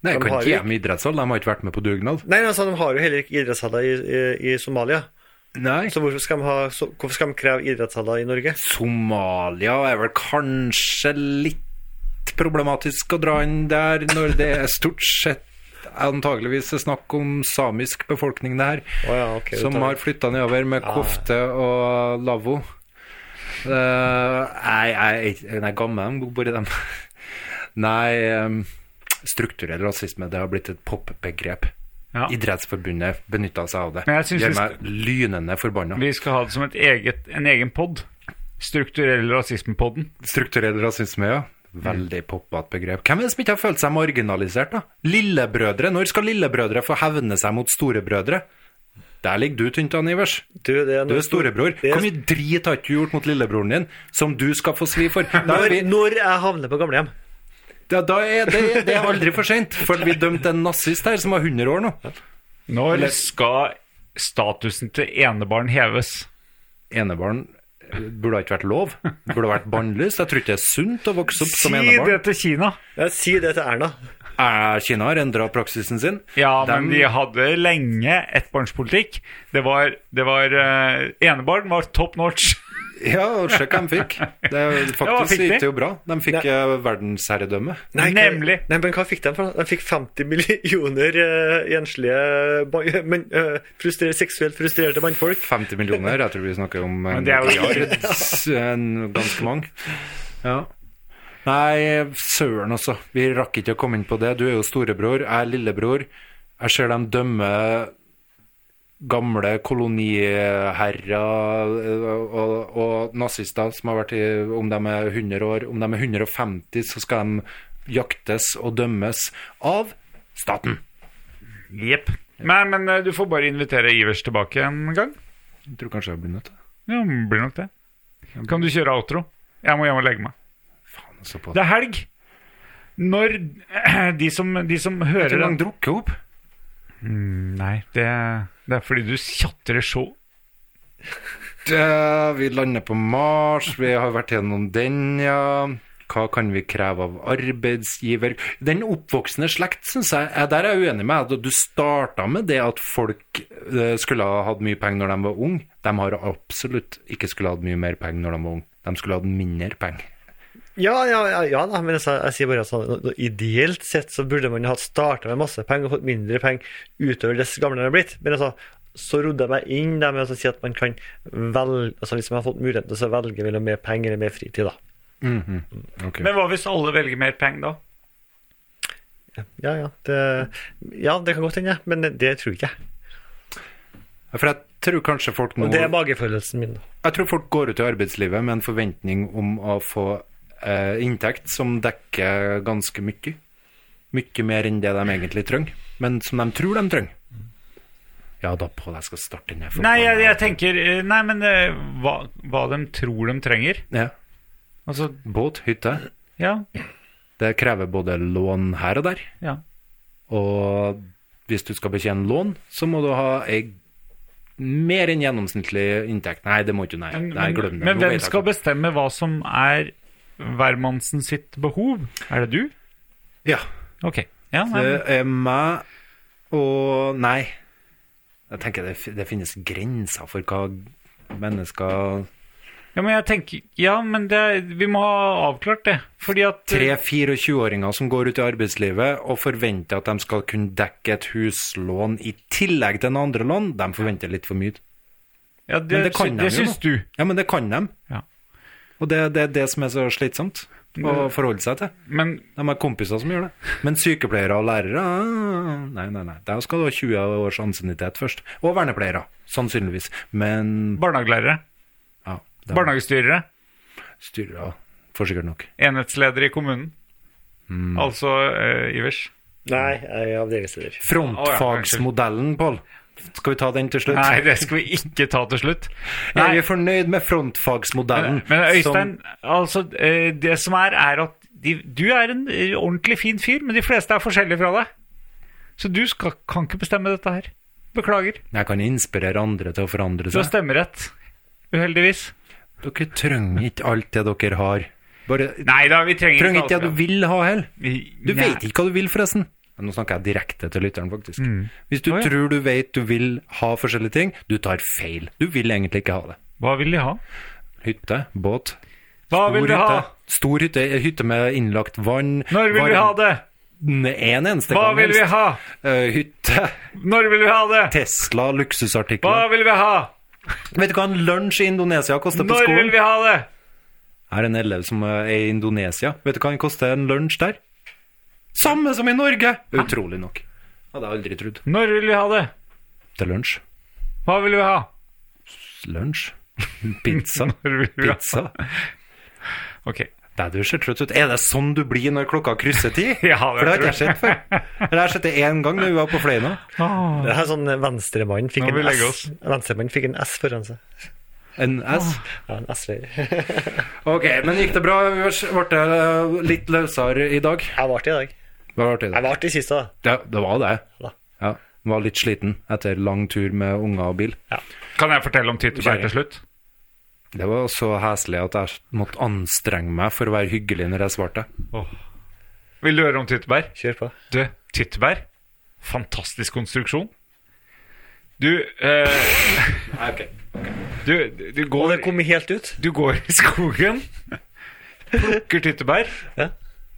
B: Nei,
E: de
B: jeg kan
E: har
B: ikke
E: jo
B: hjem i idrettshall. De har ikke vært med på dugnad.
E: Nei, altså, de har jo heller ikke idrettshaller i, i, i Somalia.
B: Nei.
E: Så hvorfor skal de, ha, så, hvorfor skal de kreve idrettshaller i Norge?
B: Somalia er vel kanskje litt problematisk å dra inn der, når det er stort sett antageligvis er snakk om samisk befolkning det her,
E: Å ja, ok, du
B: som
E: tar- Ah,
B: har flytta nedover med kofte og lavvo. Eh, Nei, jeg er ikke- nei, gammel, de bor i dem. Nei, eh, strukturell rasisme. Det har blitt et popbegrep.
D: Ja.
B: Idrettsforbundet benytta seg av det.
D: Men jeg synes
B: Gjør
D: vi
B: meg lynende forbanna.
D: Vi skal ha det som et eget, en egen pod. Strukturell rasisme-podden.
B: Strukturell rasisme, ja. Veldig
E: Mm.
B: poppete begrep. Hvem er det som ikke har følt seg marginalisert, da? Lillebrødre? Når skal lillebrødre få hevne seg mot storebrødre? Der ligger du tynt an, Ivers.
E: Du, det er
B: Du
E: noe-
B: er storebror.
E: Det er-
B: Hvor mye drit har ikke du gjort mot lillebroren din, som du skal få svi for? Da er,
E: Når,
B: vi,
E: når jeg havner på gamlehjem
B: da, da er det, det er aldri for seint, for vi dømte en nazist her som var 100 år nå.
D: Når skal statusen til enebarn heves?
B: Enebarn eh, burde ikke vært lov. Burde vært bannlyst. Jeg tror ikke det er sunt å vokse opp som
D: si
B: enebarn.
D: det til Kina!
E: Jeg sier det til Erna.
B: Eh, Kina har endra praksisen sin.
D: Ja,
B: Dem-
D: men de hadde lenge ettbarnspolitikk. Det var, det var eh, Enebarn var top notch.
B: Ja, og sjekk hva de fikk. Det er
D: hva fikk
B: faktisk
D: de?
B: gikk det jo bra. De fikk eh, verdensherredømme.
E: hva-
D: Nemlig.
E: Nei, men hva fikk de for noe? De fikk 50 millioner eh, enslige ba- men, eh, frustre- seksuelt frustrerte mannfolk.
B: 50 millioner, jeg tror vi snakker om en
D: det er jo-
B: milliard, s- en- ganske mange. Ja. Nei, søren også. Vi rakk ikke å komme inn på det. Du er jo storebror, jeg er lillebror. Jeg ser dem dømme gamle koloniherrer og, og, og nazister som har vært i Om de er 100 år, om de er 150, så skal de jaktes og dømmes av staten.
D: Jepp. Nei, men eh, du får bare invitere Ivers tilbake en gang.
B: Jeg tror kanskje jeg blir nødt til det.
D: Ja, det blir nok det. Kan du kjøre outro? Jeg må hjem og legge meg.
B: Faen, altså på.
D: Det er helg. Når de som, de som hører
B: Hvor
D: den
B: lang drukker opp?
D: Nei, det, det er fordi du tjatrer så
B: Det, eh, vi lander på Mars, vi har vært gjennom den, ja. Hva kan vi kreve av arbeidsgiver? Den oppvoksende slekt, syns jeg eh, Der er jeg uenig med deg. Du starta med det at folk eh, skulle ha hatt mye penger når de var unge. De har absolutt ikke skulle hatt mye mer penger når de var unge. De skulle hatt mindre penger.
E: Ja, ja, ja, ja da, men altså, jeg sier bare sånn no- no- Ideelt sett så burde man ha starta med masse penger og fått mindre penger utover dess gamle man er blitt. Men altså, så rodde jeg meg inn der med å si at man kan velge altså Hvis man har fått muligheten til å velge mellom mer penger eller mer fritid, da.
D: Men hva hvis alle velger mer penger, da?
E: Ja, ja. Det, ja, det kan godt hende, men det tror ikke jeg.
B: For jeg tror kanskje folk nå
E: Og det er magefølelsen min. da.
B: Jeg tror folk går ut i arbeidslivet med en forventning om å få eh, inntekt som dekker ganske mye. Mye mer enn det de egentlig trenger, men som de tror de trenger. Ja, da på jeg skal starte ned
D: Nei, jeg, jeg tenker eh, Nei, men eh, hva, hva de tror de trenger.
B: Ja.
D: Altså,
B: Båt, hytte.
D: ja.
B: Det krever både lån her og der.
D: ja.
B: Og hvis du skal betjene lån, så må du ha ei mer enn gjennomsnittlig inntekt. Nei, det må ikke du, nei. nei glem det.
D: men
B: Nå
D: hvem
B: vet jeg
D: skal
B: ikke.
D: bestemme hva som er hvermannsen sitt behov? Er det du?
B: Ja.
D: Ok. Ja, nei,
B: Det
D: men-
B: er meg og Nei. Jeg tenker det, fi- det finnes grenser for hva mennesker
D: ja, men jeg tenker Ja, men det, er- vi må ha avklart det. Fordi at eh,
B: 3-24-åringer som går ut i arbeidslivet og forventer at de skal kunne dekke et huslån i tillegg til en andre lån, de forventer litt for mye.
D: ja,
B: Men
D: det,
B: det kan de
D: det
B: jo
D: syns
B: nå.
D: du.
B: Ja, men det kan de.
D: Ja.
B: Og det, det er det som er så slitsomt å forholde seg til.
D: Men
B: De har kompiser som gjør det. Men sykepleiere og lærere ah, Nei, nei, nei. Der skal du ha 20 års ansiennitet først. Og vernepleiere, sannsynligvis. Men
D: barnehagelærere,
B: Ja, det var
D: barnehagestyrere,
B: styrer for sikkert nok.
D: enhetsledere i kommunen. Altså eh, Ivers.
E: Nei, jeg er avdelingsleder.
B: Frontfagsmodellen, Pål. Skal vi ta den til slutt?
D: Nei, det skal vi ikke ta til slutt. Nei,
B: Er vi fornøyd med frontfagsmodellen?
D: men Øystein,
B: som-
D: altså, eh, det som er, er at de, du er en eh, ordentlig fin fyr, men de fleste er forskjellige fra deg. Så du skal, kan ikke bestemme dette her. Beklager.
B: Jeg kan inspirere andre til å forandre
D: Du har
B: seg.
D: stemmerett. Uheldigvis.
B: Dere trenger ikke alt det dere har. Bare
D: Nei da, vi trenger
B: trenger ikke det du vil ha heller.
D: Nei.
B: Du vet ikke hva du vil, forresten. Men nå snakker jeg direkte til lytteren, faktisk. Hvis du
D: Mm. Å, ja.
B: tror du vet du vil ha forskjellige ting, du tar feil. Du vil egentlig ikke ha det.
D: Hva vil de ha?
B: Hytte, båt,
D: Hva
B: stor
D: vil de ha?
B: hytte. Stor hytte, hytte med innlagt vann.
D: Når vil
B: varm-
D: vi ha det?
B: En eneste
D: Hva
B: gang
D: vil vi
B: helst.
D: ha?
B: Eh, hytte,
D: Når vil vi ha det?
B: Tesla,
D: Hva
B: luksusartikler.
D: vil vi ha?
B: Vet du hva en lunsj i Indonesia koster på
D: Når vil
B: skolen?
D: vi ha det?
B: Her er en elev som eh, er i Indonesia. Vet du hva han koster en lunsj der? Samme som i Norge! Utrolig nok. Hadde jeg aldri trodd.
D: Når vil vi ha det?
B: Til lunsj.
D: Hva vil vi ha?
B: Lunsj. Pizza.
D: Når vil vi ha?
B: Pizza.
D: Ok.
B: Nei, du ser trøtt ut. Er det sånn du blir når klokka krysser ti?
D: Ja, det
B: For det har
D: tror jeg.
B: ikke jeg sett før. Eller jeg har sett det én gang da vi var på Fløyna.
D: Ah,
E: Det er sånn venstremann fikk,
D: Nå må
E: en
D: vi legge
E: S. Venstremann fikk en S foran seg.
B: En S.
E: Ja, en S-er.
B: Ok, men gikk det bra? Vi ble det litt løsere i dag.
E: Jeg var artig i dag.
B: Det var artig,
E: Jeg
B: det.
E: var artig sist òg.
B: Ja, det var det.
E: Ja.
B: Ja. Var litt sliten etter lang tur med unger og bil.
D: kan jeg fortelle om tyttebær til slutt?
B: Det var så heslig at jeg måtte anstrenge meg for å være hyggelig når jeg svarte.
D: Vil du høre om tyttebær?
E: Kjør på.
D: Du, tyttebær. Fantastisk konstruksjon. Du, eh,
B: Nei, ok.
D: du, du
E: Og
D: går
E: det kom helt ut.
D: Du går i skogen, plukker tyttebær,
E: Ja.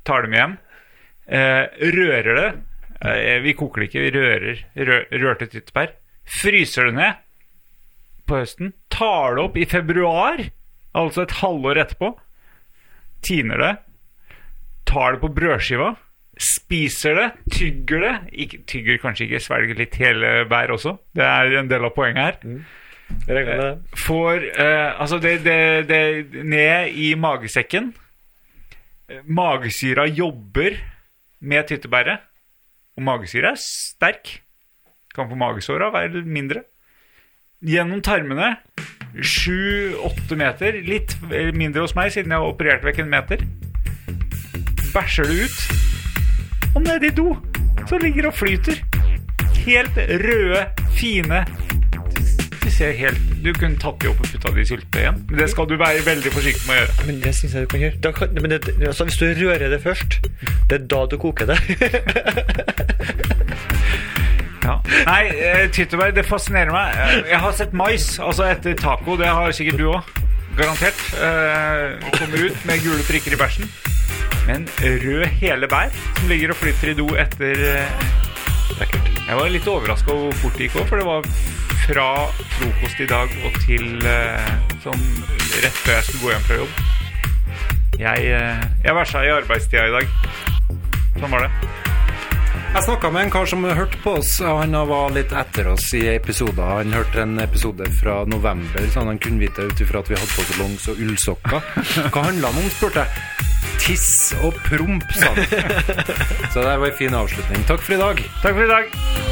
D: tar dem hjem, eh, rører det. Eh, vi koker det ikke, vi rører rø rørte tyttebær. Fryser det ned på høsten. Tar det opp i februar, altså et halvår etterpå. Tiner det. Tar det på brødskiva. Spiser det, tygger det. Ikke, tygger kanskje ikke, svelger litt hele bær også. Det er en del av poenget her
E: Regner med det.
D: får eh, Altså, det, det, det ned i magesekken. Eh, Magesyra jobber med tyttebæret. Og magesyra er sterk. Kan få magesår av, være mindre. Gjennom tarmene sju-åtte meter. Litt eh, mindre hos meg, siden jeg har operert vekk en meter. Bæsjer det ut. Og nede i do så ligger det og flyter. Helt røde, fine du ser helt Du kunne tatt de opp og putta de i syltetøy igjen. Men det skal du være veldig forsiktig med å gjøre.
E: Eh, Men det syns jeg du kan gjøre. Da kan, men det, altså, hvis du rører det først, det er da du koker det.
D: Nei, eh, tyttebær, det fascinerer meg. Eh, Jeg har sett mais, altså etter taco. Det har sikkert du òg. Garantert. Eh, kommer ut med gule prikker i bæsjen. Men rød hele bær som ligger og flyter i do etter eh, Jeg var litt overraska over hvor fort det gikk òg, for det var fra frokost i dag og til eh, sånn rett før jeg skulle gå hjem fra jobb. Jeg, eh, jeg versa i arbeidstida i dag. Sånn var det.
B: Jeg snakka med en kar som hørte på oss, og han var litt etter oss i episoder. Han hørte en episode fra november, sånn han kunne vite ut ifra at vi hadde på oss longs og ullsokker. Hva handla den om, spurte jeg. Tiss og promp, sa han. Så det var en fin avslutning. Takk for i dag.
D: Takk for i dag.